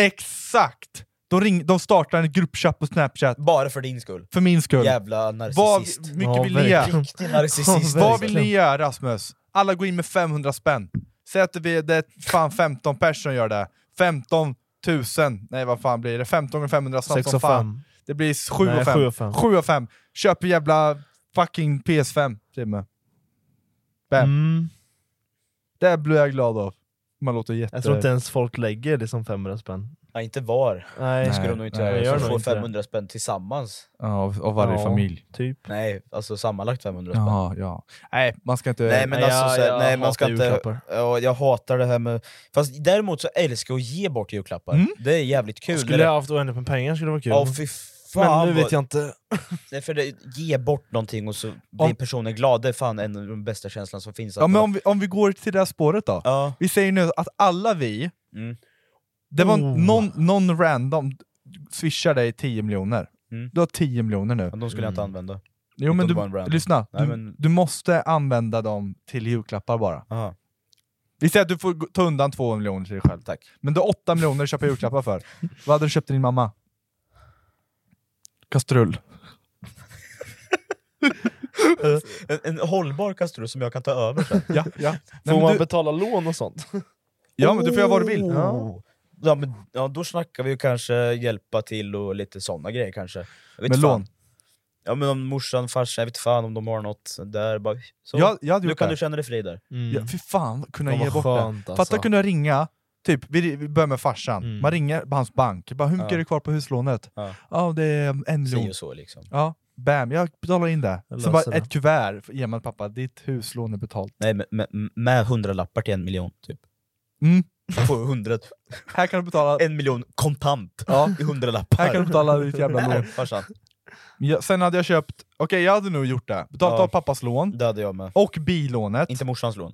Speaker 1: Exakt! De, ring, de startar en gruppchatt på Snapchat,
Speaker 3: Bara för din skull.
Speaker 1: för min skull.
Speaker 3: Jävla
Speaker 1: Vad
Speaker 3: narcissist.
Speaker 1: mycket
Speaker 2: Ja,
Speaker 1: vill ni
Speaker 2: verkligen.
Speaker 1: göra?
Speaker 3: Riktig narcissist.
Speaker 2: Ja,
Speaker 1: Vad vill
Speaker 3: alltså.
Speaker 1: ni göra Rasmus? Alla går in med 500 spänn. Säg att det är, det är fan 15 personer gör det. 15 000, nej vad fan blir det? 15 gånger 500 snabbt
Speaker 2: Sex
Speaker 1: som
Speaker 2: och
Speaker 1: fan.
Speaker 2: fem.
Speaker 1: Det blir 7
Speaker 2: Nej,
Speaker 1: och
Speaker 2: sju
Speaker 1: 5.
Speaker 2: och fem.
Speaker 1: 7 och 5. Köp en jävla fucking PS5 till mig. Bam.
Speaker 2: Mm.
Speaker 1: Det blir jag glad av. Man låter jätte...
Speaker 2: Jag tror inte ens folk lägger det som 500 spänn.
Speaker 3: Ja, inte var.
Speaker 2: Nej,
Speaker 3: Det skulle de nog inte
Speaker 1: nej,
Speaker 3: göra.
Speaker 2: jag
Speaker 3: Jag
Speaker 2: gör nog
Speaker 3: får
Speaker 2: inte det.
Speaker 3: 500 spänn tillsammans.
Speaker 1: Ja, av, av varje
Speaker 2: Ja.
Speaker 1: familj.
Speaker 2: typ.
Speaker 3: Nej, alltså sammanlagt 500 spänn.
Speaker 1: Jaha, ja. Nej, man ska inte...
Speaker 3: Nej men
Speaker 2: Nej,
Speaker 3: alltså,
Speaker 2: jag-
Speaker 3: såhär,
Speaker 2: jag
Speaker 3: nej, man
Speaker 2: hatar
Speaker 3: ska inte...
Speaker 2: julklappar.
Speaker 3: Ja, jag hatar det här med... Fast däremot så älskar jag att ge bort julklappar.
Speaker 1: Mm.
Speaker 3: Det är jävligt kul.
Speaker 2: Skulle
Speaker 3: det...
Speaker 2: jag haft oändligt med pengar skulle det vara kul.
Speaker 3: Ja fy fan
Speaker 2: men nu
Speaker 3: vad...
Speaker 2: vet jag inte.
Speaker 3: Nej, för det, ge bort någonting och så blir
Speaker 1: Om-
Speaker 3: personen glad, det är fan en av de bästa känslan som finns. att
Speaker 1: ja, men
Speaker 3: bara-
Speaker 1: om vi, om vi går till det här spåret då.
Speaker 3: ja.
Speaker 1: Vi säger nu att alla vi,
Speaker 3: Mm.
Speaker 1: det var
Speaker 2: Oh.
Speaker 1: någon, någon random swishar dig 10 miljoner.
Speaker 3: Mm.
Speaker 1: Du har 10 miljoner nu.
Speaker 3: men de skulle jag inte använda.
Speaker 1: Jo men
Speaker 3: inte bara en
Speaker 1: du,
Speaker 3: random.
Speaker 1: lyssna,
Speaker 3: Nej,
Speaker 1: du,
Speaker 3: men-
Speaker 1: du måste använda dem till julklappar bara.
Speaker 3: Aha,
Speaker 1: Vi säger att du får gå- ta undan 2 miljoner till dig själv.
Speaker 3: tack.
Speaker 1: Men du har 8 miljoner att köpa julklappar för. Vad hade du köpt till din mamma? Kastrull.
Speaker 3: En, en hållbar kastrull som jag kan ta över sen.
Speaker 1: Ja, ja.
Speaker 2: Får
Speaker 1: Nej, men
Speaker 2: man
Speaker 1: du,
Speaker 2: betala lån och sånt?
Speaker 1: ja men du får göra vad du vill. Ja.
Speaker 3: Oh. Ja, men, ja, då snackar vi ju kanske hjälpa till och lite sådana grejer kanske. Jag vet
Speaker 1: Med
Speaker 3: fan.
Speaker 1: lån.
Speaker 3: Ja men om morsan, farsan, jag vet fan om de har något där. Bara, så.
Speaker 1: Jag, jag hade
Speaker 3: nu
Speaker 1: gjort
Speaker 3: kan
Speaker 1: det.
Speaker 3: du känna dig fri där.
Speaker 1: Ja, fy fan, kunna
Speaker 2: Mm. Ja,
Speaker 1: ge
Speaker 2: vad
Speaker 1: bort
Speaker 2: skönt,
Speaker 1: det.
Speaker 2: alltså.
Speaker 1: Fatta kunna ringa, typ, vi, vi börjar med farsan,
Speaker 2: Mm.
Speaker 1: man ringer hans bank, bara, hur mycket
Speaker 3: Ja.
Speaker 1: är det kvar på huslånet?
Speaker 3: Ja.
Speaker 1: Ja, det är en
Speaker 3: Si
Speaker 1: miljon.
Speaker 3: och så liksom.
Speaker 1: Ja, bam, jag betalar in det.
Speaker 2: Jag
Speaker 1: Så bara
Speaker 2: löser det.
Speaker 1: ett kuvert, ger man pappa, ditt huslån är betalt.
Speaker 3: Nej, med, med, med 100 lappar till en miljon typ.
Speaker 1: Mm.
Speaker 3: På 100,
Speaker 1: Här kan du betala,
Speaker 3: en miljon kontant
Speaker 1: ja,
Speaker 3: i 100
Speaker 1: här
Speaker 3: lappar.
Speaker 1: kan du betala ditt jävla
Speaker 3: Där,
Speaker 1: lån.
Speaker 3: farsan.
Speaker 1: Ja, sen hade jag köpt, okej jag hade nog gjort det, betalat
Speaker 3: Ja.
Speaker 1: av pappas lån,
Speaker 3: Det hade jag med.
Speaker 1: och bilånet.
Speaker 3: Inte morsans lån.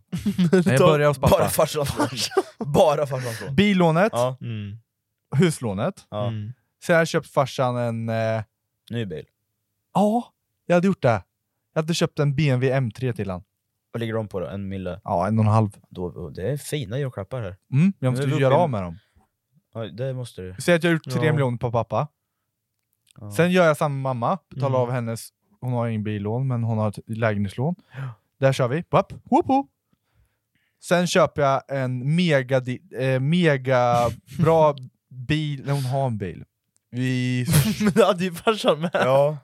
Speaker 1: Nej, jag börjar hos
Speaker 3: Bara
Speaker 1: pappa.
Speaker 3: farsans lån. Bara farsans lån.
Speaker 1: Bilånet,
Speaker 3: Ja,
Speaker 2: Mm.
Speaker 1: huslånet.
Speaker 3: ja.
Speaker 2: Mm.
Speaker 1: Sen hade jag köpt farsan en... Eh,
Speaker 3: Ny bil.
Speaker 1: ja, jag hade gjort det. Jag hade köpt en BMW M3 till han.
Speaker 3: Vad ligger de på då? En mille?
Speaker 1: Ja, en och en halv.
Speaker 3: Då, det är fina julklappar här.
Speaker 1: Mm, jag måste
Speaker 3: Nu är
Speaker 1: ju
Speaker 3: vi
Speaker 1: göra
Speaker 3: uppe i-
Speaker 1: av med dem.
Speaker 3: Ja, det måste du.
Speaker 1: Säg att jag har gjort tre
Speaker 2: Ja.
Speaker 1: miljoner på pappa.
Speaker 3: Ja.
Speaker 1: Sen gör jag samma med mamma, betalar
Speaker 2: Mm.
Speaker 1: av hennes... Hon har ingen billån, men hon har ett lägenhetslån. Där kör vi. Whoop, whoop, whoop. Sen köper jag en mega, di- eh, mega bra bil. Nej, Hon har en bil. Vi...
Speaker 2: Men det hade ju farsan med.
Speaker 3: Ja.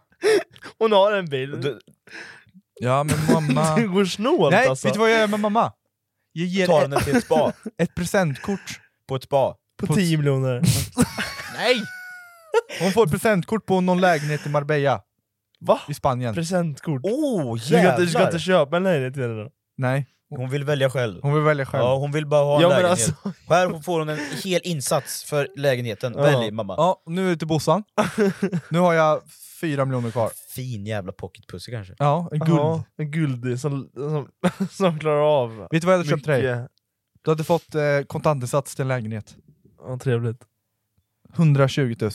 Speaker 2: Hon har en bil. Du,
Speaker 3: Du,
Speaker 1: Ja, men mamma...
Speaker 2: går snålt
Speaker 1: Nej,
Speaker 2: alltså.
Speaker 1: vet du vad jag gör med mamma? Jag
Speaker 3: tar
Speaker 1: ger ett,
Speaker 3: henne till ett spa.
Speaker 1: ett presentkort.
Speaker 3: På ett spa.
Speaker 2: På 10 miljoner.
Speaker 1: Nej! Hon får ett presentkort på någon lägenhet i Marbella
Speaker 2: Va?
Speaker 1: i Spanien.
Speaker 2: Presentkort.
Speaker 3: Oh
Speaker 2: Du ska, inte,
Speaker 3: jävlar!
Speaker 2: du ska inte köpa en lägenhet till henne då?
Speaker 1: Nej,
Speaker 3: Hon vill välja själv.
Speaker 1: hon vill välja själv.
Speaker 3: Ja,
Speaker 1: Ja,
Speaker 3: hon vill bara ha en
Speaker 2: Ja, men
Speaker 3: lägenhet.
Speaker 2: alltså-
Speaker 3: Här får hon en hel insats för lägenheten.
Speaker 2: Ja.
Speaker 3: Välj mamma.
Speaker 1: nu är det till Bossan. nu har jag fyra miljoner kvar.
Speaker 3: Fin jävla pocketpussy kanske.
Speaker 1: Ja, en guld.
Speaker 2: Ja, en guld som, som, som klarar av
Speaker 1: Vet du vad jag hade köpt
Speaker 2: mycket.
Speaker 1: till dig? Du hade fått eh, kontantinsats till en lägenhet.
Speaker 2: Ja, trevligt.
Speaker 1: 120 000.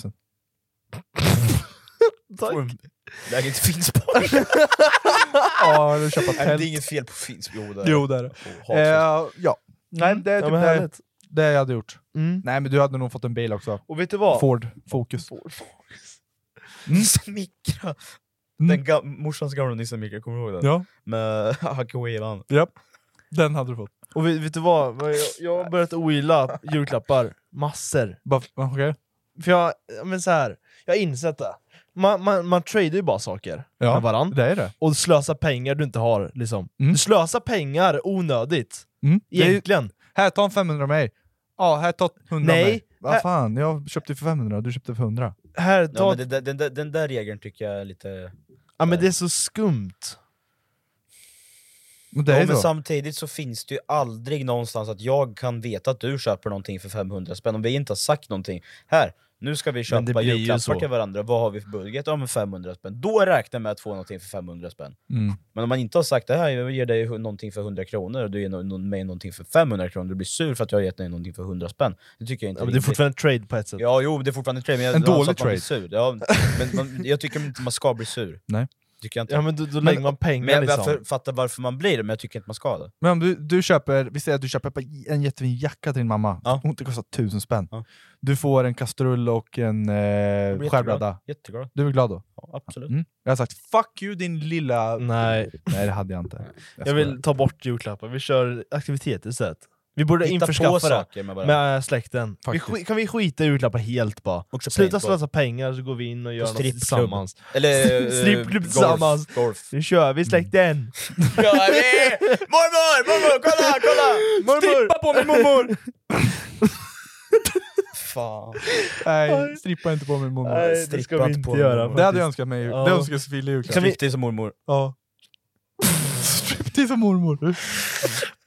Speaker 2: Tack.
Speaker 3: Lägenhet i Finspång.
Speaker 1: Ja, du köpa
Speaker 3: Nej, men
Speaker 1: tält.
Speaker 3: det är inget fel på Finspång. Jo, det är-
Speaker 1: Jo, det är det.
Speaker 3: Oh, hatar.
Speaker 1: Eh, ja. Nej, det är
Speaker 2: Ja,
Speaker 1: typ
Speaker 2: men
Speaker 1: det,
Speaker 2: härligt.
Speaker 1: det jag hade gjort.
Speaker 2: Mm.
Speaker 1: Nej, men du hade nog fått en bil också.
Speaker 2: Och vet du vad?
Speaker 1: Ford Focus.
Speaker 3: Smickra! Den ga morsans gamla Nissan Micra, kommer du ihåg den?
Speaker 1: Ja,
Speaker 3: Med Hacke Weavan.
Speaker 1: ja. Den hade du fått.
Speaker 2: Och vet, vet du vad? Vad Jag, jag har börjat ogilla julklappar. Massor.
Speaker 1: Bara, okej.
Speaker 2: För jag, ja, men så här, jag har insett det. Man, man, man tradar ju bara saker
Speaker 1: Ja,
Speaker 2: med varann.
Speaker 1: det är det.
Speaker 2: Och slösar pengar du inte har. Liksom.
Speaker 1: Mm.
Speaker 2: Du slösar pengar onödigt.
Speaker 1: Mm. det är ju,
Speaker 2: Egentligen.
Speaker 1: här, ta en 500 av mig. Ja, här, ta 100 av
Speaker 2: Nej.
Speaker 1: mig. Vad
Speaker 2: Här-
Speaker 1: fan, jag köpte för 500 du köpte för 100.
Speaker 2: här,
Speaker 3: Ja,
Speaker 2: ta...
Speaker 3: men det, där- den, där- den där regeln tycker jag är lite...
Speaker 2: Ja, men det är så skumt.
Speaker 1: Men Det är
Speaker 3: ja, men
Speaker 1: så.
Speaker 3: samtidigt så finns det ju aldrig någonstans att jag kan veta att du köper någonting för 500 spänn om vi inte har sagt någonting. Här, nu ska vi
Speaker 2: det
Speaker 3: köpa
Speaker 2: blir ju
Speaker 3: julklappar
Speaker 2: så.
Speaker 3: till varandra, vad har vi för budget? Ja men 500 spänn. Då räknar jag med att få någonting för 500 spänn.
Speaker 1: Mm.
Speaker 3: Men om man inte har sagt det här, jag ger dig hu- någonting för 100 kronor och du ger no- no- mig någonting för 500 kronor, du blir sur för att jag har gett dig någonting för 100 spänn. Det tycker jag inte
Speaker 2: Ja, men det är
Speaker 3: rimligt.
Speaker 2: fortfarande trade på ett sätt.
Speaker 3: Ja, jo, det är fortfarande ett trade, men jag,
Speaker 1: En
Speaker 3: alltså
Speaker 1: dålig
Speaker 3: att man blir
Speaker 1: trade.
Speaker 3: Sur. Ja, men man, jag tycker inte man ska bli sur.
Speaker 1: Nej.
Speaker 3: Tycker jag inte.
Speaker 2: Ja, men då, då lägger man pengar
Speaker 3: men jag
Speaker 2: liksom.
Speaker 3: varför, fattar varför man blir det, men jag tycker inte man ska det.
Speaker 1: Men om du, du köper, vi säger att du köper ett par- en jättefin jacka till din mamma,
Speaker 3: Ja.
Speaker 1: hon det kostar tusen spänn.
Speaker 3: Ja.
Speaker 1: Du får en kastrull och en eh,
Speaker 3: blir
Speaker 1: skärbräda.
Speaker 3: Jätteglad.
Speaker 1: Du är glad då?
Speaker 3: Ja, absolut.
Speaker 1: Mm. Jag har sagt 'fuck you din lilla..'
Speaker 2: Nej,
Speaker 1: Nej det hade jag inte.
Speaker 2: Mm. jag vill ta bort julklappar. Vi kör aktiviteter istället. Vi borde införskaffa det
Speaker 3: saker med varandra.
Speaker 2: med äh, släkten. Vi
Speaker 1: Faktiskt.
Speaker 2: sk- kan vi skita i julklappar helt bara?
Speaker 3: Också
Speaker 2: Sluta
Speaker 3: paintball.
Speaker 2: slösa pengar så går vi in och gör något
Speaker 3: strippklubb.
Speaker 2: tillsammans.
Speaker 3: Eller eh,
Speaker 2: Strippklubb
Speaker 3: golf,
Speaker 2: tillsammans.
Speaker 3: Golf.
Speaker 2: Nu kör
Speaker 3: Mm.
Speaker 2: vi släkten!
Speaker 3: Ja, vi- mormor, mormor, kolla, kolla!
Speaker 2: Mormor!
Speaker 1: på mig mormor!
Speaker 3: Fan.
Speaker 1: Nej, strippa inte på mig mormor.
Speaker 2: Nej, det
Speaker 3: Strippa
Speaker 2: ska vi
Speaker 3: inte
Speaker 2: inte
Speaker 3: på
Speaker 2: göra.
Speaker 3: mormor.
Speaker 1: Det hade
Speaker 2: faktiskt.
Speaker 1: jag önskat mig.
Speaker 2: Ja.
Speaker 1: Det önskar jag Sofie i julklapp.
Speaker 3: Kan vi... till som mormor.
Speaker 1: Ja. striptease och mormor.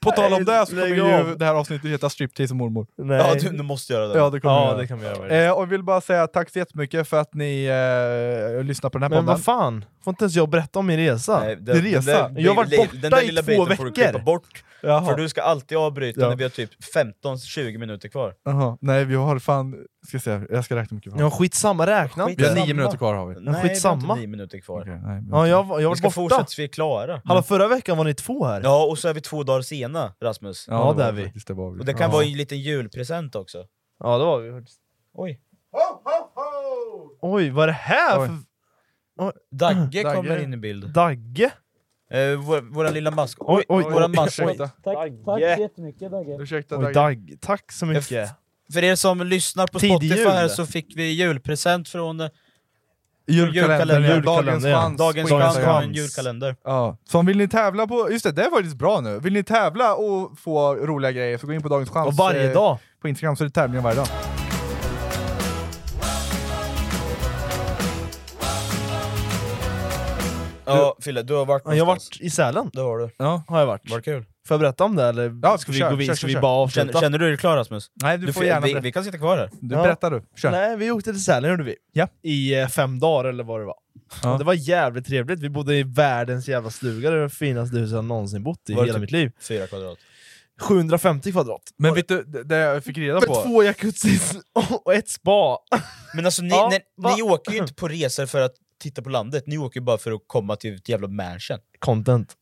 Speaker 1: På tal om det så kommer
Speaker 2: lägg
Speaker 1: ju
Speaker 2: av.
Speaker 1: det här avsnittet heta Striptease och mormor.
Speaker 2: Nej.
Speaker 3: Ja, du, du måste göra det.
Speaker 1: Ja, det kommer
Speaker 2: ja,
Speaker 1: jag
Speaker 2: det
Speaker 1: göra.
Speaker 2: kan vi göra.
Speaker 1: Eh, och jag vill bara säga tack så jättemycket för att ni eh, lyssnar på den här
Speaker 2: Men
Speaker 1: podden.
Speaker 2: vad fan? Får inte ens jag berätta om min resa?
Speaker 3: Nej,
Speaker 1: det är resa.
Speaker 2: Jag har varit
Speaker 3: den där
Speaker 2: borta
Speaker 3: lilla
Speaker 2: i två
Speaker 3: biten Får du
Speaker 2: veckor.
Speaker 3: klippa bort,
Speaker 1: Jaha.
Speaker 3: för du ska alltid avbryta
Speaker 1: Ja.
Speaker 3: när vi har typ 15-20 minuter kvar.
Speaker 1: Jaha. Nej, vi har fan... Ska se, jag ska räkna mycket.
Speaker 2: Ja, skitsamma, räkna
Speaker 3: Skit-
Speaker 2: inte.
Speaker 1: vi har
Speaker 3: samma.
Speaker 1: nio minuter kvar. har vi.
Speaker 3: Nej, vi har
Speaker 2: skitsamma.
Speaker 3: inte 9 minuter kvar.
Speaker 1: Okej, nej, vi har
Speaker 2: Ja,
Speaker 1: inte-
Speaker 2: jag, var- jag
Speaker 3: Vi
Speaker 2: var
Speaker 3: ska
Speaker 2: borta.
Speaker 3: fortsätta så vi är klara.
Speaker 2: Hallå, förra veckan var ni två här.
Speaker 3: Ja, och så är vi två dagar sena, Rasmus.
Speaker 2: Ja,
Speaker 1: det var
Speaker 2: där vi.
Speaker 1: faktiskt, Det var vi.
Speaker 3: Och det kan vara en liten julpresent också.
Speaker 2: Ja, det var vi.
Speaker 3: Oj.
Speaker 2: Oj, vad är det här
Speaker 1: Oj.
Speaker 2: för
Speaker 1: Dagge.
Speaker 3: Dagge, kommer in i bild.
Speaker 2: Dagge?
Speaker 3: Eh, vår, våran lilla mask.
Speaker 2: Oj, oj,
Speaker 3: våran mask.
Speaker 1: ursäkta.
Speaker 6: Tack, tack så jättemycket Dagge.
Speaker 1: Ursäkta,
Speaker 2: Oj,
Speaker 1: Dagge.
Speaker 2: Dag. Tack så mycket.
Speaker 3: För er som lyssnar på
Speaker 2: Tidig
Speaker 3: Spotify
Speaker 2: jul.
Speaker 3: här så fick vi julpresent från eh,
Speaker 1: Julkalendern,
Speaker 3: julkalender.
Speaker 1: dagens
Speaker 2: Julkalender, ja.
Speaker 1: chans.
Speaker 3: Dagens
Speaker 1: på
Speaker 2: Dagens
Speaker 3: chans
Speaker 1: Instagram.
Speaker 3: har
Speaker 2: chans.
Speaker 3: en julkalender.
Speaker 1: Ja. Så om vill ni tävla på... Just det, det är faktiskt bra nu. Vill ni tävla och få roliga grejer så gå in på Dagens Chans
Speaker 2: Och varje
Speaker 1: eh,
Speaker 2: dag.
Speaker 1: på Instagram så är det tävlingar varje dag.
Speaker 3: Ja, Fille, du har varit
Speaker 2: Ja, Jag har
Speaker 3: någonstans.
Speaker 2: varit i Sälen.
Speaker 3: Det har du.
Speaker 1: Ja.
Speaker 2: Har jag varit.
Speaker 3: Var kul.
Speaker 2: Får jag berätta om det eller
Speaker 1: Ja,
Speaker 2: ska vi
Speaker 1: kör,
Speaker 2: gå vidare?
Speaker 1: kör,
Speaker 2: Ska
Speaker 1: kör,
Speaker 2: vi
Speaker 1: kör.
Speaker 2: bara
Speaker 3: Känner,
Speaker 2: avsluta?
Speaker 3: känner du dig klar Rasmus?
Speaker 1: Nej, du, får
Speaker 3: får-
Speaker 1: gärna
Speaker 3: vi,
Speaker 1: berätta.
Speaker 3: vi kan sitta kvar här.
Speaker 1: Du,
Speaker 2: Ja.
Speaker 1: Berätta du. Kör.
Speaker 2: Nej, vi åkte till Sälen gjorde vi.
Speaker 1: Ja.
Speaker 2: I eh, fem dagar eller vad det var.
Speaker 1: Ja.
Speaker 2: Och det var jävligt trevligt. Vi bodde i världens jävla stuga. Det var det finaste huset jag någonsin bott i
Speaker 3: Var det
Speaker 2: hela
Speaker 3: typ-
Speaker 2: mitt liv.
Speaker 3: Fyra kvadrat.
Speaker 2: 750 kvadrat.
Speaker 1: Men vet du, det det jag fick reda
Speaker 2: Med
Speaker 1: på...
Speaker 2: två jacuzzis och ett spa.
Speaker 3: Men alltså ni,
Speaker 2: Ja,
Speaker 3: ni,
Speaker 2: va?
Speaker 3: ni åker ju inte på resor för att titta på landet, ni åker ju bara för att komma till ett jävla mansion.
Speaker 2: Content.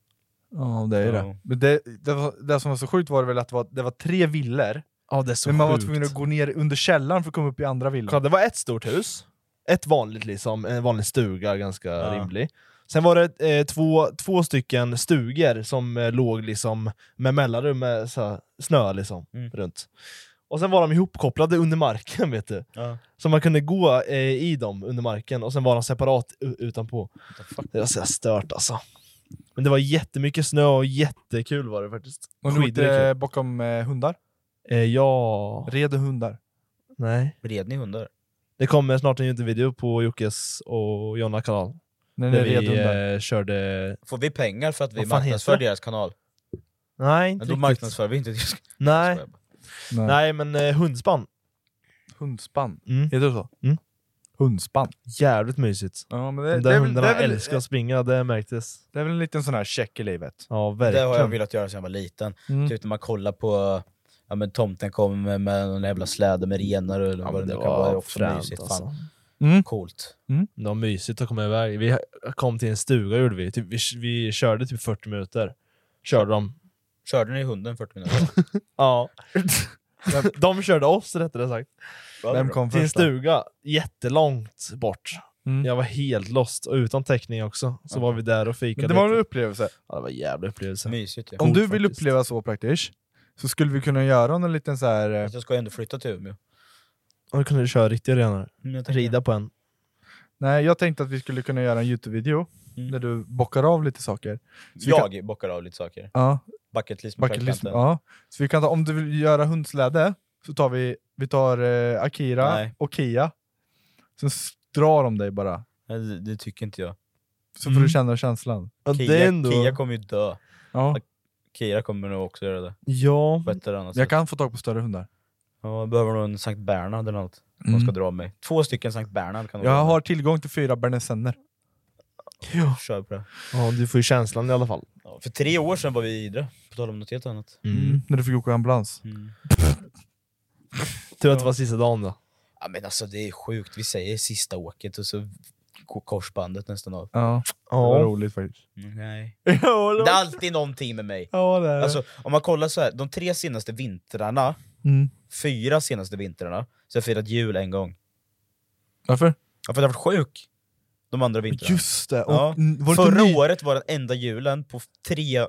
Speaker 1: Ja, det är
Speaker 3: Ja.
Speaker 1: det. Men det, det, var, det som var så sjukt var det väl att det var, det var tre villor,
Speaker 2: Ja, det är så
Speaker 1: men man var
Speaker 2: sjukt.
Speaker 1: tvungen att gå ner under källaren för att komma upp i andra
Speaker 3: Mm.
Speaker 1: villor.
Speaker 2: Kolla, det var ett stort hus, ett vanligt liksom, en vanlig stuga, ganska
Speaker 3: Ja.
Speaker 2: rimlig. Sen var det eh, två, två stycken stugor som eh, låg liksom med mellanrum med så här, snö liksom,
Speaker 3: Mm.
Speaker 2: runt. Och sen var de ihopkopplade under marken, vet du.
Speaker 3: Ja.
Speaker 2: Så man kunde gå eh, i dem under marken, och sen var de separat u- utanpå. Det var så här stört alltså. Men det var jättemycket snö och jättekul var det faktiskt.
Speaker 1: Och nu
Speaker 2: Skidor är
Speaker 1: åkte bakom eh, hundar.
Speaker 2: kul. Eh, ja...
Speaker 1: Red och hundar.
Speaker 2: Nej.
Speaker 3: Red ni hundar?
Speaker 2: Det kommer snart en Youtube-video på Jockes och Jonna kanal.
Speaker 1: När det
Speaker 2: När
Speaker 1: är red
Speaker 2: vi
Speaker 1: hundar.
Speaker 2: eh, körde...
Speaker 3: Får vi pengar för att vi
Speaker 2: Vad fan
Speaker 3: marknadsför
Speaker 2: heter det?
Speaker 3: deras kanal?
Speaker 2: Nej, inte
Speaker 3: Men då
Speaker 2: riktigt.
Speaker 3: marknadsför vi inte deras
Speaker 2: Nej.
Speaker 1: Nej.
Speaker 2: Nej, men eh, hundspann.
Speaker 1: Hundspann.
Speaker 2: Mm.
Speaker 1: Heter det så?
Speaker 2: Mm.
Speaker 1: Hundspann.
Speaker 2: Jävligt mysigt.
Speaker 1: Ja, men det,
Speaker 2: De
Speaker 1: det,
Speaker 2: där
Speaker 1: är väl, det,
Speaker 2: hundarna
Speaker 1: är väl,
Speaker 2: älskar att springa, det märktes.
Speaker 1: det är väl en liten sån här check i livet.
Speaker 2: Ja,
Speaker 3: Det
Speaker 2: verkligen.
Speaker 3: har jag velat göra sedan jag var liten.
Speaker 1: Mm.
Speaker 3: Typ när man kollar på ja, men tomten kommer med, med någon jävla släde med renar och
Speaker 2: Ja, men
Speaker 3: vad det
Speaker 2: det
Speaker 3: nu kan vara. Det är
Speaker 2: var
Speaker 3: också mysigt.
Speaker 2: fränt
Speaker 3: Fan.
Speaker 2: alltså.
Speaker 1: Mm.
Speaker 3: Coolt.
Speaker 2: Det var mysigt att komma iväg. Vi kom till en stuga gjorde vi. Typ, vi, vi körde typ 40 minuter. Körde de.
Speaker 3: Körde ni hunden 40 minuter?
Speaker 2: Ja. de körde oss rättare sagt.
Speaker 1: Vem kom
Speaker 2: Till en
Speaker 1: först? då?
Speaker 2: stuga jättelångt bort.
Speaker 1: Mm.
Speaker 2: Jag var helt lost och utan täckning också. Så var vi där och fikade.
Speaker 1: Men det var en
Speaker 2: lite.
Speaker 1: upplevelse.
Speaker 2: ja, det var en jävla upplevelse.
Speaker 3: Mysigt ju.
Speaker 1: Om du vill
Speaker 2: faktiskt.
Speaker 1: uppleva så praktiskt så skulle vi kunna göra någon liten så här... eh,
Speaker 3: Jag ska ju ändå flytta till Umeå.
Speaker 2: Och då kunde du köra riktiga renar.
Speaker 3: Mm, jag tänker-
Speaker 2: Rida på en.
Speaker 1: Nej, jag tänkte att vi skulle kunna göra en Youtube-video
Speaker 3: Mm.
Speaker 1: där du bockar av lite saker. Så vi kan-
Speaker 3: Jag bockar av lite saker.
Speaker 1: Ja,
Speaker 3: Bucket list med
Speaker 1: bucket list.
Speaker 3: praktikanten.
Speaker 1: Ja. Så vi kan ta, om du vill göra hundsläde så tar vi, vi tar eh, Akira
Speaker 3: Nej.
Speaker 1: och Kia. Sen s- drar de dig bara.
Speaker 3: Nej, Det, det tycker inte jag.
Speaker 1: Så får du känna känslan.
Speaker 2: Ja, det är
Speaker 3: Kia,
Speaker 2: ändå...
Speaker 3: Kia kommer ju dö.
Speaker 1: Ja.
Speaker 3: Kia kommer nog också göra det.
Speaker 2: Ja,
Speaker 3: På ett eller annat
Speaker 1: Jag
Speaker 3: sätt.
Speaker 1: kan få tag på större hundar.
Speaker 3: Ja, jag behöver nog en Sankt Bernhard eller något. Som
Speaker 1: Mm.
Speaker 3: ska dra mig. Två stycken Sankt Bernhard kan nog dra
Speaker 1: Jag
Speaker 3: mig.
Speaker 1: har tillgång till fyra bernesenner.
Speaker 3: Kör på det.
Speaker 2: ja, du får ju känslan i alla fall.
Speaker 3: Ja, för tre år sedan var vi i Idre. På tal om något helt annat. Mm.
Speaker 1: Mm. När du fick åka ambulans.
Speaker 2: Tur att det var sista dagen då.
Speaker 3: Ja, men alltså det är sjukt. Vi säger sista åket och så går korsbandet nästan av. Mm,
Speaker 1: Ja, det var
Speaker 2: Ja.
Speaker 1: roligt faktiskt.
Speaker 3: Nej.
Speaker 1: ja,
Speaker 3: Det är alltid någonting med mig.
Speaker 1: ja, det är det.
Speaker 3: Alltså, om man kollar så här, de tre senaste vintrarna,
Speaker 1: mm.
Speaker 3: fyra senaste vintrarna, så har jag firat jul en gång.
Speaker 1: Varför?
Speaker 3: Ja, för att jag har varit sjuk de andra vintrarna.
Speaker 1: Just det! Och,
Speaker 3: Ja.
Speaker 1: n- var det inte
Speaker 3: Förra
Speaker 1: ny-
Speaker 3: året var den enda julen på tre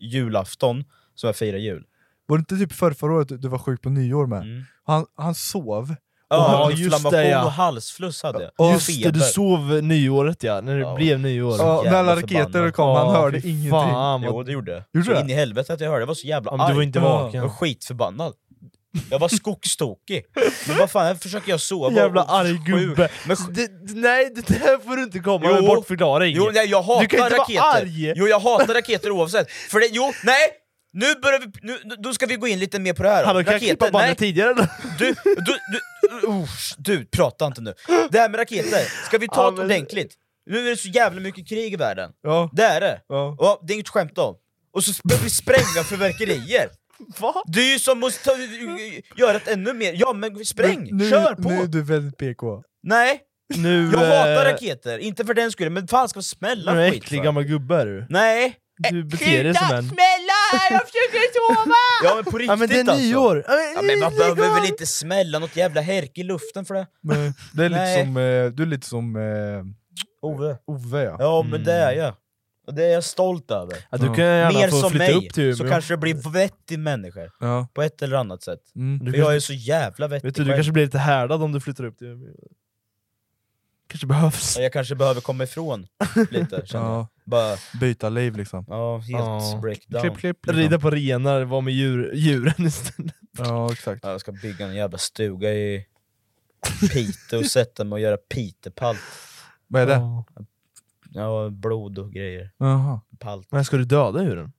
Speaker 3: julafton som jag firade jul.
Speaker 1: Var det inte typ för förra året du, du var sjuk på nyår med?
Speaker 3: Mm.
Speaker 1: Han, han sov.
Speaker 3: Ja,
Speaker 2: Ja, just
Speaker 3: inflammation
Speaker 2: det, ja.
Speaker 3: och halsfluss hade jag.
Speaker 2: Ja,
Speaker 3: Och
Speaker 2: Just det, du sov nyåret ja, när det
Speaker 3: Ja.
Speaker 2: blev nyår.
Speaker 1: Ja, när
Speaker 3: jävla
Speaker 1: alla raketer
Speaker 3: förbannad.
Speaker 1: kom, han
Speaker 2: Ja,
Speaker 1: hörde
Speaker 2: fy
Speaker 1: ingenting.
Speaker 2: Fan, vad...
Speaker 3: Jo, det gjorde jag.
Speaker 1: Gjorde du
Speaker 3: Så
Speaker 1: det?
Speaker 3: In i helvete att jag hörde, jag var så jävla
Speaker 2: ja, men du
Speaker 3: arg.
Speaker 2: var inte
Speaker 1: Ja.
Speaker 2: vaken.
Speaker 3: Jag var skitförbannad. Jag var skogstokig. Men vad fan, här försöker jag sova.
Speaker 2: Jävla
Speaker 3: Och-
Speaker 2: arg gubbe.
Speaker 3: Men sj-
Speaker 2: Det, det- nej, det där får du inte komma med
Speaker 3: Jo.
Speaker 2: bortförklaring.
Speaker 3: Jo, nej, jag hatar
Speaker 2: Du kan inte vara
Speaker 3: raketer.
Speaker 2: arg.
Speaker 3: Jo, jag hatar raketer oavsett. För det, jo, nej! Nu börjar vi, nu, nu- då ska vi gå in lite mer på det här. då.
Speaker 2: Hallå, kan jag klippa
Speaker 3: raketer,
Speaker 2: bandet
Speaker 3: nej!
Speaker 2: tidigare eller?
Speaker 3: Du, du, du, usch, du, prata inte nu. Det här med raketer, ska vi ta
Speaker 2: Ja,
Speaker 3: det
Speaker 2: men-
Speaker 3: ordentligt? Nu är det så jävla mycket krig i världen.
Speaker 1: Ja.
Speaker 3: Det är det.
Speaker 1: Ja.
Speaker 3: Ja, det är inget skämt om. Och så börjar vi spränga fyrverkerier.
Speaker 2: Va?
Speaker 3: Det är ju som att ta, göra ett ännu mer... Ja men spräng!
Speaker 1: Nu,
Speaker 3: Kör på!
Speaker 1: Nu är du väldigt PK.
Speaker 3: Nej!
Speaker 2: Nu,
Speaker 3: Jag hatar
Speaker 2: eh,
Speaker 3: raketer, inte för den skull, men fan ska man smälla
Speaker 2: Nu är
Speaker 3: skit
Speaker 2: äcklig
Speaker 3: för?
Speaker 2: gammal gubbe är du.
Speaker 3: Nej!
Speaker 2: Du beter dig som en...
Speaker 3: Ja men på riktigt
Speaker 2: Ja men det är
Speaker 3: alltså!
Speaker 2: nyår!
Speaker 3: Ja, men man behöver väl inte smälla något jävla härke i luften för det?
Speaker 1: Men det är lite
Speaker 3: Nej.
Speaker 1: som, eh, du är lite som eh,
Speaker 3: Ove.
Speaker 1: Ove ja.
Speaker 3: Ja men det är
Speaker 2: Mm.
Speaker 3: jag. Och det är jag stolt över.
Speaker 2: Ja, du kan gärna
Speaker 3: Mer
Speaker 2: få
Speaker 3: som
Speaker 2: flytta
Speaker 3: mig,
Speaker 2: upp till Umeå.
Speaker 3: så kanske jag blir vettig människa.
Speaker 1: ja.
Speaker 3: På ett eller annat sätt.
Speaker 1: Mm.
Speaker 2: Du
Speaker 3: För jag
Speaker 2: kanske,
Speaker 3: är så jävla vettig
Speaker 2: vet du, du
Speaker 3: själv.
Speaker 2: kanske blir lite härdad om du flyttar upp till Umeå. Kanske behövs.
Speaker 3: Ja, Jag kanske behöver komma ifrån lite, känner jag.
Speaker 1: ja.
Speaker 3: Bara,
Speaker 1: Byta liv liksom.
Speaker 3: ja, helt
Speaker 2: Ja.
Speaker 3: breakdown.
Speaker 1: Klipp, klipp, liksom.
Speaker 2: Rida på renar, vara med djur, djuren istället.
Speaker 1: Ja exakt.
Speaker 3: Ja, jag ska bygga en jävla stuga i Piteå och sätta mig och göra pitepalt.
Speaker 1: Vad är det?
Speaker 3: Ja, blod och grejer.
Speaker 1: Jaha.
Speaker 3: Palt.
Speaker 2: Men ska du döda djuren?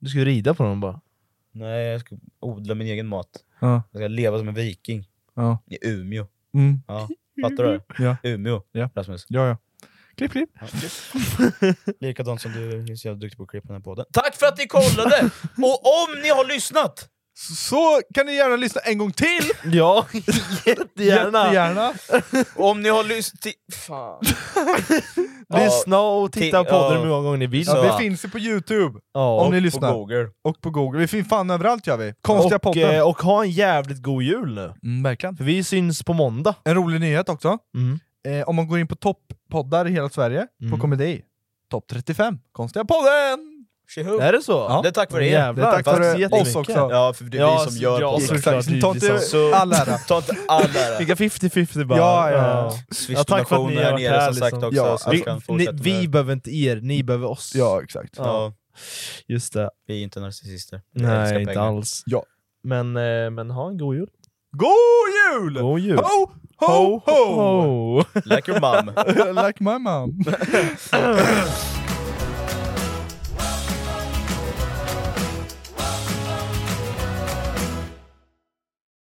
Speaker 2: Du ska ju rida på dem bara.
Speaker 3: Nej, jag ska odla min egen mat.
Speaker 1: Ja.
Speaker 3: Jag ska leva som en viking.
Speaker 1: Ja.
Speaker 3: I Umeå.
Speaker 1: Mm.
Speaker 3: Ja. Fattar du? det?
Speaker 1: Ja.
Speaker 3: Umeå,
Speaker 1: Ja.
Speaker 3: Rasmus.
Speaker 1: ja, ja. Klipp, klipp.
Speaker 3: Likadant som du är så jävla duktig på att klippa den här podden. Tack för att ni kollade! och om ni har lyssnat!
Speaker 1: Så kan ni gärna lyssna en gång till!
Speaker 2: Ja, jättegärna!
Speaker 1: Jättegärna!
Speaker 3: Om ni har lyssnat... Fan.
Speaker 2: Lyssna och titta
Speaker 3: ti-
Speaker 2: på podden
Speaker 3: ja.
Speaker 2: hur många gånger ni vill.
Speaker 3: Så-
Speaker 1: Ja, vi finns ju på Youtube,
Speaker 2: Ja.
Speaker 1: om ni
Speaker 3: På
Speaker 1: lyssnar.
Speaker 3: Google.
Speaker 1: Och på Google. Vi finns fan överallt gör vi. Konstiga
Speaker 2: Och,
Speaker 1: podden.
Speaker 2: eh, och ha en jävligt god jul nu.
Speaker 1: Mm, verkligen.
Speaker 2: För vi syns på måndag.
Speaker 1: En rolig nyhet också.
Speaker 3: Mm.
Speaker 1: Eh, om man går in på topppoddar i hela Sverige, på
Speaker 2: Mm.
Speaker 1: komedi. Topp 35. Konstiga podden!
Speaker 3: Tjoho!
Speaker 2: Är det så?
Speaker 3: Det är tack vare er.
Speaker 2: Jävlar,
Speaker 1: Det är tack
Speaker 2: tack
Speaker 1: vare
Speaker 2: så jättemycket.
Speaker 1: oss också.
Speaker 3: Ja, för det är
Speaker 2: Ja,
Speaker 3: vi som gör
Speaker 2: ja,
Speaker 3: podden.
Speaker 2: så-
Speaker 1: Exakt,
Speaker 2: såklart,
Speaker 1: ta
Speaker 2: det är
Speaker 1: inte
Speaker 3: Så-
Speaker 1: all ära.
Speaker 3: Ta inte all ära.
Speaker 2: Vilka 50-50 bara.
Speaker 1: Ja, ja.
Speaker 2: Ja, tack för att ni har
Speaker 3: Swish-donationer här
Speaker 2: varit
Speaker 3: nere
Speaker 2: här.
Speaker 3: som sagt
Speaker 2: Liksom.
Speaker 3: också.
Speaker 1: Ja,
Speaker 3: så
Speaker 2: vi,
Speaker 3: kan
Speaker 2: ni,
Speaker 3: fortsätta med
Speaker 2: vi
Speaker 3: det.
Speaker 2: behöver inte er, ni behöver oss.
Speaker 1: Ja, exakt.
Speaker 3: ja,
Speaker 2: Just det.
Speaker 3: vi är inte narcissister. Vi älskar
Speaker 2: Nej, inte
Speaker 3: pengar.
Speaker 2: alls.
Speaker 1: Ja.
Speaker 2: Men, eh, men ha en god jul.
Speaker 1: God jul!
Speaker 2: God jul.
Speaker 1: Ho, ho, ho!
Speaker 2: ho.
Speaker 3: Like your mom.
Speaker 1: like my mom.